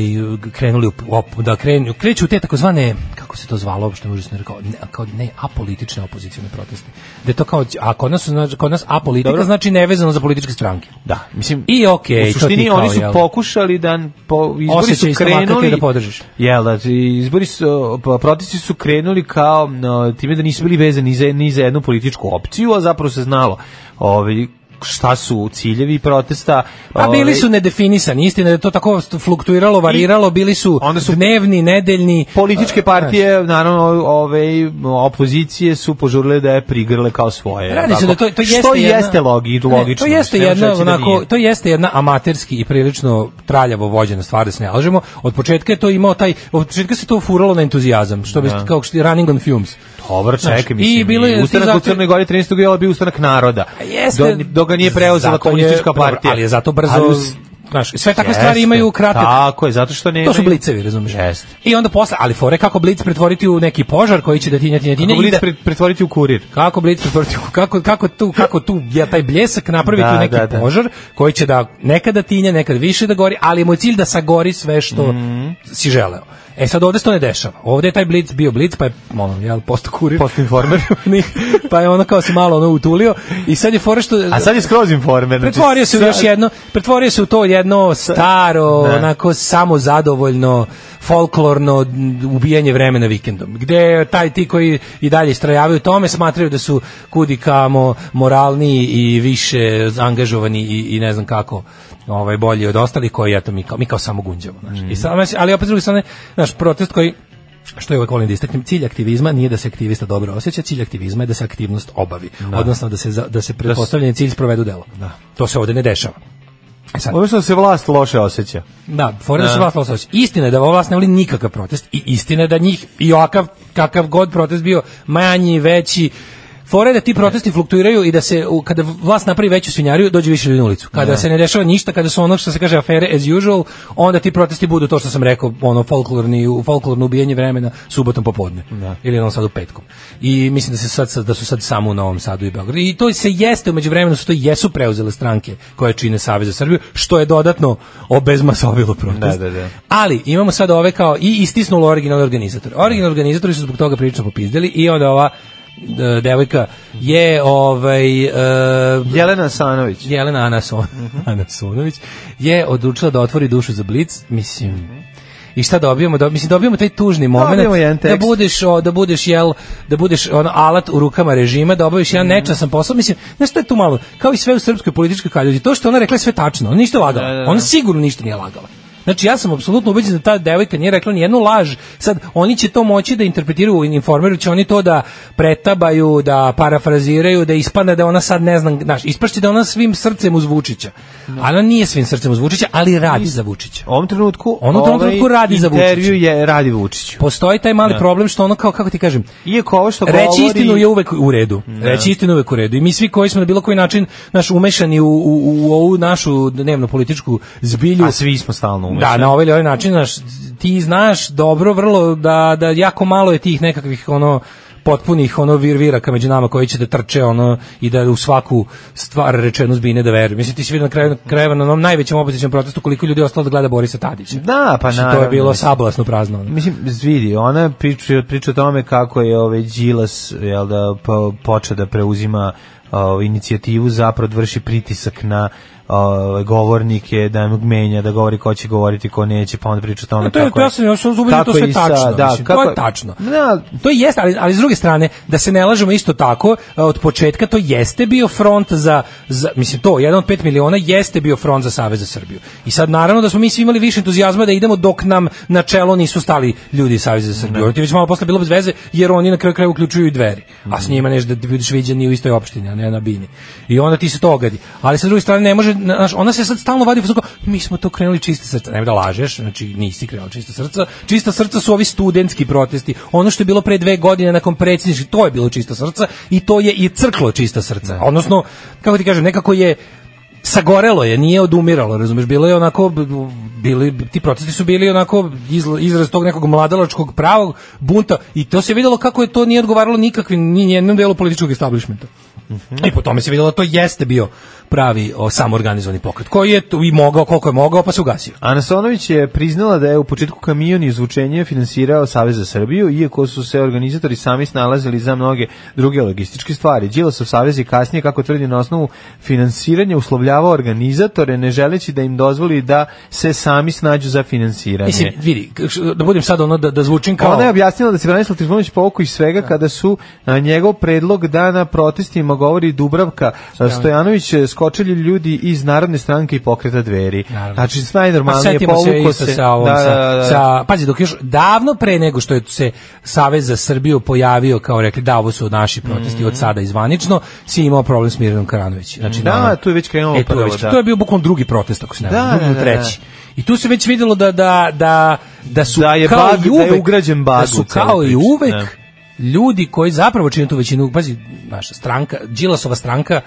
krenuli u, op- da krenu kreću u te takozvane kako se to zvalo uopšte možda sam rekao ne, kao ne apolitične opozicione proteste. Da je to kao a kod nas su, znači kod nas apolitika Dobro. znači nevezano za političke stranke. Da, mislim... I okej, to u ti suštini kao, oni su jel? pokušali da po, izbori su Osjećaj stomaka ti krenuli da podržiš. Jel, da, i izbori su, pa, protesti su krenuli kao no, time da nisu bili vezani ni za, ni za jednu političku opciju, a zapravo se znalo ovaj, šta su ciljevi protesta. A ovaj, Pa bili su nedefinisani, istina da je to tako fluktuiralo, variralo, bili su, onda su- dnevni, nedeljni. Političke partije, naravno, ove opozicije su požurile da je prigrle kao svoje. Radi se da onako. to to jeste Što jedna, jeste logi, Ne, logično. To jeste mislim, ne možeš jedna reći da onako, nije. to jeste jedna amaterski i prilično traljavo vođena stvar da se ne lažemo. Od početka je to imao taj od početka se to furalo na entuzijazam, što bi kao što je running on fumes. Dobro, Znaš, čekaj, mislim. i bilo je- ti ustanak zato- u Crnoj Gori 13. jula bio ustanak naroda. A Jeste, Do, do ga nije preuzela zato je- komunistička dobro, partija. ali je zato brzo, pa, Ali us- znaš, sve takve Jeste, stvari imaju kratak Tako je, zato što ne. To su blicevi, razumiješ? Jeste. I onda posle, ali fore kako blic pretvoriti u neki požar koji će da tinja, tinja, tinja. Kako i blic da- pre- pretvoriti u kurir. Kako blic pretvoriti, u- kako, kako tu, kako tu ja, taj bljesak napraviti Da, u neki da, da. požar koji će da nekada tinja, nekad više da gori, ali mu je cilj da sagori sve što Mhm. si želeo. E sad ovde se to ne dešava. Ovde je taj blic bio blic, pa je ono, jel, posto kurir. Posto informer. pa je ono kao se malo ono utulio i sad je fora što... A sad je skroz informer. znači, Pretvorio se u sad- još jedno, pretvorio se u to jedno staro, Da. onako samozadovoljno, folklorno m, ubijanje vremena vikendom, gde taj ti koji i dalje istrajavaju u tome smatraju da su kudi kamo moralni i više angažovani i, i ne znam kako ovaj bolji od ostalih koji eto mi kao, mi kao samo gunđamo znaš. Mm. I sad, znaš, ali opet s druge strane naš protest koji što je uvek volim da istaknem, cilj aktivizma nije da se aktivista dobro osjeća, cilj aktivizma je da se aktivnost obavi, odnosno da se, za- da se pretpostavljeni cilj sprovedu u delo. To se ovde ne dešava. E sad, Odnosno da se vlast loše osjeća. da, fora da se vlast loše osjeća. Istina je da ova vlast ne voli nikakav protest i istina je da njih i ovakav, kakav god protest bio manji, veći, Fora je da ti protesti fluktuiraju i da se u- kada vlast napravi veću svinjariju dođe više ljudi na ulicu. Kada se ne dešava ništa, kada su ono što se kaže afere as usual, onda ti protesti budu to što sam rekao, ono folklorni folklorno ubijanje vremena subotom popodne Da. ili na sad u petkom. I mislim da se sad da su sad samo u Novom Sadu i Beogradu. I to se jeste u međuvremenu su to jesu preuzele stranke koje čine Savez za Srbiju, što je dodatno obezmasovilo protest. Da, da, da. Ali imamo sad ove kao i istisnulo originalni organizator. Originalni organizatori su zbog toga prilično popizdeli i onda ova e, devojka je ovaj e, Jelena Sanović. Jelena Mhm. Anason, Anasonović je odlučila da otvori dušu za Blic, mislim. I šta dobijamo? Dob, mislim dobijamo taj tužni Dobijemo jedan moment da tekst. budeš o, da budeš jel da budeš ono alat u rukama režima, da obaviš Mhm. jedan nečasan posao. Mislim, znaš šta je tu malo? Kao i sve u srpskoj političkoj kaljuži. To što ona rekla je sve tačno. Ona ništa lagala. Da, da, da. Ona sigurno ništa nije lagala. Znači ja sam apsolutno ubeđen da ta devojka nije rekla ni jednu laž. Sad oni će to moći da interpretiraju u informeru, će oni to da pretabaju, da parafraziraju, da ispadne da ona sad ne znam, znaš, ispašće da ona svim srcem uz Vučića. Da. A Ona nije svim srcem uz Vučića, ali radi za Vučića. U ovom trenutku, ovaj Ono u ovom trenutku radi za Vučića. Intervju je radi Vučiću. Postoji taj Da. mali problem što ono kao kako ti kažem, Iako ovo što Reći Pa govori... Da. istinu je uvek u redu. Reći istinu je uvek u redu. I mi svi koji smo na bilo koji način naš umešani u, u, u ovu našu dnevno političku zbilju. A svi smo stalno umešani. Da, na ovaj ili ovaj način, znaš, ti znaš dobro vrlo da, da jako malo je tih nekakvih ono potpunih ono virviraka među nama koji će da trče ono i da u svaku stvar rečenu zbine da veruju. Mislim ti si vidio na kraju krajeva na onom najvećem opozicijom protestu koliko ljudi je ostalo da gleda Borisa Tadića. Da, pa Mislim, To naravno, je bilo mislim. sablasno prazno. ono. Mislim, vidi, ona priča, priča o tome kako je ovaj Đilas jel da, po, počeo da preuzima o, inicijativu zapravo da vrši pritisak na o, govornike, da im menja, da govori ko će govoriti, ko neće, pa onda priča o tome No, to je, kako ja sam, ja sam ubeđen da to kako sve i sa- tačno. da, mislim, to kako- je tačno. Da. To jeste, ali, ali s druge strane, da se ne lažemo isto tako, a, od početka to jeste bio front za, za mislim to, jedan od 5 miliona jeste bio front za Savez za Srbiju. I sad naravno da smo mi svi imali više entuzijazma da idemo dok nam na čelo nisu stali ljudi iz Saveza za Srbiju. Ono Ti je već malo posle bilo bez veze, jer oni na kraju kraju uključuju i dveri. A s njima neš da ti budeš viđeni u istoj opštini, a ne na bini. I onda ti se to ogadi. Ali sa druge strane ne može, na- znaš, ona se sad stalno vadi u fazonu kao, mi smo to krenuli čiste srca. Ne da lažeš, znači nisi krenuo čista srca. Čista srca su ovi studentski protesti. Ono što je bilo pre dve godine nakon predsjedničkih, to je bilo čista srca i to je i crklo čista srca. Odnosno, kako ti kažem, nekako je sagorelo je, nije odumiralo, razumeš, bilo je onako, b- b- bili, ti protesti su bili onako izla- izraz tog nekog mladalačkog pravog bunta i to se videlo kako je to nije odgovaralo nikakvim, ni jednom delu političkog establishmenta. I po tome se videlo da to jeste bio pravi o, samoorganizovani pokret, koji je tu i mogao, koliko je mogao, pa se ugasio. Anasonović je priznala da je u početku kamion i izvučenje finansirao Savez za Srbiju, iako su se organizatori sami snalazili za mnoge druge logističke stvari. Đilasov Savez je kasnije, kako tvrdi na osnovu finansiranja, uslovljavao organizatore, ne želeći da im dozvoli da se sami snađu za finansiranje. Mislim, vidi, k- š- da budem sad ono da, da zvučim kao... Mhm. Da. Ona je objasnila da se Branislav Trifunović povukao iz svega kada su na njegov predlog da na protestima govori Dubravka Stojanović eh, skočili ljudi iz Narodne stranke i pokreta dveri. Naravno. Znači, Pa najnormalnije setimo se povukao isto sa ovom, Da, sa- da, da, da. sa- pazi, dok još davno pre nego što je se Savez za Srbiju pojavio, kao rekli, da, ovo su naši protesti Mhm. od sada izvanično, si imao problem s Mirjanom Karanović. Znači, Da, ono- tu je već krenulo E, tu je prvo, već- da. To je bio bukvalno drugi protest, ako se ne varam, Da, drugi ili da, da, treći. I tu se već vidjelo da, da, da, da su Da je kao bag- i da je uvek, ugrađen bag da u su celu kao i priču, uvek da. ljudi koji zapravo čine tu većinu, pazi, naša stranka, Đilasova stranka,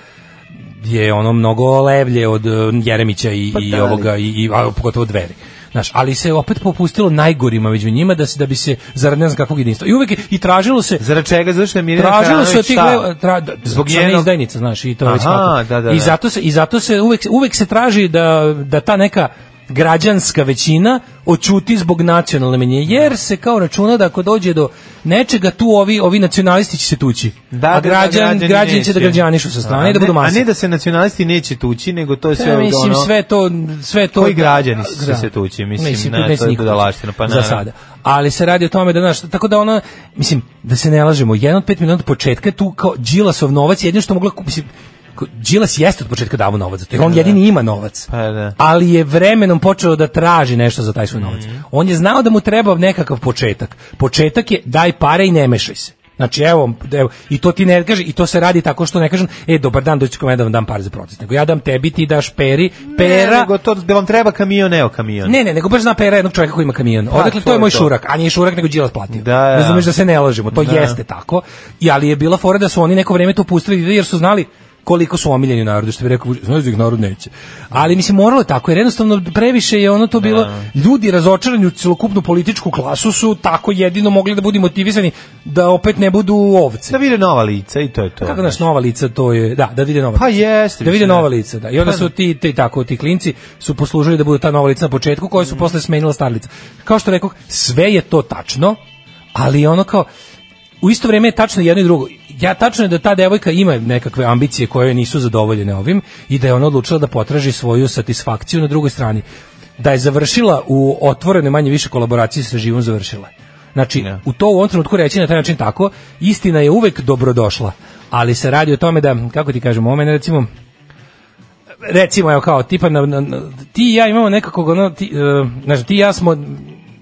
je ono mnogo levlje od eh, Jeremića i, Pa i da, ali- ovoga i, i a, pogotovo dveri. Znaš, ali se opet popustilo najgorima među njima da se da bi se zarad ne znam kakvog jedinstva. I uvek je, i tražilo se Zarad čega? Zato što je Mirjana Tražilo se Karanović od tih šta? le- tra, da, Zbog zbog njenog- njenog izdajnica, znaš, i to već Aha, kako. da, da, da. I zato se i zato se uvek uvek se traži da da ta neka građanska većina očuti zbog nacionalne manjine jer se kao računa da ako dođe do nečega tu ovi ovi nacionalisti će se tući. Da, a da, građan, građani građani će da neće. građanišu sa strane i da A ne- budu masa. A ne da se nacionalisti neće tući, nego to je sve Ja od Pa mislim ono- sve to sve to da- Koji građani su se tući, mislim, na, tu neće to je niko budalaština, pa za naravno. sada. Ali se radi o tome da znaš, tako da ona mislim da se ne lažemo, jedan od 5 miliona od početka tu kao Đilasov novac jedino što mogla kupiti Đilas jeste od početka davao novac, zato jer on jedini ima novac. Da, Pa da. Ali je vremenom počeo da traži nešto za taj svoj novac. Mhm. On je znao da mu treba nekakav početak. Početak je daj pare i ne mešaj se. Znači evo, evo i to ti ne kaže i to se radi tako što ne kažem e dobar dan doći ću kod mene da vam dam pare za protest nego ja dam tebi ti daš peri Ne, pera nego to da vam treba kamion, evo kamion. ne, ne, nego baš zna pera jednog čovjeka koji ima kamion. Odakle, Pa, to to je je moj to. šurak, a nije šurak, nego Đilas platio. Da, da. Razumeš da se ne lažemo, to Da. jeste tako. I, ali je bila fora da su oni neko vrijeme to pustili jer su znali koliko su omiljeni u narodu, što bi rekao, Vučić, znaš da ih narod neće. Ali mislim, moralo je tako, jer jednostavno previše je ono Da. to bilo, ljudi razočarani u celokupnu političku klasu su tako jedino mogli da budu motivisani da opet ne budu ovce. Da vide nova lica i to je to. Kako da znaš, nova lica, to je, da, da vide nova Pa lica. jeste, Da vide mislim, nova da. lica, da. I onda Pa su ti, ti tako, ti klinci su poslužili da budu ta nova lica na početku, koje su posle smenila starlica. Kao što rekoh, sve je to tačno, ali ono kao, u isto vrijeme je tačno jedno i drugo. Ja tačno je da ta devojka ima nekakve ambicije koje nisu zadovoljene ovim i da je ona odlučila da potraži svoju satisfakciju na drugoj strani. da je završila u otvorenoj manje više kolaboraciji sa živom završila. Znači, u to u ovom trenutku reći na taj način tako, istina je uvek dobrodošla, ali se radi o tome da, kako ti kažemo, ovo mene recimo, recimo, evo kao, tipa, na, na, na- ti i ja imamo nekakvog, ono, ti, e, znaš, ti i ja smo,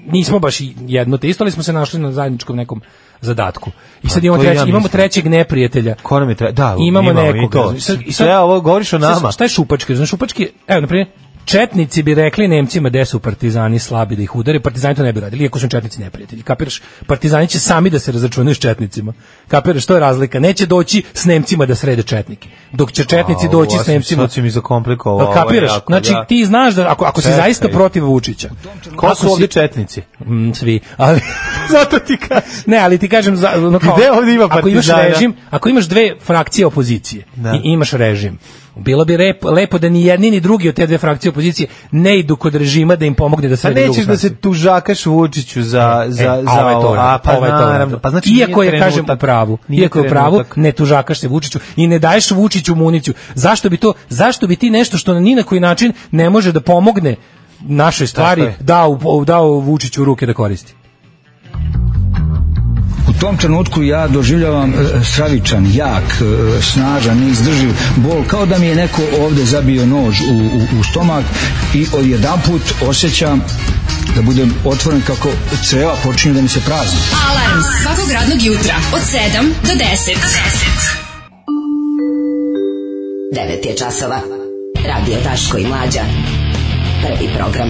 nismo baš i jedno te isto, ali smo se našli na zajedničkom nekom zadatku. I sad Pa, imamo, to i ja treći, imamo mislim. trećeg neprijatelja. Ko nam je tre- da, imamo, imamo i nekog. to. razumiješ? Sad- i sad- Sve ovo govoriš sad- o nama. Šta je šupački? Znaš, šupački, evo, na primjer, Četnici bi rekli Nemcima gde su partizani slabi da ih udare, partizani to ne bi radili, iako su im četnici neprijatelji. Kapiraš, partizani će sami da se razračunaju s četnicima. Kapiraš, to je razlika. Neće doći s Nemcima da srede četnike. Dok će četnici A, doći ovo s si- Nemcima. sad si mi zakomplikovao, Jel ovo je Kapiraš? jako, znači, da. ti znaš da ako, ako si Čekaj. zaista protiv Vučića. Ko ako su si- ovdje četnici? Mm, svi, ali Zato ti kažem. ne, ali ti kažem za ono kao, Gde ovdje ima ako imaš partizana? režim, ako imaš dve frakcije opozicije Da. i imaš režim. Bilo bi rep- lepo da ni jedni ni drugi od te dve frakcije opozicije ne idu kod režima da im pomogne da se Pa nećeš da se tužakaš Vučiću za za za, za ovaj to, E, a pa ovaj to, naravno. Pa znači iako nije je kažem u trenutak. pravu, Nije iako je u pravu, trenutak. ne tužakaš se Vučiću i ne daješ Vučiću municiju. Zašto bi to, zašto bi ti nešto što ni na koji način ne može da pomogne našoj stvari je. dao dao Vučiću u ruke da koristi? U tom trenutku ja doživljavam e, stravičan, jak, e, snažan, neizdrživ bol, kao da mi je neko ovde zabio nož u, u, u stomak i odjedanput osjećam da budem otvoren kako creva počinju da mi se prazni. Alarm svakog radnog jutra od 7 do 10. 9 je časova. Radio Daško i Mlađa. Prvi program.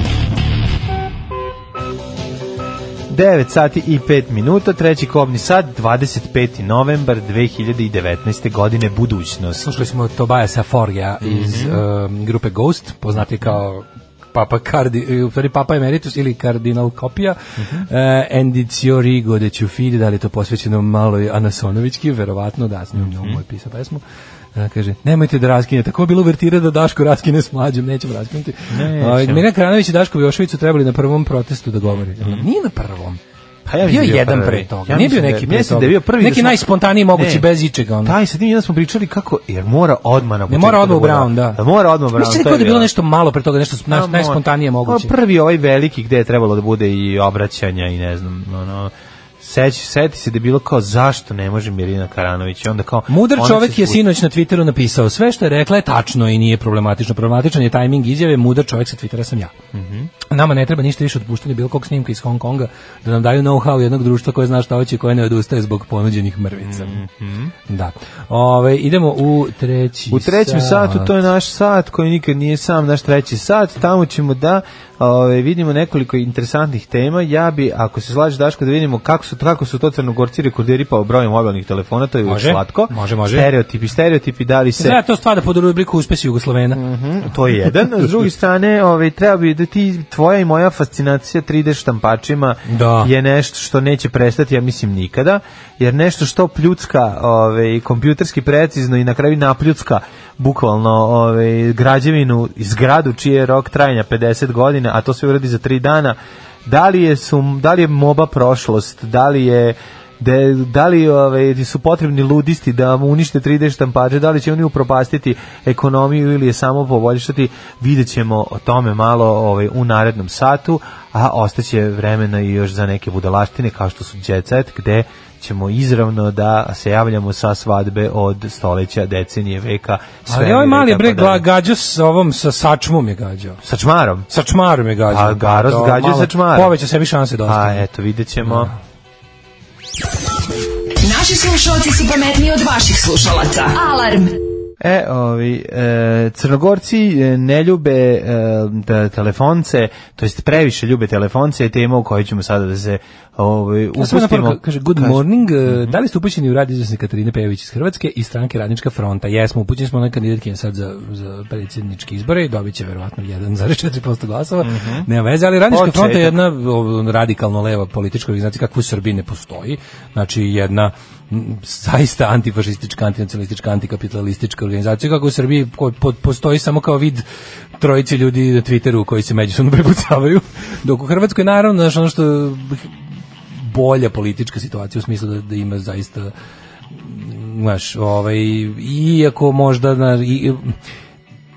9 sati i 5 minuta, treći kobni sat, 25. novembar 2019. godine budućnost. Slušali smo Tobaja Saforja iz Mhm. um, grupe Ghost, poznati kao Papa Kardi, u stvari Papa Emeritus ili Kardinal Kopija, Mhm. e, Endicio Rigo de Ciuffidi, da li je to posvećeno maloj Anasonovićki, verovatno da, s njom Mhm. njom je pisao pesmu. E, kaže, nemojte da raskinete, tako je bilo uvertira da Daško raskine s mlađom, nećemo raskinuti. Nećemo. Ovaj, Mirjana Kranović i Daško Jošević su trebali na prvom protestu da govore. Mhm. Nije na prvom. Pa bio ja mislim da je bio jedan prvi. pre toga. Ja Nije bio mislim da je- neki ja pre mislim toga. da je bio prvi da neki smo- najspontaniji mogući Ne. bez ičega. Ono. Taj sa tim jedan smo pričali kako, jer mora odmah na Ne početku. mora da odmah u bude. Brown, da. Mora odmah u Brown. Mislim to da je je bilo bilo. nešto malo pre toga, nešto naj, Samo- najspontanije moguće. Pa Prvi ovaj veliki gde je trebalo da bude i obraćanja i ne znam, ono, Seć, seti se da je bilo kao zašto ne može Mirina Karanović i onda kao Mudar ona čovek će je svući. sinoć na Twitteru napisao sve što je rekla je tačno i nije problematično. Problematičan je tajming izjave, mudar čovek sa Twittera sam ja. Mhm. Nama ne treba ništa više od puštanja bilo kog snimka iz Hong Konga da nam daju know-how jednog društva koje zna šta hoće i koje ne odustaje zbog ponuđenih mrvica. Da. Ove, idemo u treći Mhm. U trećem sat. satu to je naš sat koji nikad nije sam, naš treći sat. Tamo ćemo da ovaj, vidimo nekoliko interesantnih tema. Ja bi, ako se slaže Daško, da vidimo kako su, kako su to crnogorci rekordiri pa brojem mobilnih telefona, to je uvijek Može, slatko. može, može. Stereotipi, stereotipi, da li se... Treba to stvada pod rubriku uspesi Jugoslovena. Mhm, to je jedan. S druge strane, ovaj, treba bi da ti, tvoja i moja fascinacija 3D štampačima Da. je nešto što neće prestati, ja mislim, nikada, jer nešto što pljucka ovaj, kompjuterski precizno i na kraju napljucka bukvalno ovaj, građevinu i zgradu čiji je rok trajanja 50 godina, a to sve uradi za 3 dana, da li je, su, da li je moba prošlost, da li je De, da li ovaj, su potrebni ludisti da mu unište 3D štampače, da li će oni upropastiti ekonomiju ili je samo poboljšati, vidjet ćemo o tome malo ovaj, u narednom satu, a ostaće vremena i još za neke budalaštine kao što su Jet Set, gde ćemo izravno da se javljamo sa svadbe od stoleća, decenije, veka, Ali ovaj mali je bre breg gla- gađao s ovom, sa sačmom je gađao. Sa čmarom. Sa čmarom je gađao. A Garos To gađao malo sa čmarom. Poveća sebi šanse dosta. A eto, vidjet ćemo. Naši slušalci su pametniji od vaših slušalaca. Alarm. E, ovi, e, crnogorci e, ne ljube e, da telefonce, to jest previše ljube telefonce, je tema u kojoj ćemo sada da se ovi, Ja sam upustimo. mhm. napravo, kaže, good morning, e, da li ste upućeni u rad izvesne Katarine Pejević iz Hrvatske i stranke Radnička fronta? Jesmo, upućeni smo na kandidatkinje sad za, za predsjedničke izbore i dobit će verovatno 1,4% glasova, nema veze, ali Radnička Mhm. Početak. fronta je jedna o, radikalno leva politička organizacija kakva u Srbiji ne postoji, znači jedna m, zaista antifašistička, antinacionalistička, antikapitalistička organizacija kako u Srbiji po- po- postoji samo kao vid trojice ljudi na Twitteru koji se međusobno prepucavaju, dok u Hrvatskoj naravno, znaš, ono što bolja politička situacija u smislu da, da ima zaista mm, znaš, ovaj, iako možda na, i,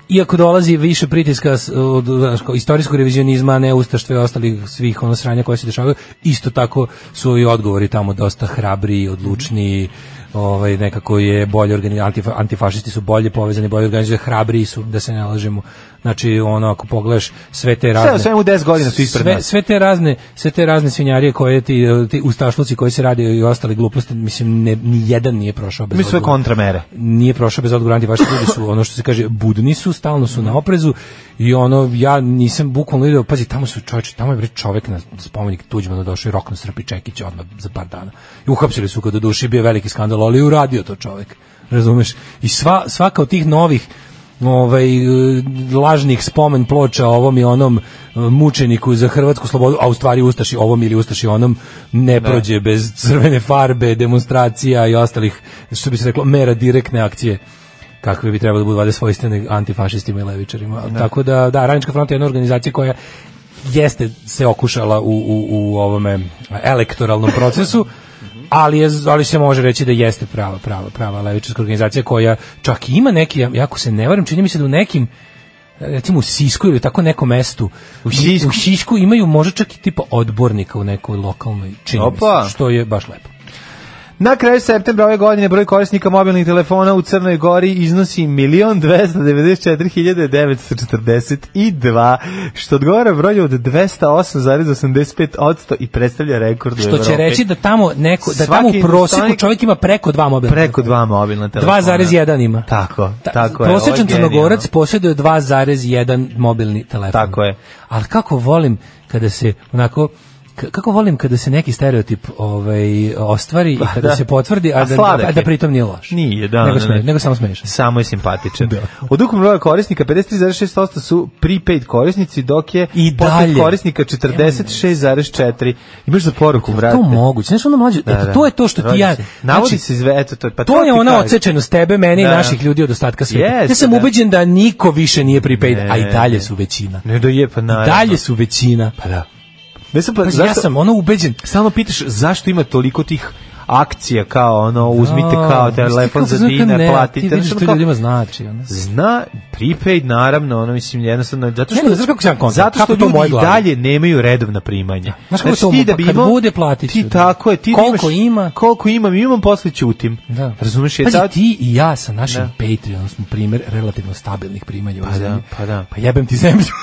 iako dolazi više pritiska s- od znaš, kao istorijskog revizionizma, ne ustaštve i ostalih svih ono sranja koje se dešavaju, isto tako su i odgovori tamo dosta hrabri, odlučni, ovaj nekako je bolje organi, antifa- antifašisti su bolje povezani, bolje organizovani, hrabriji su, da se ne lažemo. Znači ono ako pogledaš sve te razne sve u 10 godina su ispred sve, nas. sve te razne, sve te razne svinjarije koje ti e, ti ustašluci koji se radi i ostale gluposti, mislim ne, ni jedan nije prošao bez Mi sve odgovora kontramere. nije prošao bez odgovora antifašisti ljudi su ono što se kaže budni su stalno su na oprezu i ono ja nisam bukvalno video pazi tamo su čovjek tamo je bre čovjek na spomenik Tuđmanu došao i rokno Srpi Čekić odmah za par dana i uhapsili su ga do duše bio je veliki skandal ali je uradio to čovjek razumeš i sva svaka od tih novih ovaj e, lažnih spomen ploča ovom i onom e, mučeniku za hrvatsku slobodu, a u stvari ustaši ovom ili ustaši onom ne prođe bez crvene farbe, demonstracija i ostalih, što bi se reklo, mera direktne akcije kakve bi trebalo da budu valjda svojstvene antifašistima i levičarima. Tako da, da, Radnička fronta je jedna organizacija koja jeste se okušala u, u, u ovome elektoralnom procesu, ali, je, ali se može reći da jeste prava, prava, prava levičarska organizacija koja čak i ima neki, ja- jako se ne varam, čini mi se da u nekim recimo u Sisku ili tako nekom mestu u Sisku, u Sisku imaju možda čak i tipa odbornika u nekoj lokalnoj čini mi se, Opa. što je baš lepo. Na kraju septembra ove godine broj korisnika mobilnih telefona u Crnoj Gori iznosi 1.294.942, što odgovara broju od 208,85% i predstavlja rekord u Što će Evropi. reći da tamo neko da tamo Svaki u prosjeku stanovnik- čovjek ima preko dva mobilna. Preko dva mobilna telefona. 2,1 ima. Tako, tako je. ovo je Prosečan genijalno. crnogorac posjeduje 2,1 mobilni telefon. Tako je. Ali kako volim kada se onako k- kako volim kada se neki stereotip ovaj ostvari i Pa, kada da. se potvrdi, a, A da, sladak a da je. pritom nije loš. Nije, da. Nego ne, sme- ne. nego samo Da. smeješ. Samo je simpatičan. Od ukupnog broja korisnika 53,6% su prepaid korisnici, dok je I postpaid dalje. korisnika 46,4. Imaš za poruku, vrate. To moguće, znaš ono mlađe, Da, eto, da. to je to što ti Rođe ja... se. Navodi znači, se izve, eto, to, je- pa to je ti ona kažem. odsečenost tebe, mene Da. i naših ljudi od ostatka svijeta. Jeste, ja sam da. ubeđen da niko više nije prepaid, a i Ne, dalje ne. su većina. Ne da je, pa I naravno. dalje su većina. Pa da. Ne sam, pa, Pazi, zašto, ja sam ono ubeđen. Stalno pitaš zašto ima toliko tih akcija kao ono, uzmite A, Da, kao mislim, telefon kako za se zove, dinar, ne, platite. Ti vidiš Znaš, što kao- ljudima znači. Ono. Zna prepaid naravno, ono mislim jednostavno zato Ne, što ne, znaš kako sam ja kontam, zato što kako to u mojoj ljudi i glavi. dalje nemaju redovna primanja. Znači, Znaš kako to ti da mu- pa kad bude, platit ću, Ti da. tako je, ti da Koliko ima? Koliko imam, imam posle ćutim. Da. Razumeš je Pazi, sad ti i ja sa našim Da. Patreonom smo primjer relativno stabilnih primanja u Pa ovoj da, zemlji. pa da. Pa jebem ti zemlju.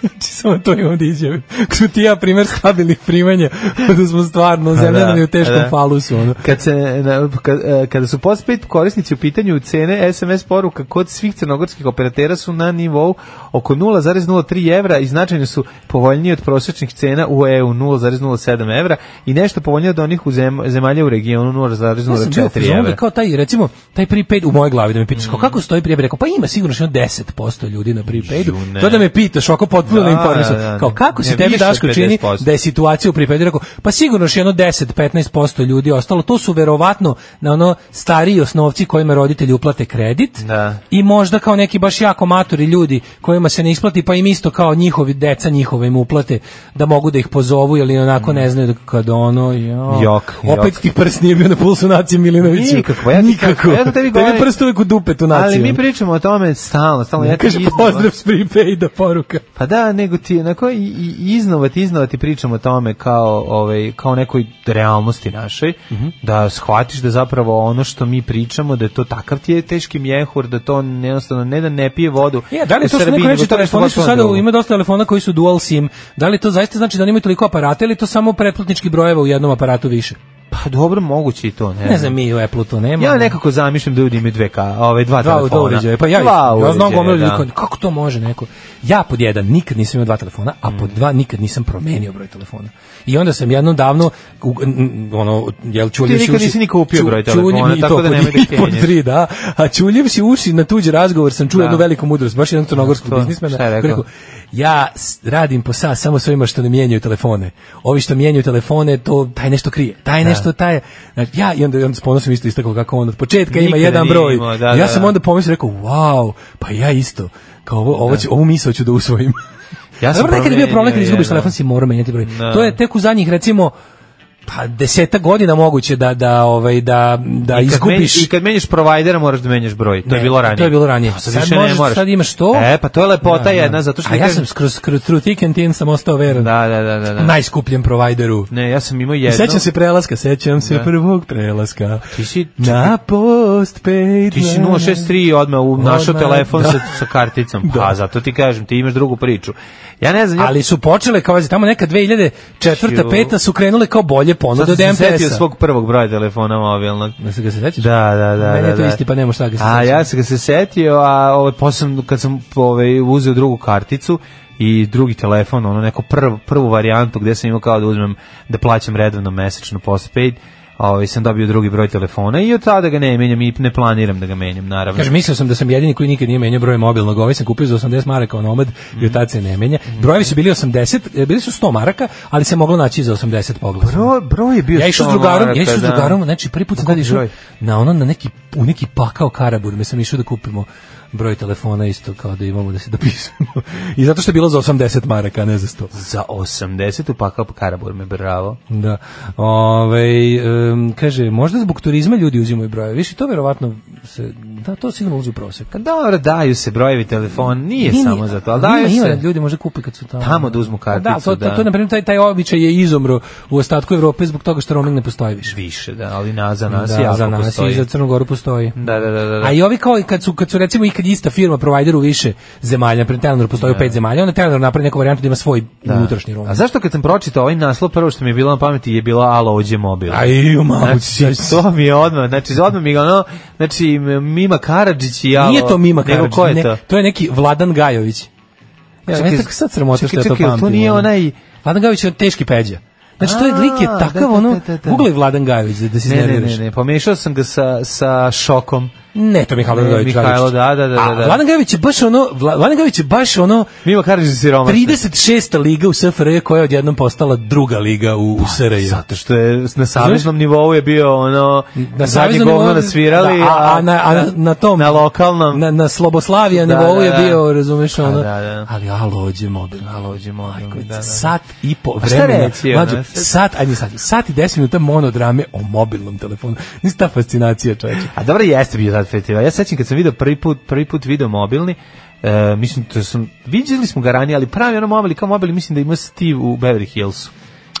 Znači, samo to imam da izjavim. Kako smo ti i ja primjer stabilnih primanja, da smo stvarno, zemlja nam je u teškom Pa da. falusu. Ono. Kad se, na, kad, e, kada su postpaid korisnici u pitanju cene SMS poruka kod svih crnogorskih operatera su na nivou oko 0,03 evra i značajno su povoljniji od prosječnih cena u EU 0,07 evra i nešto povoljnije od onih u zem, zemalja u regionu Ja sam bio u 0,04 fazonu da evra. kao taj, recimo, taj prepaid u mojoj glavi da me pitaš Mm. kao, kako stoji prijebe, rekao, pa ima sigurno što jedno 10% ljudi na prepaidu. Ju, ne. To da me pitaš, ovako potpuno Da, da, neinformisan. da, da. Kao, kako se Ne, tebi više od Daško čini 50%. da je situacija u prepaidu? Rekao, pa sigurno što jedno 10-15% ljudi ostalo. To su verovatno na ono stariji osnovci kojima roditelji uplate kredit Da. i možda kao neki baš jako maturi ljudi kojima se ne isplati, pa im isto kao njihovi deca njihove im uplate da mogu da ih pozovu, jer onako Mm. ne znaju da kad ono, jo, Jok, jok. opet ti prst nije bio na pulsu nacije Milinovića. Nikako, pa ja ti Nikako. kažem, ja to tebi govorim. prst uvek u dupetu nacije. Ali mi pričamo o tome stalno, stalno ja ti Kaže iznova- pozdrav s prepaida poruka. Pa da, nego ti onako i, i iznova ti iznova ti pričamo o tome kao ovaj kao nekoj realnosti našoj Mhm. da shvatiš da zapravo ono što mi pričamo da je to takav ti je teški mjehur da to jednostavno ne da ne pije vodu. Je, da li u je to što Srbiji, neko reče, nego to je nešto telefoni su potpuno sada, drugo. ima dosta telefona koji su dual SIM, da li to zaista znači da oni imaju toliko aparata ili to samo pretplatnički brojeva u jednom aparatu više? Pa dobro, moguće i to, ne. Ne znam, mi u Apple to nema. Ja nekako zamišljam da ljudi imaju dve ka, ove dva, dva, telefona. dva uređaja. Pa ja, Dva isto, ja znam uređaja, gomilu ljudi da. koji- kako to može neko. Ja pod jedan nikad nisam imao dva telefona, a pod Mm. dva nikad nisam promenio broj telefona. I onda sam jednom davno u- n- n- ono jel čuljiv nikad uši- nisi ni kupio ču- broj čuljiv- telefona, i tako to da pod- nemoj da i pod kenjaš. tri, da. A čuljiv si uši na tuđi razgovor sam čuo Da. jednu veliku mudrost, baš jednog To, crnogorskog biznismena. šta je koji je rekao? rekao, ja s- radim po sa samo s ovima što ne mijenjaju telefone. Ovi što mijenjaju telefone, to taj nešto krije. Da. Taj nešto taj. Znači, ja i onda, i onda s ponosom isto istakao kako on od početka ima Nikada jedan nije broj. imao, da, da, ja sam da. onda pomislio rekao, wow, pa ja isto. Kao ovo, ovo ću, ovu misao ću da usvojim. Ja sam Dobro, nekad je bio problem promenio kad izgubiš jedan. telefon si morao menjati broj. Da. To je tek u zadnjih, recimo, pa deseta godina moguće da da ovaj da da I kad izgubiš menjaš- I kad menjaš provajdera moraš da menjaš broj. To je Ne, bilo ranije. To je bilo ranije. A Sad, više ne možeš- moraš. Sad imaš to. Da, E, pa to je lepota jedna, zato što... A ti ja kažem- sam skroz, skroz through thick and thin sam ostao veran. Da, da, da, da. da. Najskupljem provideru. Ne, ja sam imao I jedno. Sećam se prelaska, sećam se Da. prvog prelaska. Ti si, Na postpaid. ti si 063 odmah u našo Odmah, telefon da. sa, sa karticom. Pa, zato ti kažem, ti imaš drugu priču. Ja ne znam, ja Ali su počele kao tamo neka 2004. Ju. 5. su krenule kao bolje ponude Sad od sam se setio MTS-a. svog prvog broja telefona mobilnog. Da se ga se sećaš? Da, da, da. Meni je da, to da. isti, pa nema šta ga se A sećam. ja sam ga se setio, a ovaj, posebno kad sam ovaj, uzeo drugu karticu i drugi telefon, ono neko prv, prvu varijantu gde sam imao kao da uzmem, da plaćam redovno mesečno postpaid, ovaj, sam dobio drugi broj telefona i od tada ga ne menjam i ne planiram da ga menjam, naravno. Kaže, mislio sam da sam jedini koji nikad nije menjao broj mobilnog, ovaj sam kupio za 80 maraka u Nomad i od tad se ne menja. Mm. Brojevi su bili 80, e, bili su 100 maraka, ali se moglo naći i za 80 pogleda. broj, broj je bio Ja išao s 100 drugarom, maraka, ja išao s da. drugarom, znači prvi put sam tad išao broj? na ono na neki u neki pakao Karabur, mi sam išao da kupimo broj telefona isto kao da imamo da se dopisujemo. I zato što je bilo za 80 maraka, a ne za 100. Za 80 upakao Karabur me, bravo. Da. Ovaj em, kaže možda zbog turizma ljudi uzimaju brojeve. Više to verovatno se da to sigurno ulazi u prosek. Kad Pa dobro, daju se brojevi telefon, nije, samo za to, ali Ima- daju ima, se. da ljudi možda kupe kad su tamo. Tamo da uzmu Da, karticu, to, to, da. to, je, na primjer, taj, taj običaj je izomro u ostatku Evrope zbog toga što roaming ne postoji više. Više, da, ali na, za nas da, jako za nas postoji. i za Crnu Goru postoji. Da, da, da, da. da. A i ovi kao i kad su kad su recimo i kad je ista firma provider u više zemalja, pre Telenor postoji u pet zemalja, onda Telenor napravi neku varijantu da ima svoj unutrašnji roaming. Da. A zašto kad sam pročitao ovaj naslov, prvo što mi je bilo na pameti je bilo Alo, ođe mobil. Aj, u mamu, Znači, to mi je odmah, znači, odmah mi ga ono, znači, m- Mima Karadžić i Alo. Nije to Mima nego Karadžić. ko je ne, to? je neki Vladan Gajović. Ja, Čekaj, ne tako sad sramota što čekaj, ja to čekaj, pamtim. to nije ono. onaj- Vladan Gajović je teški peđa. Znači, to je A, lik je da, takav, da, ono, da, da. googlaj Vladan Gajović da, da se Ne, ne, iznerviraš. ne, ne, pomešao sam ga sa, sa šokom. Ne, to je Mihajlo Ne, Gajović. Mihajlo, da, da, da, A da, da. Vladan Gajović je baš ono, Vla- Vladan Gajović je baš ono, Mima Karadžić si roman. 36. liga u SFRJ koja je odjednom postala druga liga u, u SRJ. Zato što Da, je na saveznom nivou je bio ono, na zadnje saveznom govno nivou- nasvirali, da, a, a, na, a na, na tom na lokalnom. na, na Sloboslavija Da, nivou da, je da. bio, razumeš, ono, da, da. ali alo, ođe mobil, alo, Dođi, molim, Majko, da, da. sat i po A šta vremena. reći, ono, Mlađo, sad- sat, ajde sad, sat i deset minuta monodrame o mobilnom telefonu. Nisi ta fascinacija, čoveče. A dobro jeste bio tad festival. Ja se sećam kad sam video prvi put, prvi put video mobilni, e, mislim da sam viđeli smo ga ranije, ali pravi ono mobil kao mobil mislim da ima Steve u Beverly Hillsu.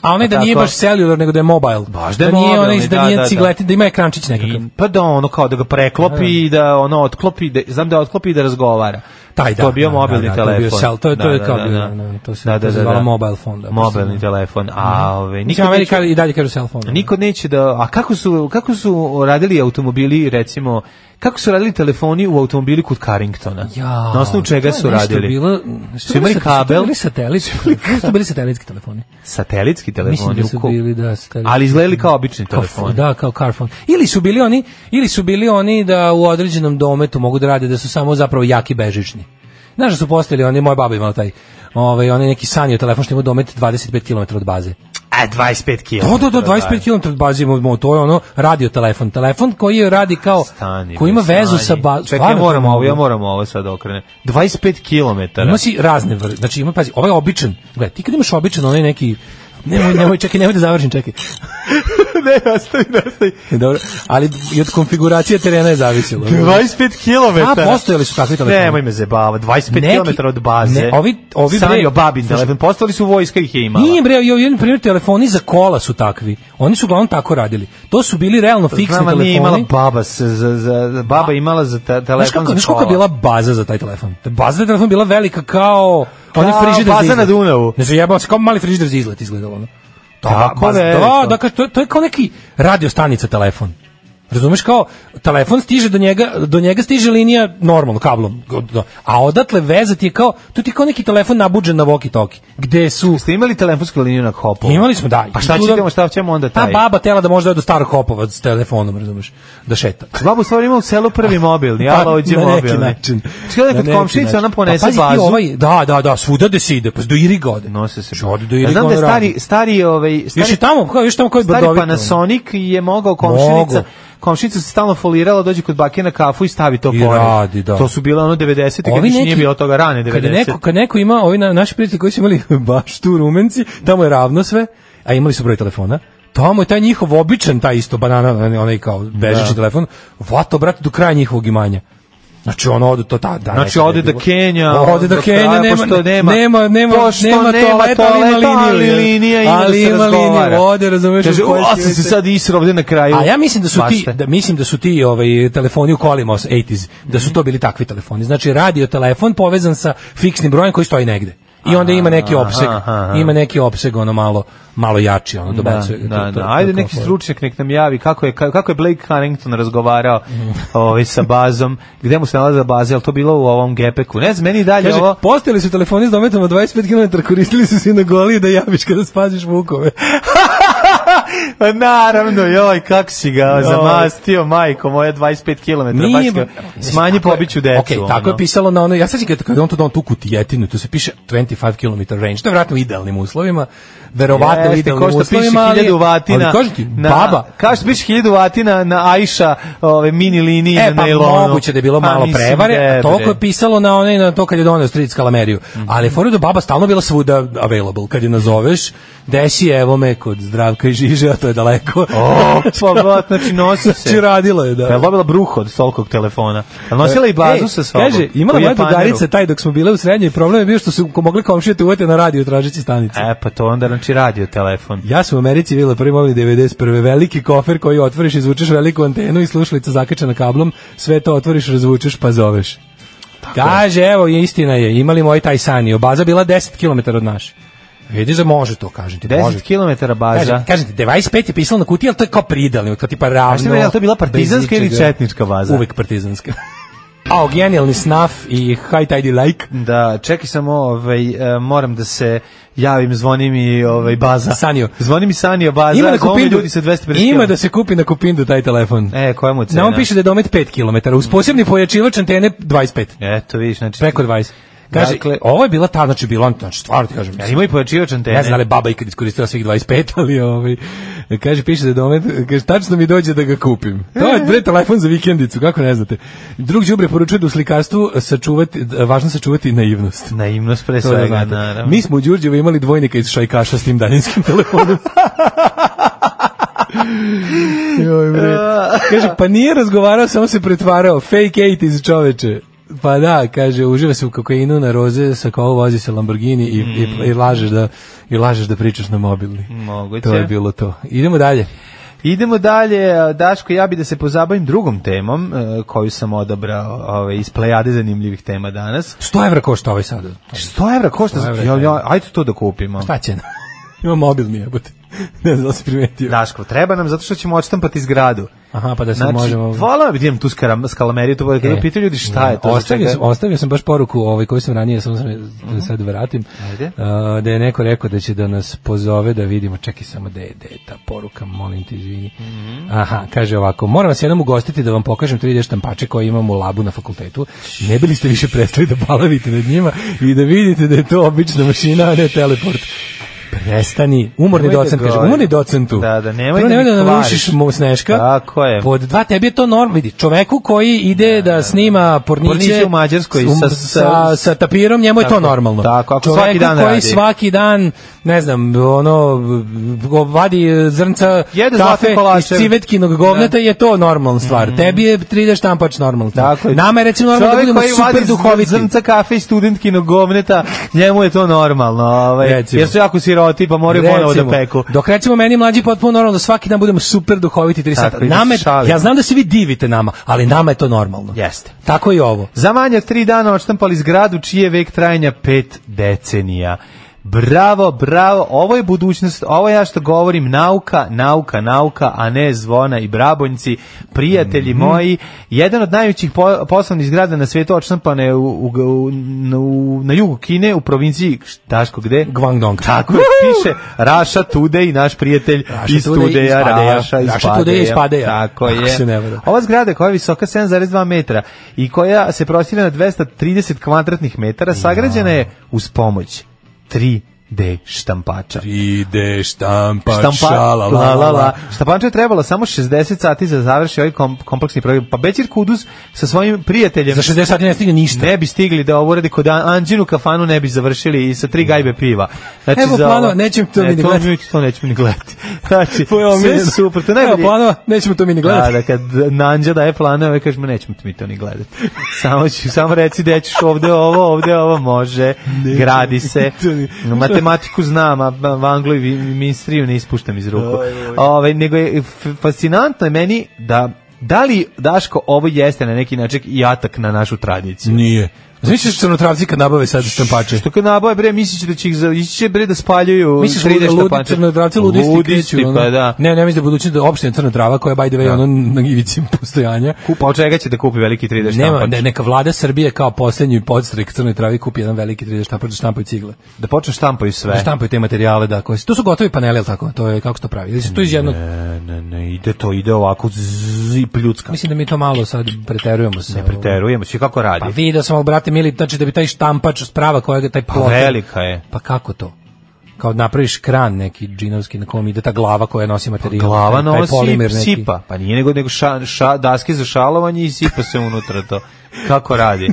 A onaj da A nije tako. baš celular, nego da je mobile. Baš da je nije mobilni, onaj, da, da, nije da, da. cigleti, da ima ekrančić nekakav. I, pa da ono kao da ga preklopi i da ono otklopi, da, znam da otklopi i da razgovara. Taj, da, to je bio da, mobilni da, da, to je bio telefon. cell, to je- to je kao bio, da, da, to se- to se zvalo mobile phone, da, mobilni posebno. telefon. A ove Mislim, nikad Amerika neću- i dalje kažu cell phone. Niko neće da, a kako su, kako su radili automobili, recimo, kako su radili telefoni u automobili kod Carringtona? Ja, Na osnovu čega to je su nešto radili? Bilo, Su imali kabel? Su to bili satelitski, su to bili satelitski telefoni. Satelitski Mislim telefoni. da su u ko- bili, da, satelitski. Ali izgledali kao obični Kao telefoni. f- Da, kao Carphone. Ili su bili oni, ili su bili oni da u određenom dometu mogu da rade da su samo zapravo jaki bežični. Znaš da su postali oni, moja baba imala taj, ovaj, onaj neki sanio telefon što ima domet 25 km od baze. A, 25 kg. Da, da, da, 25 km od baze ima, mo- to je ono radio telefon. Telefon koji radi kao, Stani, koji ima bre, vezu stani. sa bazom. Čekaj, ja moram ovo, ja moram ovo sad da okrenem. 25 km. da- Ima si razne vrste. Znači ima pazi, ovaj običan. Gledaj, ti kad imaš običan onaj neki Nemoj, nemoj, čekaj, nemoj da završim, čekaj. ne, E, ostavi, ostavi. Dobro, ali i od konfiguracije terena je zavisilo. 25 km. A, postojali su takvi telefoni. Nemoj me zebava, 25 Neki- km od baze. Ne, ovi- ovi bre- Sanio babin Slušaj. telefon. Postali su vojska ih je imala. Nije bre, jo, jedan primjer telefoni za kola su takvi. Oni su uglavnom tako radili. To su bili realno fiksni Znam, a telefoni. nije imala baba, se za, za, za- baba imala za te- telefon Znaš kako, za znaš kako je kola. bila baza za taj telefon? Ta Baza za telefon je bila velika kao... Oni Kao frižider za baza izlet. na Dunavu. Ne znam, jebao se, kao mali frižider za izlet izgledalo. Ono. Tako baza, je, da, to. da, kaže, to, je- to je kao neki radio stanica telefon. Razumeš kao telefon stiže do njega, do njega stiže linija normalno kablom. Da. A odatle vezati je kao to ti je kao neki telefon nabuđen na walkie-talkie. Gde su Ste imali telefonsku liniju na hopu? Imali smo, da. Pa šta I tu ćemo, da- šta ćemo onda taj? Ta baba tela da možda ode do starog hopova s telefonom, razumeš, da šeta. Babu u stvari ima u selu prvi mobilni, ja lođe Pa, na mobilni. neki način. Skada Na kad neki komšinica način. ona ponese pa, pazi ti bazu, Ovaj, da, da, da, svuda da se ide, pa do Iriga ode. nose se. Što ode do Ja Iriga znam da je ono stari, radi. stari, ovaj, Još stari, je tamo, kao još tamo koji stari brdovito. Panasonic je mogao komšinica, Mogao. komšinica se stalno folirala, dođe kod bake na kafu i stavi to I pored. radi, da. To su bile ono 90. kad Ovi više neki- nije bilo toga rane Kad 90. je neko, kad neko ima, ovi na, naši prijatelji koji su imali baš tu rumenci, tamo je ravno sve, a imali su broj telefona, tamo je taj njihov običan, taj isto banana, onaj kao bežični Da. telefon, vato, brate, do kraja njihovog imanja. Znači on ode to ta da. Znači, nekad je ode do bilo. Kenja, Ode do do Kenja, kraja, nema pošto nema- nema nema pošto nema nema toaleta, ali ima toaleta, ali liniju, jel? linija i onda ali se ima razgovara. liniju, ode, razumeš? Kaže, u kojoj "U, a sam ćelite." se sad isro ovde na kraju A ja mislim da su ti mašte. da mislim da su ti ovaj telefoni u kolima 80s, da su to bili takvi telefoni. Znači radio telefon povezan sa fiksnim brojem koji stoji negde. I onda ima neki Aha, opseg, aha. ima neki opseg ono malo malo jači, ono dobacuje. Da, to- da, to- da. to Ajde kao neki fora. stručnjak nek nam javi kako je ka- kako je Blake Harrington razgovarao ovaj sa bazom, gde mu se nalazi baza, jel to bilo u ovom gepeku. Ne znam, meni i dalje Kaže, ovo postojali su telefoni s dometom od 25 km, koristili su se i na goli da javiš kada spaziš vukove. Pa Naravno, joj, kako si ga Joj. zamastio, majko, moje 25 km, Nije, baš ba- ga, smanji pobiću decu. Okej, tako je ono. pisalo na ono, ja sad kad, kad on to dao tu kutijetinu, tu se piše 25 km range, to je vratno u idealnim uslovima, verovatno u Jeste, idealnim ko što piše uslovima, ali, 1000 vatina ali kažem ti, na, baba, Kao što piše 1000 vatina na Ajša ove, mini liniji E, na pa nailonu. moguće da je bilo Pa malo mislim prevare, da je, a toliko je bre. pisalo na onaj na to kad je doneo stric Kalameriju. Mhm. Ali fora je da baba stalno bila svuda available kad je nazoveš. Desi evo me kod Zdravka i Žiže, a to je daleko. O, pa, ba, znači nosi se. Znači radilo je, da. Pa je dobila bruh od tolikog telefona. Je nosila i bazu E, sa sobom? Kaže, imala u moja Japaneru? drugarica taj dok smo bile u srednjoj, problem je bio što su mogli komšije te uvete na radio tražeći stanice. E, pa to onda znači radio telefon. Ja sam u Americi videla prvi mobil 91. Veliki kofer koji otvoriš, izvučeš veliku antenu i slušalica zakačena kablom, sve to otvoriš, razvučeš pa zoveš. Kaže, evo, istina je, imali moj taj sanio. Baza bila 10 km od naše. Vidiš da može to, kažem ti. 10 može. km baza. Kažem, kažem ti, 25 je pisalo na kutiji, ali to je kao pridalni, kao tipa A šta ravno. je, je li to bila partizanska bez ili ičega. četnička baza? Uvek partizanska. A, genijalni snaf i high tidy like. Da, čekaj samo, ovaj, e, moram da se javim, zvoni mi ovaj, baza. Sanio. Zvoni mi Sanio baza, ima na zvoni mi kupindu, ljudi sa 250 ima km. da se kupi na kupindu taj telefon. E, koja mu je Na cena? on piše da je domet 5 km, uz posebni pojačivač antene 25, Eto, vidiš, znači... preko 20. Kaže, Dakle- ovo je bila ta, znači bilo on, znači stvarno ti kažem. Ja ima i pojačivač antene. Ne znam da li je baba ikad iskoristila svih 25, ali ovaj, kaže, piše da je domet, kaže, tačno mi dođe da ga kupim. To je bre telefon za vikendicu, kako ne znate. Drug đubre poručuje da u slikarstvu sačuvati, važno sačuvati naivnost. Naivnost pre To da svega, znate. naravno. Mi smo u Đurđevu imali dvojnika iz šajkaša s tim daljinskim telefonom. Joj, bre. Kaže, pa nije razgovarao, samo se pretvarao. Fake 80s čoveče. Pa da, kaže, uživa se u kokainu na roze, sa kao vozi se Lamborghini i, i, i, lažeš da, i lažeš da pričaš na mobilni. Mm. Moguće. To je bilo to. Idemo dalje. Idemo dalje, Daško, ja bi da se pozabavim drugom temom e, koju sam odabrao ovaj, iz plejade zanimljivih tema danas. 100 evra košta ovaj sad. 100 evra košta, 100 evra, ja, ja, da. ajde to da kupimo. Šta će nam? Ima mobilni jebote. Ne znam da li si primetio. Daško, treba nam zato što ćemo odštampati zgradu. Aha, pa da se Znači, možemo... volao bih da idem tu skara- skalameriju, to bude kada E, pitaju ljudi šta je to. za Ostavio čega- sam, ostavio sam baš poruku ovaj, koju sam ranije, samo sam je da sad vratim, Ajde. A, da je neko rekao da će da nas pozove da vidimo, čekaj samo da je, da je ta poruka, molim te, izvini. Mhm. Aha, kaže ovako, moram vas jednom ugostiti da vam pokažem 3D štampače koje imam u labu na fakultetu, ne bili ste više prestali da balavite nad njima i da vidite da je to obična mašina, a ne teleport. Prestani, umorni Nemoj da docent, kaže, govorim. umorni docentu. Da, da, nemoj Prvo da mi nemoj da kvariš. narušiš mu sneška. Tako je. Pod dva, tebi je to norm, vidi, čoveku koji ide da snima porniće, Porniće u Mađarskoj s- um, sa- sa, sa tapirom, njemu je to Tako, normalno. tako, ako svaki dan koji radi. svaki dan, ne znam, ono, b- b- vadi e, zrnca Jede zlatne Da. kafe iz kolače. civetkinog govneta, je to normalna stvar. Tebi je 3D štampač normalna stvar. Tako je. Nama je recimo normalno da Čovjek budemo koji super vadi duhoviti. zrnca kafe i studentkinog govneta, njemu je to normalno. Ovaj, Recimo. jer su jako siroti, pa moraju ponovo da Recimo, peku. Dok recimo meni mlađi potpuno normalno da svaki dan budemo super duhoviti 3 Tako, sata. i da se Nama je- šalimo. ja znam da se vi divite nama, ali nama je to normalno. Jeste. Tako i ovo. Za manje od tri dana odštampali zgradu čiji je vek trajanja pet decenija. Bravo, bravo, ovo je budućnost, ovo ja što govorim, nauka, nauka, nauka, a ne zvona i brabonjci, prijatelji moji, jedan od najvećih po- poslovnih zgrada na svijetu odštampane u, u, u, u- na jugu Kine, u provinciji, Daško, gde? Guangdong. Tako je, piše Raša Tude i naš prijatelj Raša iz Tudej iz Tudeja, Padeja. Raša iz Raša Tudej iz Padeja. Tako Ako se ne je. varam. Ova zgrada koja je visoka 7,2 metra i koja se prostire na 230 kvadratnih metara sagrađena je uz pomoć 3D štampača. Ide štampa, Štampa, la, la, la, Štampaču je trebalo samo 60 sati za završi ovaj kom- kompleksni program. Pa Bećir Kuduz sa svojim prijateljem Za 60 sati ne stigne ništa. ne bi stigli da ovo uradi kod An- Anđinu kafanu ne bi završili i sa tri gajbe piva. Znači, Evo za plano, ovo- nećem to E, ni to gledati. mi- To nećemo ni gledati. Znači, Tvoje omiljeno. sve je super. To je Evo najbolje. planova, nećemo to mi ni gledati. Da, da, kad Nanđa daje planove, ovaj kažeš mu, nećemo mi to ni gledati. Samo, ću, samo reci da ćeš ovde ovo, ovde ovo može, gradi se. Matematiku znam, a v- anglo i vi- ministriju ne ispuštam iz ruku. Ovaj, nego je f- fascinantno je meni da Da li, Daško, ovo jeste na neki način i atak na našu tradiciju? Nije. Zamisliš crnotravci kad nabave sad štampače? da. Što kad nabave bre misliće da će ih za ići će bre da spaljuju Misliš 3D ludi, da ludi štampače. crnodravci ludisti, Ludisti, kreću, ono. pa da. Ne, ne mislim da budući da opština Crna Trava koja je by the way ono na ivici postojanja. Kupa od čega će da kupi veliki 3D štampač? Nema, ne, neka vlada Srbije kao poslednji podstrek Crnoj Travi kupi jedan veliki 3D štampač da štampaju cigle. Da počne štampaju sve. Da štampaju te materijale da koje. To su gotovi paneli, al tako? To je kako se to pravi? Ili su to iz jednog Ne, ne, ne, ide to, ide ovako zzz, i pljucka. Mislim da mi to malo sad preterujemo sa. Ne preterujemo, će kako radi. Pa video sam, ali, brate mili, znači da bi taj štampač sprava kojega taj Pa ploter. velika je. Pa kako to? Kao napraviš kran neki džinovski na kom ide ta glava koja nosi materijal. Pa Glava taj- taj nosi polimer neki. sipa. Pa nije nego nego ša, ša, daske za šalovanje i sipa se unutra to. Kako radi?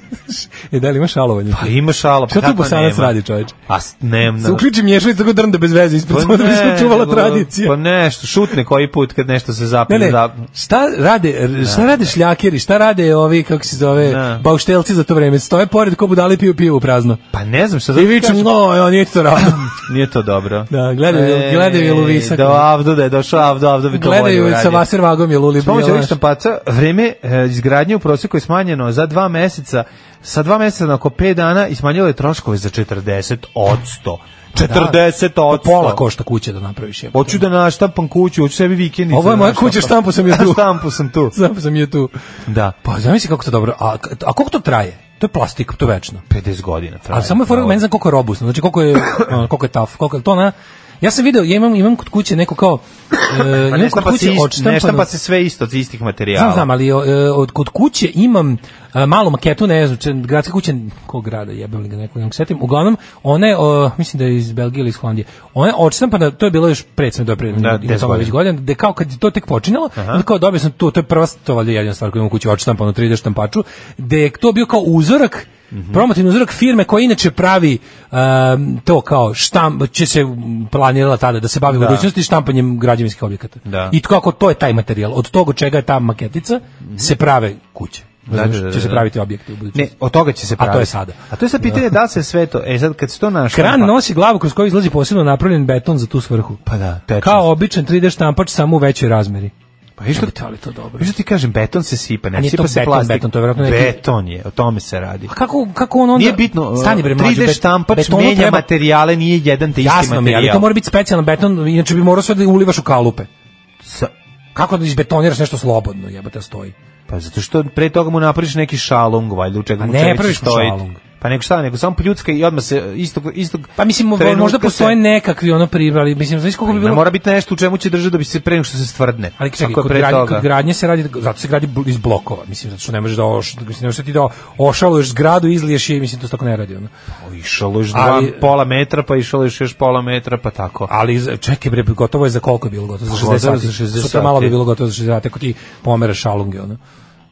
E, da li ima šalovanje? Pa ima šala, pa Šta tu kako bosanac nema? radi, čoveče? A s- nemam. Se uključi miješalica tako drnda bez veze ispred, samo da bi se Pa ne, čuvala nego- tradicija. Pa nešto, šutne koji put kad nešto se Ne, zapne. ne, zap- šta rade, šta rade šljakeri, šta rade ovi, kako se zove, Da. bauštelci za to vreme, stoje pored ko budale piju pivo u prazno. Pa ne znam šta I zato vičem, kažem, no, evo, nije to rado. Nije to dobro. Da, gledaju, gledaju je Luvisa. Da, Avdo da je došao, Avdo, Avdo bi to bolje Gledaju sa uradio. vaser vagom je luli. S pomoću ovih štampaca vreme e, izgradnje u proseku je smanjeno za dva meseca, sa dva meseca na oko 5 dana i smanjilo je troškove za 40 od 100. 40 Da, Pa od 100. Pola košta kuće da napraviš. jebote. Hoću da naštampam kuću, hoću sebi vikendice. Ovo je da moja naštampam. kuća, štampu sam je tu. štampu sam tu. Sam sam je tu. Da. Pa zamisli kako to dobro. A, a koliko to traje? To je plastik, to je večno. 50 godina traje. Ali samo je fora, meni znam koliko je robustno, znači koliko je, ono, koliko je tough, koliko je to na... Ja sam video, ja imam, imam kod kuće neko kao... E, Pa imam ne kod štampa kuće se, ist, ne odštampano... štampa se sve isto od istih materijala. Znam, znam, ali e, od, kod kuće imam e, malu maketu, ne znam, če- gradska kuća, kog grada jebem li ga nekog, nekog setim. Uglavnom, ona je, e, mislim da je iz Belgije ili iz Holandije, ona je odštampana, to je bilo još pred sam dobio, Da, da, 10 tamo već godina, da kao kad je to tek počinjalo, onda kao dobio sam to, to je prva, to valjda je jedina stvar koju imam u kući, pa odštampanu 3D štampaču, da je to bio kao uzorak, Mhm. promotivni uzorak firme koja inače pravi em, to kao štam, će se planirala tada da se bavi u budućnosti štampanjem građevinskih objekata. Da. I kako to je taj materijal. Od toga čega je ta maketica se prave kuće. Znači, Mhm. da, da, će se da. praviti objekti u budućnosti. Ne, od toga će se A to je praviti. sada. A to je sad pitanje da li se sve to, e sad kad se to naštampa... Kran nosi glavu kroz koju izlazi posebno napravljen beton za tu svrhu. Pa da, tečnost. Kao običan 3D štampač samo u većoj razmeri. Pa viš što, Jebote, ali to dobro. viš što ti kažem, beton se sipa, A ne nije sipa to se beton, plastik. beton, to je vjerojatno neki- Beton je, o tome se radi. A Pa kako kako on onda Nije bitno, stani bre mlađe, 3D bet- štampač betonu menja treba- materijale, nije jedan te isti materijal. Jasno mi, je, ali to mora biti specijalan beton, inače bi morao sve da ulivaš u kalupe. Sa- Kako da izbetoniraš nešto slobodno, jebote stoji. Pa zato što pre toga mu napraviš neki šalung, valjda, u čega A mu ne čega će praviš mu stojiti. šalung. Pa nego šta, nego samo pljucka i odmah se istog, istog Pa mislim, mo- trenutka možda postoje se- nekakvi ono pribrali, mislim, znaš koliko bi Ne bilo... mora biti nešto u čemu će držati da bi se pre nego što se stvrdne. Ali čekaj, Ako je kod, pre gradnje, toga. kod gradnje se radi, zato se gradi bl- iz blokova, mislim, zato što ne možeš da, oš, mislim, ne možeš da ti da ošaluješ zgradu, izliješ je, mislim, to se tako ne radi. Ono. O, Išalo još dva, Ali- pola metra, pa išalo još još pola metra, pa tako. Ali za- čekaj bre, gotovo je za koliko je bilo gotovo? Za 60 Gotovo sati. za 60 Sutra malo bi sati. bilo gotovo za 60 sati, ako ti pomeraš šalunge, ono.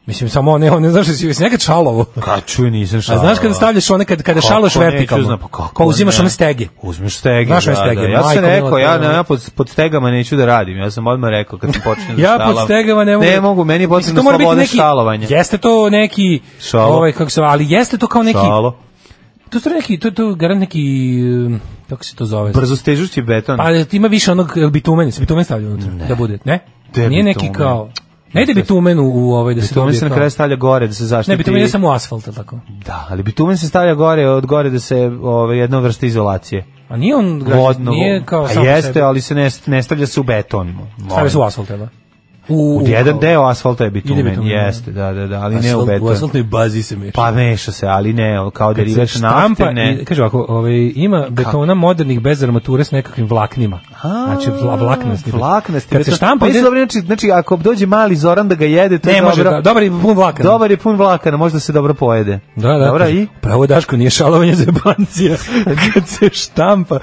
Mislim, samo ne, ne znaš da si jesi nekad šalovo. Ka čuj, nisam A šalao. znaš kada stavljaš one, kada, kada šaloš Da. Kako neću, vertikalno, znam, pa kako pa uzimaš ne? one stege. Uzmeš stege, Znaš da, one stege, da. Ja sam majko mila, rekao, ja, to je- ja pod, pod stegama neću da radim. Ja sam odmah rekao kad sam počinio da Ja štalam. pod stegama ne mogu. Ne mogu, meni je Mislim, potrebno to mora biti sloboda neki- štalovanja. Jeste to neki Šalo. ovaj kako se ali jeste to kao neki Šalo. To su neki to to garant neki um, kako se to zove? Brzo stežući beton. Pa jel ti ima više onog jel bitumen, se bitumen stavlja unutra da bude, ne? Gde je Nije bitumen? neki kao Ne ide bitumen u, u ovaj da se Bitumen dobije se na kao- kraju stavlja gore da se zaštiti. Ne, bitumen je samo u asfalt, jel tako? Da, ali bitumen se stavlja gore, od gore da se ove, jedna vrsta izolacije. A nije on građan, Vodno. nije kao A sam po jeste, sebi. ali se ne, ne stavlja se u beton. Molim. Stavlja se u asfalt, jel da? U, U jedan deo asfalta je Ide bitumen, bitumen, da. jeste, da, da, da, ali ne u asfalt, u beton. asfaltnoj bazi se meša. Pa meša se, ali ne, kao Kad se derivat štampa nafte, ne. i- kaže ovako, ovaj, ima betona modernih bez armature s nekakvim vlaknima. A, Znači, vla, vlaknasti. Vlaknasti. Kad se beton. štampa, Pa ide- isto dobro, znači, znači, ako dođe mali Zoran da ga jede, to ne je može, dobro. da, dobar je pun vlakana. Dobar je pun vlakana, možda se dobro pojede. Da, da. Dobra, kaže, i? Pravo Daško nije šalovanje za jebancija. kad se štampa,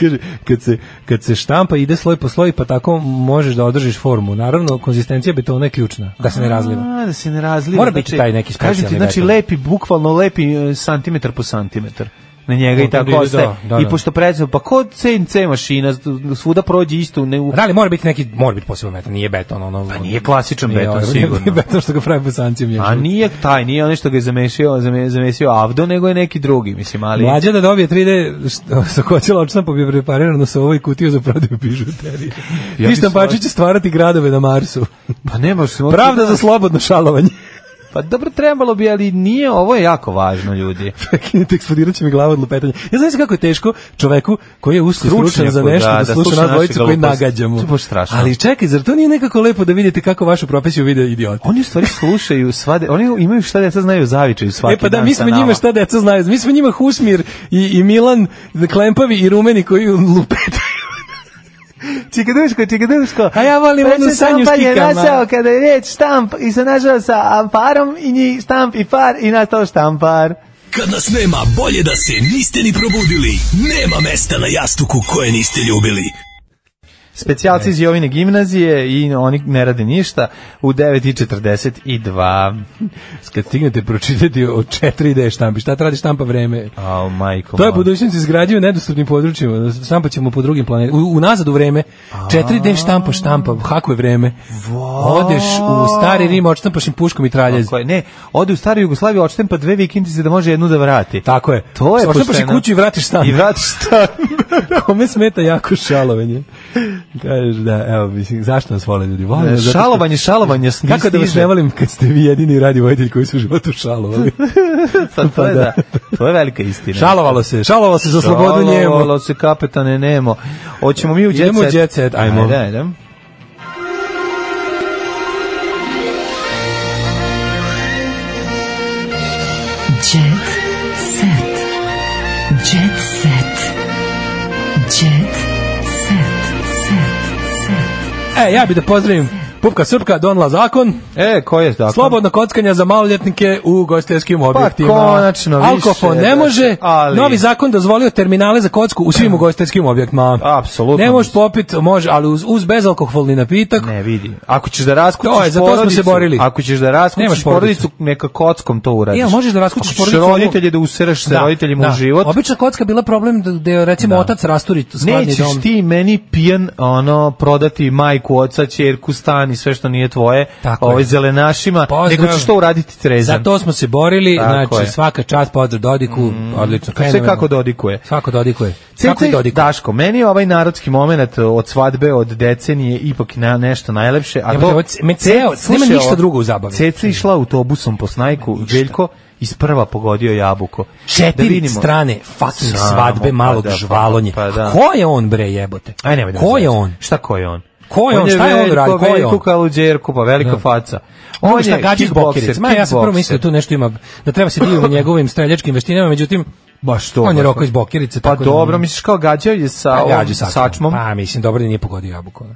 kaže, kad se, kad se štampa ide sloj po sloj, pa tako možeš da održiš formu. Naravno, konzistencija betona je ključna, da se ne razliva. A, da se ne razliva. Mora biti taj neki kažem ti, specijalni znači, beton. lepi, bukvalno lepi e, santimetar po santimetar. na njega i On to tako ide, ostaje. da, da, I da. pošto predstav, pa kod CNC mašina, svuda prođe isto. Ne, u... Da, ali mora biti neki, mora biti posebno beton, nije beton ono. Pa nije klasičan beton, ono, sigurno. Nije beton što ga pravi bosanci mjesto. A nije taj, nije ono što ga je zamešio, zame- zamesio Avdo, nego je neki drugi, mislim, ali... Mlađa da dobije 3D što- sa koćela očna pa bi preparirano sa ovoj kutiju za prodaju pižuterije. Ja Ja bi Ti štampači će stvarati gradove na Marsu. Pa ne baš se mogu- Pravda za slobodno šalovanje. Pa dobro, trebalo bi, ali nije, ovo je jako važno, ljudi. Prekinite, eksplodirat će mi glava od lupetanja. Ja znam se kako je teško čoveku koji je usko stručan Stručnjaku, za nešto da, da, da sluša sluša nas naše dvojicu koji gluposti. nagađamo. To je baš strašno. Ali čekaj, zar to nije nekako lepo da vidite kako vašu profesiju vide idioti? Oni u stvari slušaju svade, oni imaju šta deca znaju o zavičaju svaki E pa da, dan mi sa smo njima nama. šta deca znaju. Mi smo njima Husmir i, i Milan Klempavi i Rumeni koji lupetaju. Čikaduško, čikaduško. A ja volim onu sanju s kikama. kada je riječ štamp i se našao sa parom i njih štamp i par i nastao štampar. Kad nas nema, bolje da se niste ni probudili. Nema mesta na jastuku koje niste ljubili. Specijalci iz Jovine gimnazije i oni ne rade ništa u 9.42. Kad stignete pročitati o 4D štampi, šta radi štampa vreme? Au, majko. To je moja. budućnost izgrađuje u nedostupnim područjima. Štampa ćemo po drugim planetima. U, u nazad u vreme. 4D štampa štampa, hakuje vreme. Odeš u stari Rim, odštampaš im puškom i traljez. Tako je, Ne, ode u staru Jugoslaviju, odštempa dve vikendice da može jednu da vrati. Tako je. To je Odštampaš i pošteno. kuću i vratiš stan. I vratiš stan. Kome smeta jako šalovanje? Kažeš da, evo, mislim, zašto nas vole ljudi? Vole nas zato što- Šalovanje, šalovanje, smi Kako da vas stiže. ne volim kad ste vi jedini radi vojitelj koji su u životu šalovali? Sad, to, je, Pa da, to je velika istina. Šalovalo se, šalovalo se za slobodu njemu. Šalovalo se kapetane Nemo. Hoćemo mi u jet set. Idemo u jet set, ajmo. Ajde, ajde. Jet set. Jet set. Jet set. Set. Set. E, ja bi da pozdravim Pupka Srpka, donla zakon, E, ko je zakon? slobodno kockanja za maloljetnike u gostiteljskim objektima. Pa, konačno, više, Alkofon ne znači, može, ali- novi zakon dozvolio terminale za kocku u svim ugostiteljskim objektima. Apsolutno. Ne možeš popit, može, ali uz, uz bezalkoholni napitak, Ne vidi. Ako ćeš da raskućiš To je, za to smo se porodicu, borili. Ako ćeš da raskućiš Nemaš porodicu, porodicu. neka kockom to uradiš. Ja, možeš da raskućiš Ako ćeš porodicu, ono- roditelje da useraš sa roditeljima u život. Obična kocka bila problem da, da je, recimo Da. otac rasturi skladni Nećeš dom. ti meni pijan ono prodati majku, oca, ćerku, stan i sve što nije tvoje, Tako je. ovaj zelenašima, Pozdrav. nego ćeš to uraditi trezan. Za to smo se borili, Tako znači je. Mm. svaka čast podr Dodiku, odlično. Sve fenomenalno. kako dodikuje. Svako dodikuje. Kako i Cici, dodikuje. Daško, meni je ovaj narodski moment od svadbe od decenije ipak na, nešto najlepše. A Ja, to, ovo je c- me ceo- Cec, nema slušaj ništa ovo, drugo u zabavi. Ceca išla autobusom po snajku, Željko iz prva pogodio jabuku. četiri Da vidimo. strane fucking Samo, svadbe pa malog da, pa, žvalonje. pa da. Ko je on bre jebote? Aj, nemoj da Ko me je zezaj. on? Šta ko je on? Ko je on? Šta je on veliko- radi? Ko je Veliku on? kaluđerku, pa velika faca. On On šta je gađa iz bokerice. kickbokser, Ma ja sam prvo kickbokser. mislio da tu nešto ima da treba se diviti njegovim streljačkim veštinama, međutim Baš to. on je baš roko to. iz bokerice Pa tako da- dobro, misliš kao gađao je sa, Pa, ovom gađa sačmom. sačmom. Mm. Pa mislim dobro da nije pogodio jabuku. ono.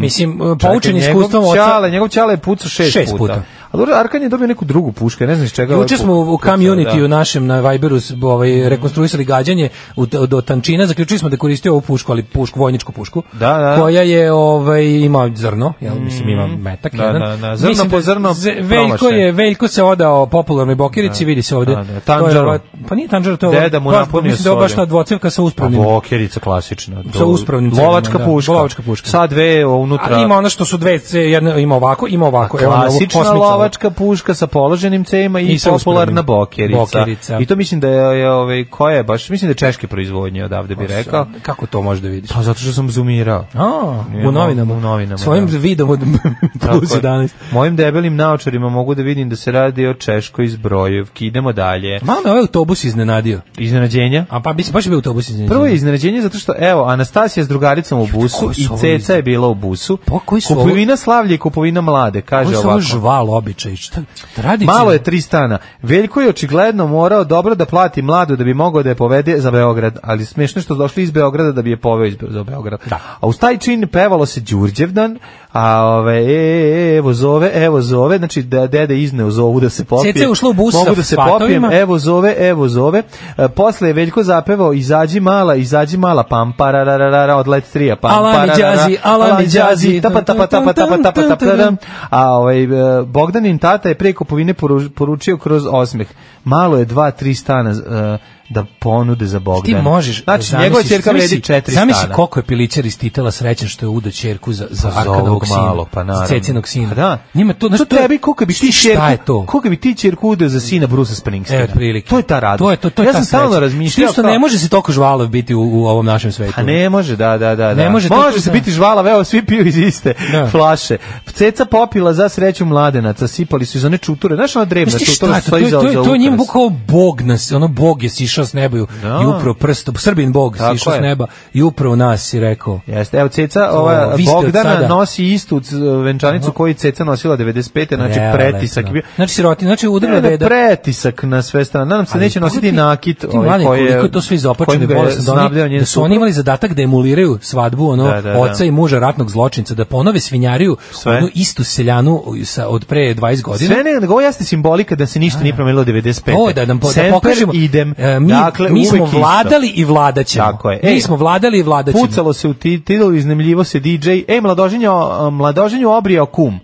Mislim Čekaj, poučen njegov iskustvom oca. Ćale, njegov ćale je pucao šest, Šest puta. puta. A dobro, Arkan je dobio neku drugu pušku, ja ne znam iz čega. Juče ovaj smo pu- u pucao, community da. u našem na Viberu s- ovaj rekonstruisali gađanje u, do tančina, zaključili smo da je koristio ovu pušku, ali pušku vojničku pušku. Da, da. Mm. Koja je ovaj ima zrno, jel mislim ima metak Da, jedan. da, da, zrno Mislim po zrno Z- Veljko promašaj. je Veljko se odao popularnoj bokirici, vidi se ovde. Da, da, To je Tandžaru. ova- pa nije tanđar to. je Deda mu ova- napunio Mislim da je ova baš solju. ta dvocevka sa Pa uspravnim. bokerica klasična. Sa do- uspravnim cevima, Lovačka da. puška. Lovačka puška. Sa dve unutra. A ima ono što su dve, ce- jedna ima ovako, ima ovako. evo, da. ono, klasična osmica. lovačka puška sa položenim cevima i, I sa popularna uspravnim. bokerica. Bokerica. I to mislim da je, je ovaj ko je baš mislim da je češke proizvodnje odavde bi rekao. Kako to možeš da vidiš? Pa zato što sam zoomirao. Pa A, Nije, u novinama. u novinama, Svojim da. vidom od Tako plus je. 11. Mojim debelim naočarima mogu da vidim da se radi o Češkoj iz Brojevki. Idemo dalje. Malo me ovaj autobus iznenadio. Iznenađenja? A pa bi se baš je bio autobus iznenadio. Prvo je iznenađenje zato što, evo, Anastasija s drugaricom u busu koji su i ovo Ceca izne- je bila u busu. Pa, koji su ovo- kupovina slavlje i kupovina mlade, kaže Ovo je ovako. samo žval običaj. Šta, da tradicija. Malo je tri stana. Veljko je očigledno morao dobro da plati mladu da bi mogao da je povede za Beograd, ali smiješno je što su došli iz Beograda da bi je poveo iz Be- za Beograd. A uz taj čin pevalo se Đurđevdan, a ove, e, e, evo zove, evo zove, znači da dede izneo zovu da se popije. Ceca je ušla u bus Mogu sa da se fatovima. popijem, evo zove, evo zove. E, posle je Veljko zapevao izađi mala, izađi mala, pam, parararara, odlet trija, pam, Alani pararara, đazi, alani đazi, tapa, tapa, tapa, tapa, tapa, tapa, tapa, a ovaj, e, Bogdanin tata je preko kupovine poru- poručio kroz osmeh. Malo je dva, tri stana e, da ponude za Bogdana. Ti možeš. Znači, zamisli- njegova ćerka zamisli- vredi 4 stana. Zamisli koliko je pilićar iz Titela srećan što je udo ćerku za, za Za Arkadovog ovog sina. malo, pa naravno. za Cecinog sina. Pa da. Njima to, znači, to tebi, koliko bi ti Šta je čerku, to? koliko bi ti čerku udeo za sina Brusa Springsteena? E, otprilike. To je ta radost. To je to, to je ja ta sam stalno sreća. razmišljao. Što kao- ne može se toliko žvalav biti u, u ovom našem svetu. A ne može, da, da, da. da. Ne može, to može tu se ne. biti žvala, evo, svi piju iz iste Da. flaše. Ceca popila za sreću mladenaca, sipali su iz one čuture. Znaš ona drevna Znaš ti čutura šta, to, što to, stoji je- za to, je- za to je njim ukras? bukao bog nas, ono bog je sišao s neba i, Da. i upravo prstom, srbin bog Tako sišao je. s neba i upravo nas je rekao. Jeste, evo Ceca, To, ova vi ste od Bogdana sada. nosi istu c- e, venčanicu koju je Ceca nosila 95. Znači, Prelepo. pretisak. je bio- Znači sirotin, znači udarna Ne, ne, beda. pretisak na sve strane. Nadam se da Ali neće pogledaj nositi ti- nakit Ti mladi, ovaj koji koliko je je to svi izopačene kojim ga je bolesti, da, snabdeo oni, njen da su suprug. oni imali zadatak da emuliraju svadbu ono, Da, da, da. oca i muža ratnog zločinca, da ponove svinjariju Sve. onu istu seljanu sa, od pre 20 godina. Sve ne, nego ovo jeste simbolika da se ništa nije promenilo 95. O, da nam po, da Semper pokažemo. idem. E, mi, dakle, mi smo uvek isto. vladali i vladaćemo. Tako je. Ej, Mi smo vladali i vladaćemo. Pucalo se u ti- titlu, iznemljivo se DJ. Ej, mladoženja, a, mladoženju obrijao kum.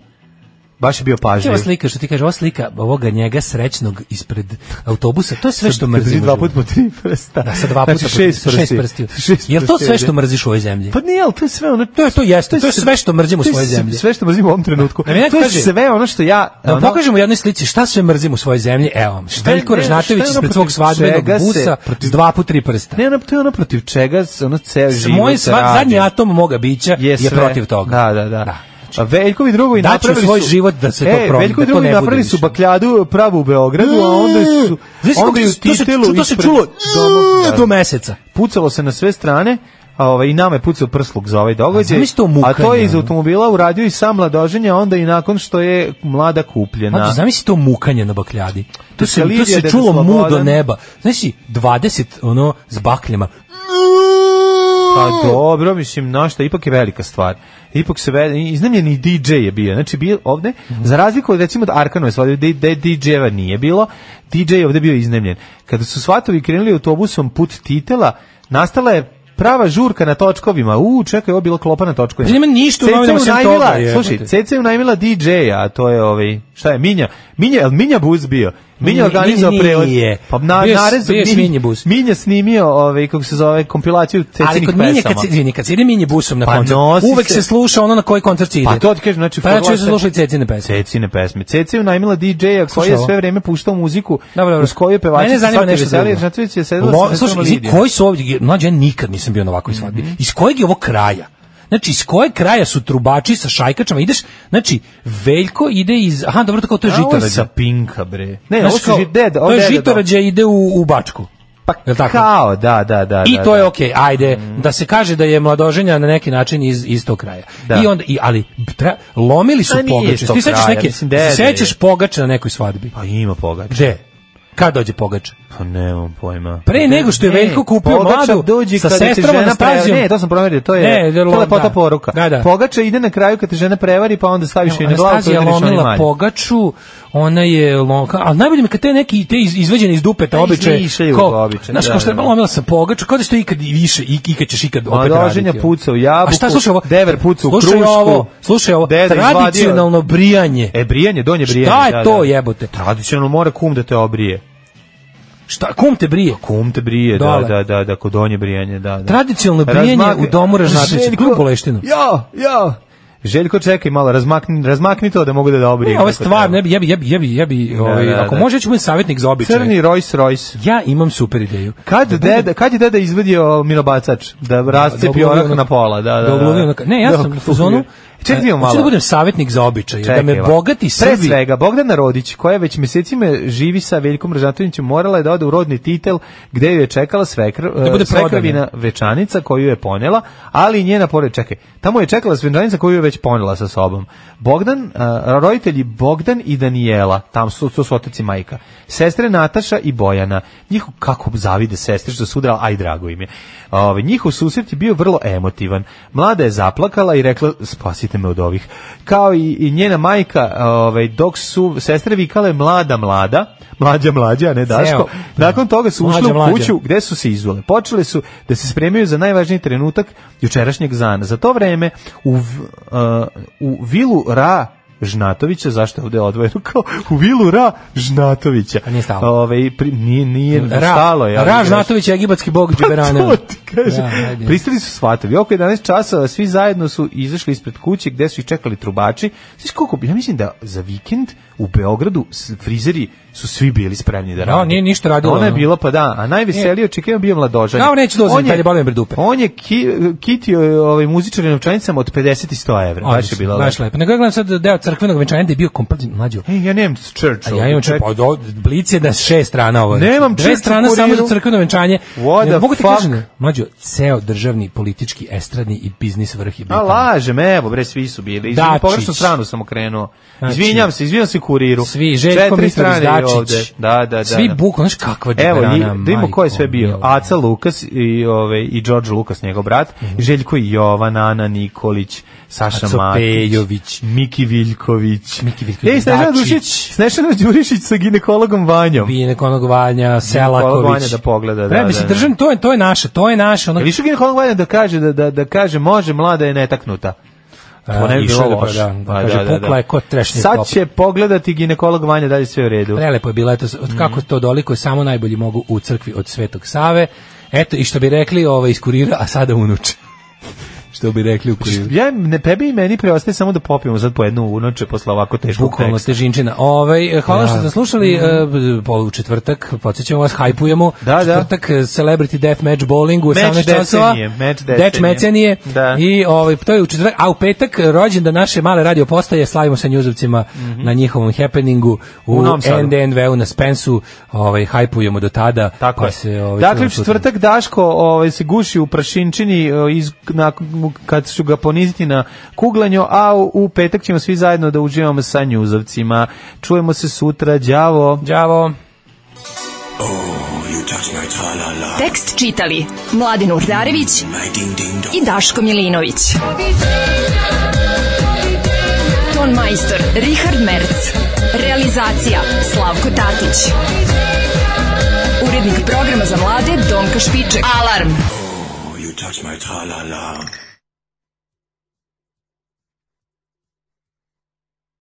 Baš je bio Ti ova pažljiv. slika što ti kaže, ova slika ovoga njega srećnog ispred autobusa, to je sve što mrzim. u Dva životu. puta po tri prsta. Da, sa dva puta Znači, po šest sa šest prstiju. prstiju. Šest Jel to prstiju, sve što da. mrziš u ovoj zemlji? Pa nije, ali to je sve ono... To je to jeste, to je sve- sve što mrzim u to je svojoj sve- zemlji. Sve što mrzim u ovom trenutku. Da mi neko To je kaže- sve ono što ja... Da vam ono- pokažemo u jednoj slici šta sve mrzim u svojoj zemlji. Evo vam, Šta je- Veljko ne, Ražnatović šta je ono ispred svog protiv svadbenog čega se- busa s dva po tri prsta. Ne, ono, to je ono protiv čega se ono ceo život Moj sva, radi. zadnji atom moga bića je, sve. protiv toga. Da, da, da. A Veljko i drugo i Daću napravili svoj su, život da se to E, promeni, Veljko da to i drugo ne bude napravili više. E, su bakljadu pravu u Beogradu, a onda su Znaš kako onda je u se- to se- titelu to se ispred- čulo E, Da, da. do meseca. pucalo se na sve strane, a ovaj, i nama je pucao prsluk za ovaj događaj. A Pa zamisli to mukanje, A to je iz ono. automobila uradio i sam mladoženja, onda i nakon što je mlada kupljena. Znači, zamisli to mukanje na bakljadi. To se, Dekalirija, to se deda čulo mu do Slobodan. neba. Znači, 20 ono, s bakljama. Pa dobro, mislim, našta, ipak je velika stvar. Ipak se ve- iznemljeni DJ je bio. Znači, bio ovde, za razliku od recimo od Arkanove svadbe, gde, gde DJ-eva nije bilo, DJ je ovde bio iznemljen. Kada su svatovi krenuli autobusom put Titela, nastala je prava žurka na točkovima. U, čekaj, ovo je bilo klopa na točkovima. Pa Nema ništa u Ceca je novinama sem unajmila- toga, jebote. Slušaj, Ceca je unajmila DJ-a, a to je ovaj, šta je, Minja? Minja, je li Minja Buz bio? Minja Ni- organizao nije. prelaz. Pa na, Bio je- narezu bio je Minji- Minja Buz. Minja snimio, ovaj, kako se zove, kompilaciju Cecinih Ali kod pesama. minje, kad, se- izvini, kad se ide minje busom na Pa koncert, nosi uvek se- se sluša ono na koji koncert se ide. Pa to ti kažem, znači... Pa znači, forla- su slušali Cecine pesme. Cecine pesme. Ceca je najmila DJ-a koji Slušaj je ovo. sve vreme puštao muziku Dobro, dobro. uz koju pevačica Mene zanima svaki nešto veselije. drugo. Žatović Da je znači sedela Lo- sa Slušaj, Svetom iz- Lidijom. koji su ovdje, mlađe, ja nikad nisam bio na ovakvoj svadbi. Mhm. Iz kojeg je ovo kraja? Znači, iz kojeg kraja su trubači sa šajkačama? Ideš, znači, Veljko ide iz... Aha, dobro, tako to je A, ovo je žitorađe. sa Pinka, bre. Ne, Znaš E, ovo su kao, ži- deda. ovo To je deda da. žitorađe ide u, u bačku. Pa Jel tako? Kao, da, da, da. I da, to da. je okej. Ajde, da se kaže da je mladoženja na neki način iz iz tog kraja. Da. I onda i ali tra, lomili su A nije iz pogače. tog Ti sećaš kraja, neke? mislim, dede se sećaš je. pogače na nekoj svadbi? Pa ima pogača. Gde? Kad dođe pogače? Pa nemam pojma. Pre nego što je Ne, Veljko kupio pogača mladu dođe sa kada ti sestrom žena Anastazijom. prevari- Ne, to sam promerio, to je, Ne, to je lo- lepota da. poruka. Da, da. Pogača ide na kraju kad te žena prevari, pa onda staviš je na glavu, to Anastazija ideš lomila pogaču, ona je lonka, ali najbolje mi kad te neki te iz- izvađene iz dupe, ta Da, običaje, izmišljaju običaje, znaš, da, kao što je da. lomila sam pogaču, kao da što ikad i više, i, ikad ćeš ikad opet Mladoženja raditi. ono. puca u jabuku, A šta, slušaj ovo, dever puca u slušaj krušku. ovo, slušaj ovo, deda izvadio- tradicionalno brijanje. E, brijanje, donje Šta brijanje. je da, to, da. jebote? Tradicionalno mora kum da te obrije. Šta, kum te brije? Kum te brije, da, Dole. da, da, da, kod donje brijanje, da, da. Tradicionalno brijanje Razmakni- u domu Ražnatovića, Željko- grubu leštinu. Jo, jo. Željko, čekaj malo, razmakni, razmakni to da mogu da da obrijem. Ove kako stvar, treba. ne bi, ja bi, ja bi, ja bi, ja bi ovaj, da, ako da. može, ja ću biti savjetnik za običaje. Crni Rolls Royce. Ja imam super ideju. Kad, Da bude- deda, kad je deda izvadio minobacač? Da rascepi Da oglovi orak ono- na pola, da, da. da oglovi ono- Ne, ja Da sam u oglovi. fazonu. Čekaj, e, idemo malo. Hoću da budem savjetnik za običaje, da me ovako. bogati Pre Srbi. svega, Bogdana Rodić, koja već mesecima živi sa Veljkom Ražatovićem, morala je da ode u rodni titel, gde ju je čekala svekr, Da bude eh, svekravina prodana. Večanica, koju je ponela, ali i njena pored, čekaj, tamo je čekala Svečanica koju je već ponela sa sobom. Bogdan, eh, roditelji Bogdan i Danijela, tam su, to su otac i majka, sestre Nataša i Bojana, njih kako zavide sestre što su udrala, aj drago im je. Ove, njihov susret je bio vrlo emotivan. Mlada je zaplakala i rekla, spasite me od ovih. Kao i, i njena majka, ovaj, dok su sestre vikale mlada, mlada, mlađa, mlađa, a ne Daško. Nakon toga su ušle da. Mlađa, u mlađa. kuću gde su se izvole. Počele su da se spremaju za najvažniji trenutak jučerašnjeg zana. Za to vreme u, v- uh, u vilu Ra Žnatovića, zašto je ovde odvojeno kao u vilu Ra Žnatovića. A nije stalo. Ove, pri, nije, nije Ra, da, stalo. je, ali Ra znaš- Žnatović je egipatski bog Džiberana. to ti kaže. Da, ajde. Pristali su shvatili. Oko 11 časova svi zajedno su izašli ispred kuće gde su ih čekali trubači. Znaš koliko, bi- ja mislim da za vikend u Beogradu s- frizeri su svi bili spremni da Da, rade. nije ništa radilo, Ona je ono. E. bila pa da, a najveselije očekivano bio mladožan. Kao neću da uzmem, kad je bolim pred dupe. On je ki, kitio je, ovaj muzičari novčanicama od 50 i 100 evra. Baš je bila Baš lepo. lepo. Nego ja gledam sad deo crkvenog venčanja da je bio kompletno mlađo. E, ja nemam church. A ja imam čep, od, od pa blic je da šest strana ovo. Nemam Dve church u strana samo kuriru. za crkveno venčanje. What Ne, the mogu ti fuck? kažem, mlađo, ceo državni, politički, estradni i biznis vrh je bio. A tamo. lažem, evo bre, svi su bili. Izvini, Dačić. pogrešnu stranu sam okrenuo. Znači- Izvinjam se, izvinjam se kuriru. Svi, Željko Četiri Mitrović strane je Dačić. ovde. Da, da, da. Svi da. bukvalno, znaš kakva Evo, džubrana, i, da vidimo ko je majko sve bio. mila. Aca Lukas i, ove, i George Lukas, njegov brat, Željko Jovan, Ana Nikolić, Saša Mhm. Aco Matić, Pejović. Miki Viljković, Miki Viljković, Ej, Snežana Dačić. Dušić, Snežana Đurišić sa ginekologom Vanjom. Binek onog Vanja, Ginekolog Vanja Selaković. da pogleda, da, Treba da, se da. držan, to je to je naše, to je naše, ono. Ili što ginekolog Vanja da kaže, da, da, da kaže, može, mlada je netaknuta. To ne bi išao bilo da loše. proda, da Pa kaže, pukla je ko trešnje Sad top. će pogledati ginekolog Vanja da li je sve u redu. Prelepo je bilo, Mhm. eto, od kako to doliko samo najbolji mogu u crkvi od Svetog Save. Eto, i što bi rekli, ovaj, iz kurira, a sada unuče. što bi rekli u kuriru. Ja, ne, tebi i meni preostaje samo da popijemo sad po jednu unoče posle ovako teškog Bukvalno teksta. Da. težinčina. Ovaj, eh, hvala što ste slušali. eh, po- u četvrtak, podsjećamo vas, hajpujemo. Da, da. Četvrtak, eh, Celebrity Death Match Bowling u Meč 18 časova. decenije, meč Deč decenije. mecenije. Da. I ovaj, to je u četvrtak. A u petak, eh, rođendan naše male radio postaje, slavimo sa njuzovcima na njihovom happeningu u, Mhm. U u Novom Sadu. NDNV-u na Spensu. Ovaj, hajpujemo do tada. Tako pa je. Se, ovaj, dakle, u čujemo sutra. četvrtak Daško ovaj, se guši u prašinčini o, iz, na, kad su ga poniziti na kuglanju, a u, u petak ćemo svi zajedno da uživamo sa njuzovcima. Čujemo se sutra, đavo. Đavo. Tekst čitali Mladin Urdarević i Daško Milinović. Ton majstor Richard Merc. Realizacija Slavko Tatić. Urednik programa za mlade Donka Špiček. Alarm! You touch my tra-la-la.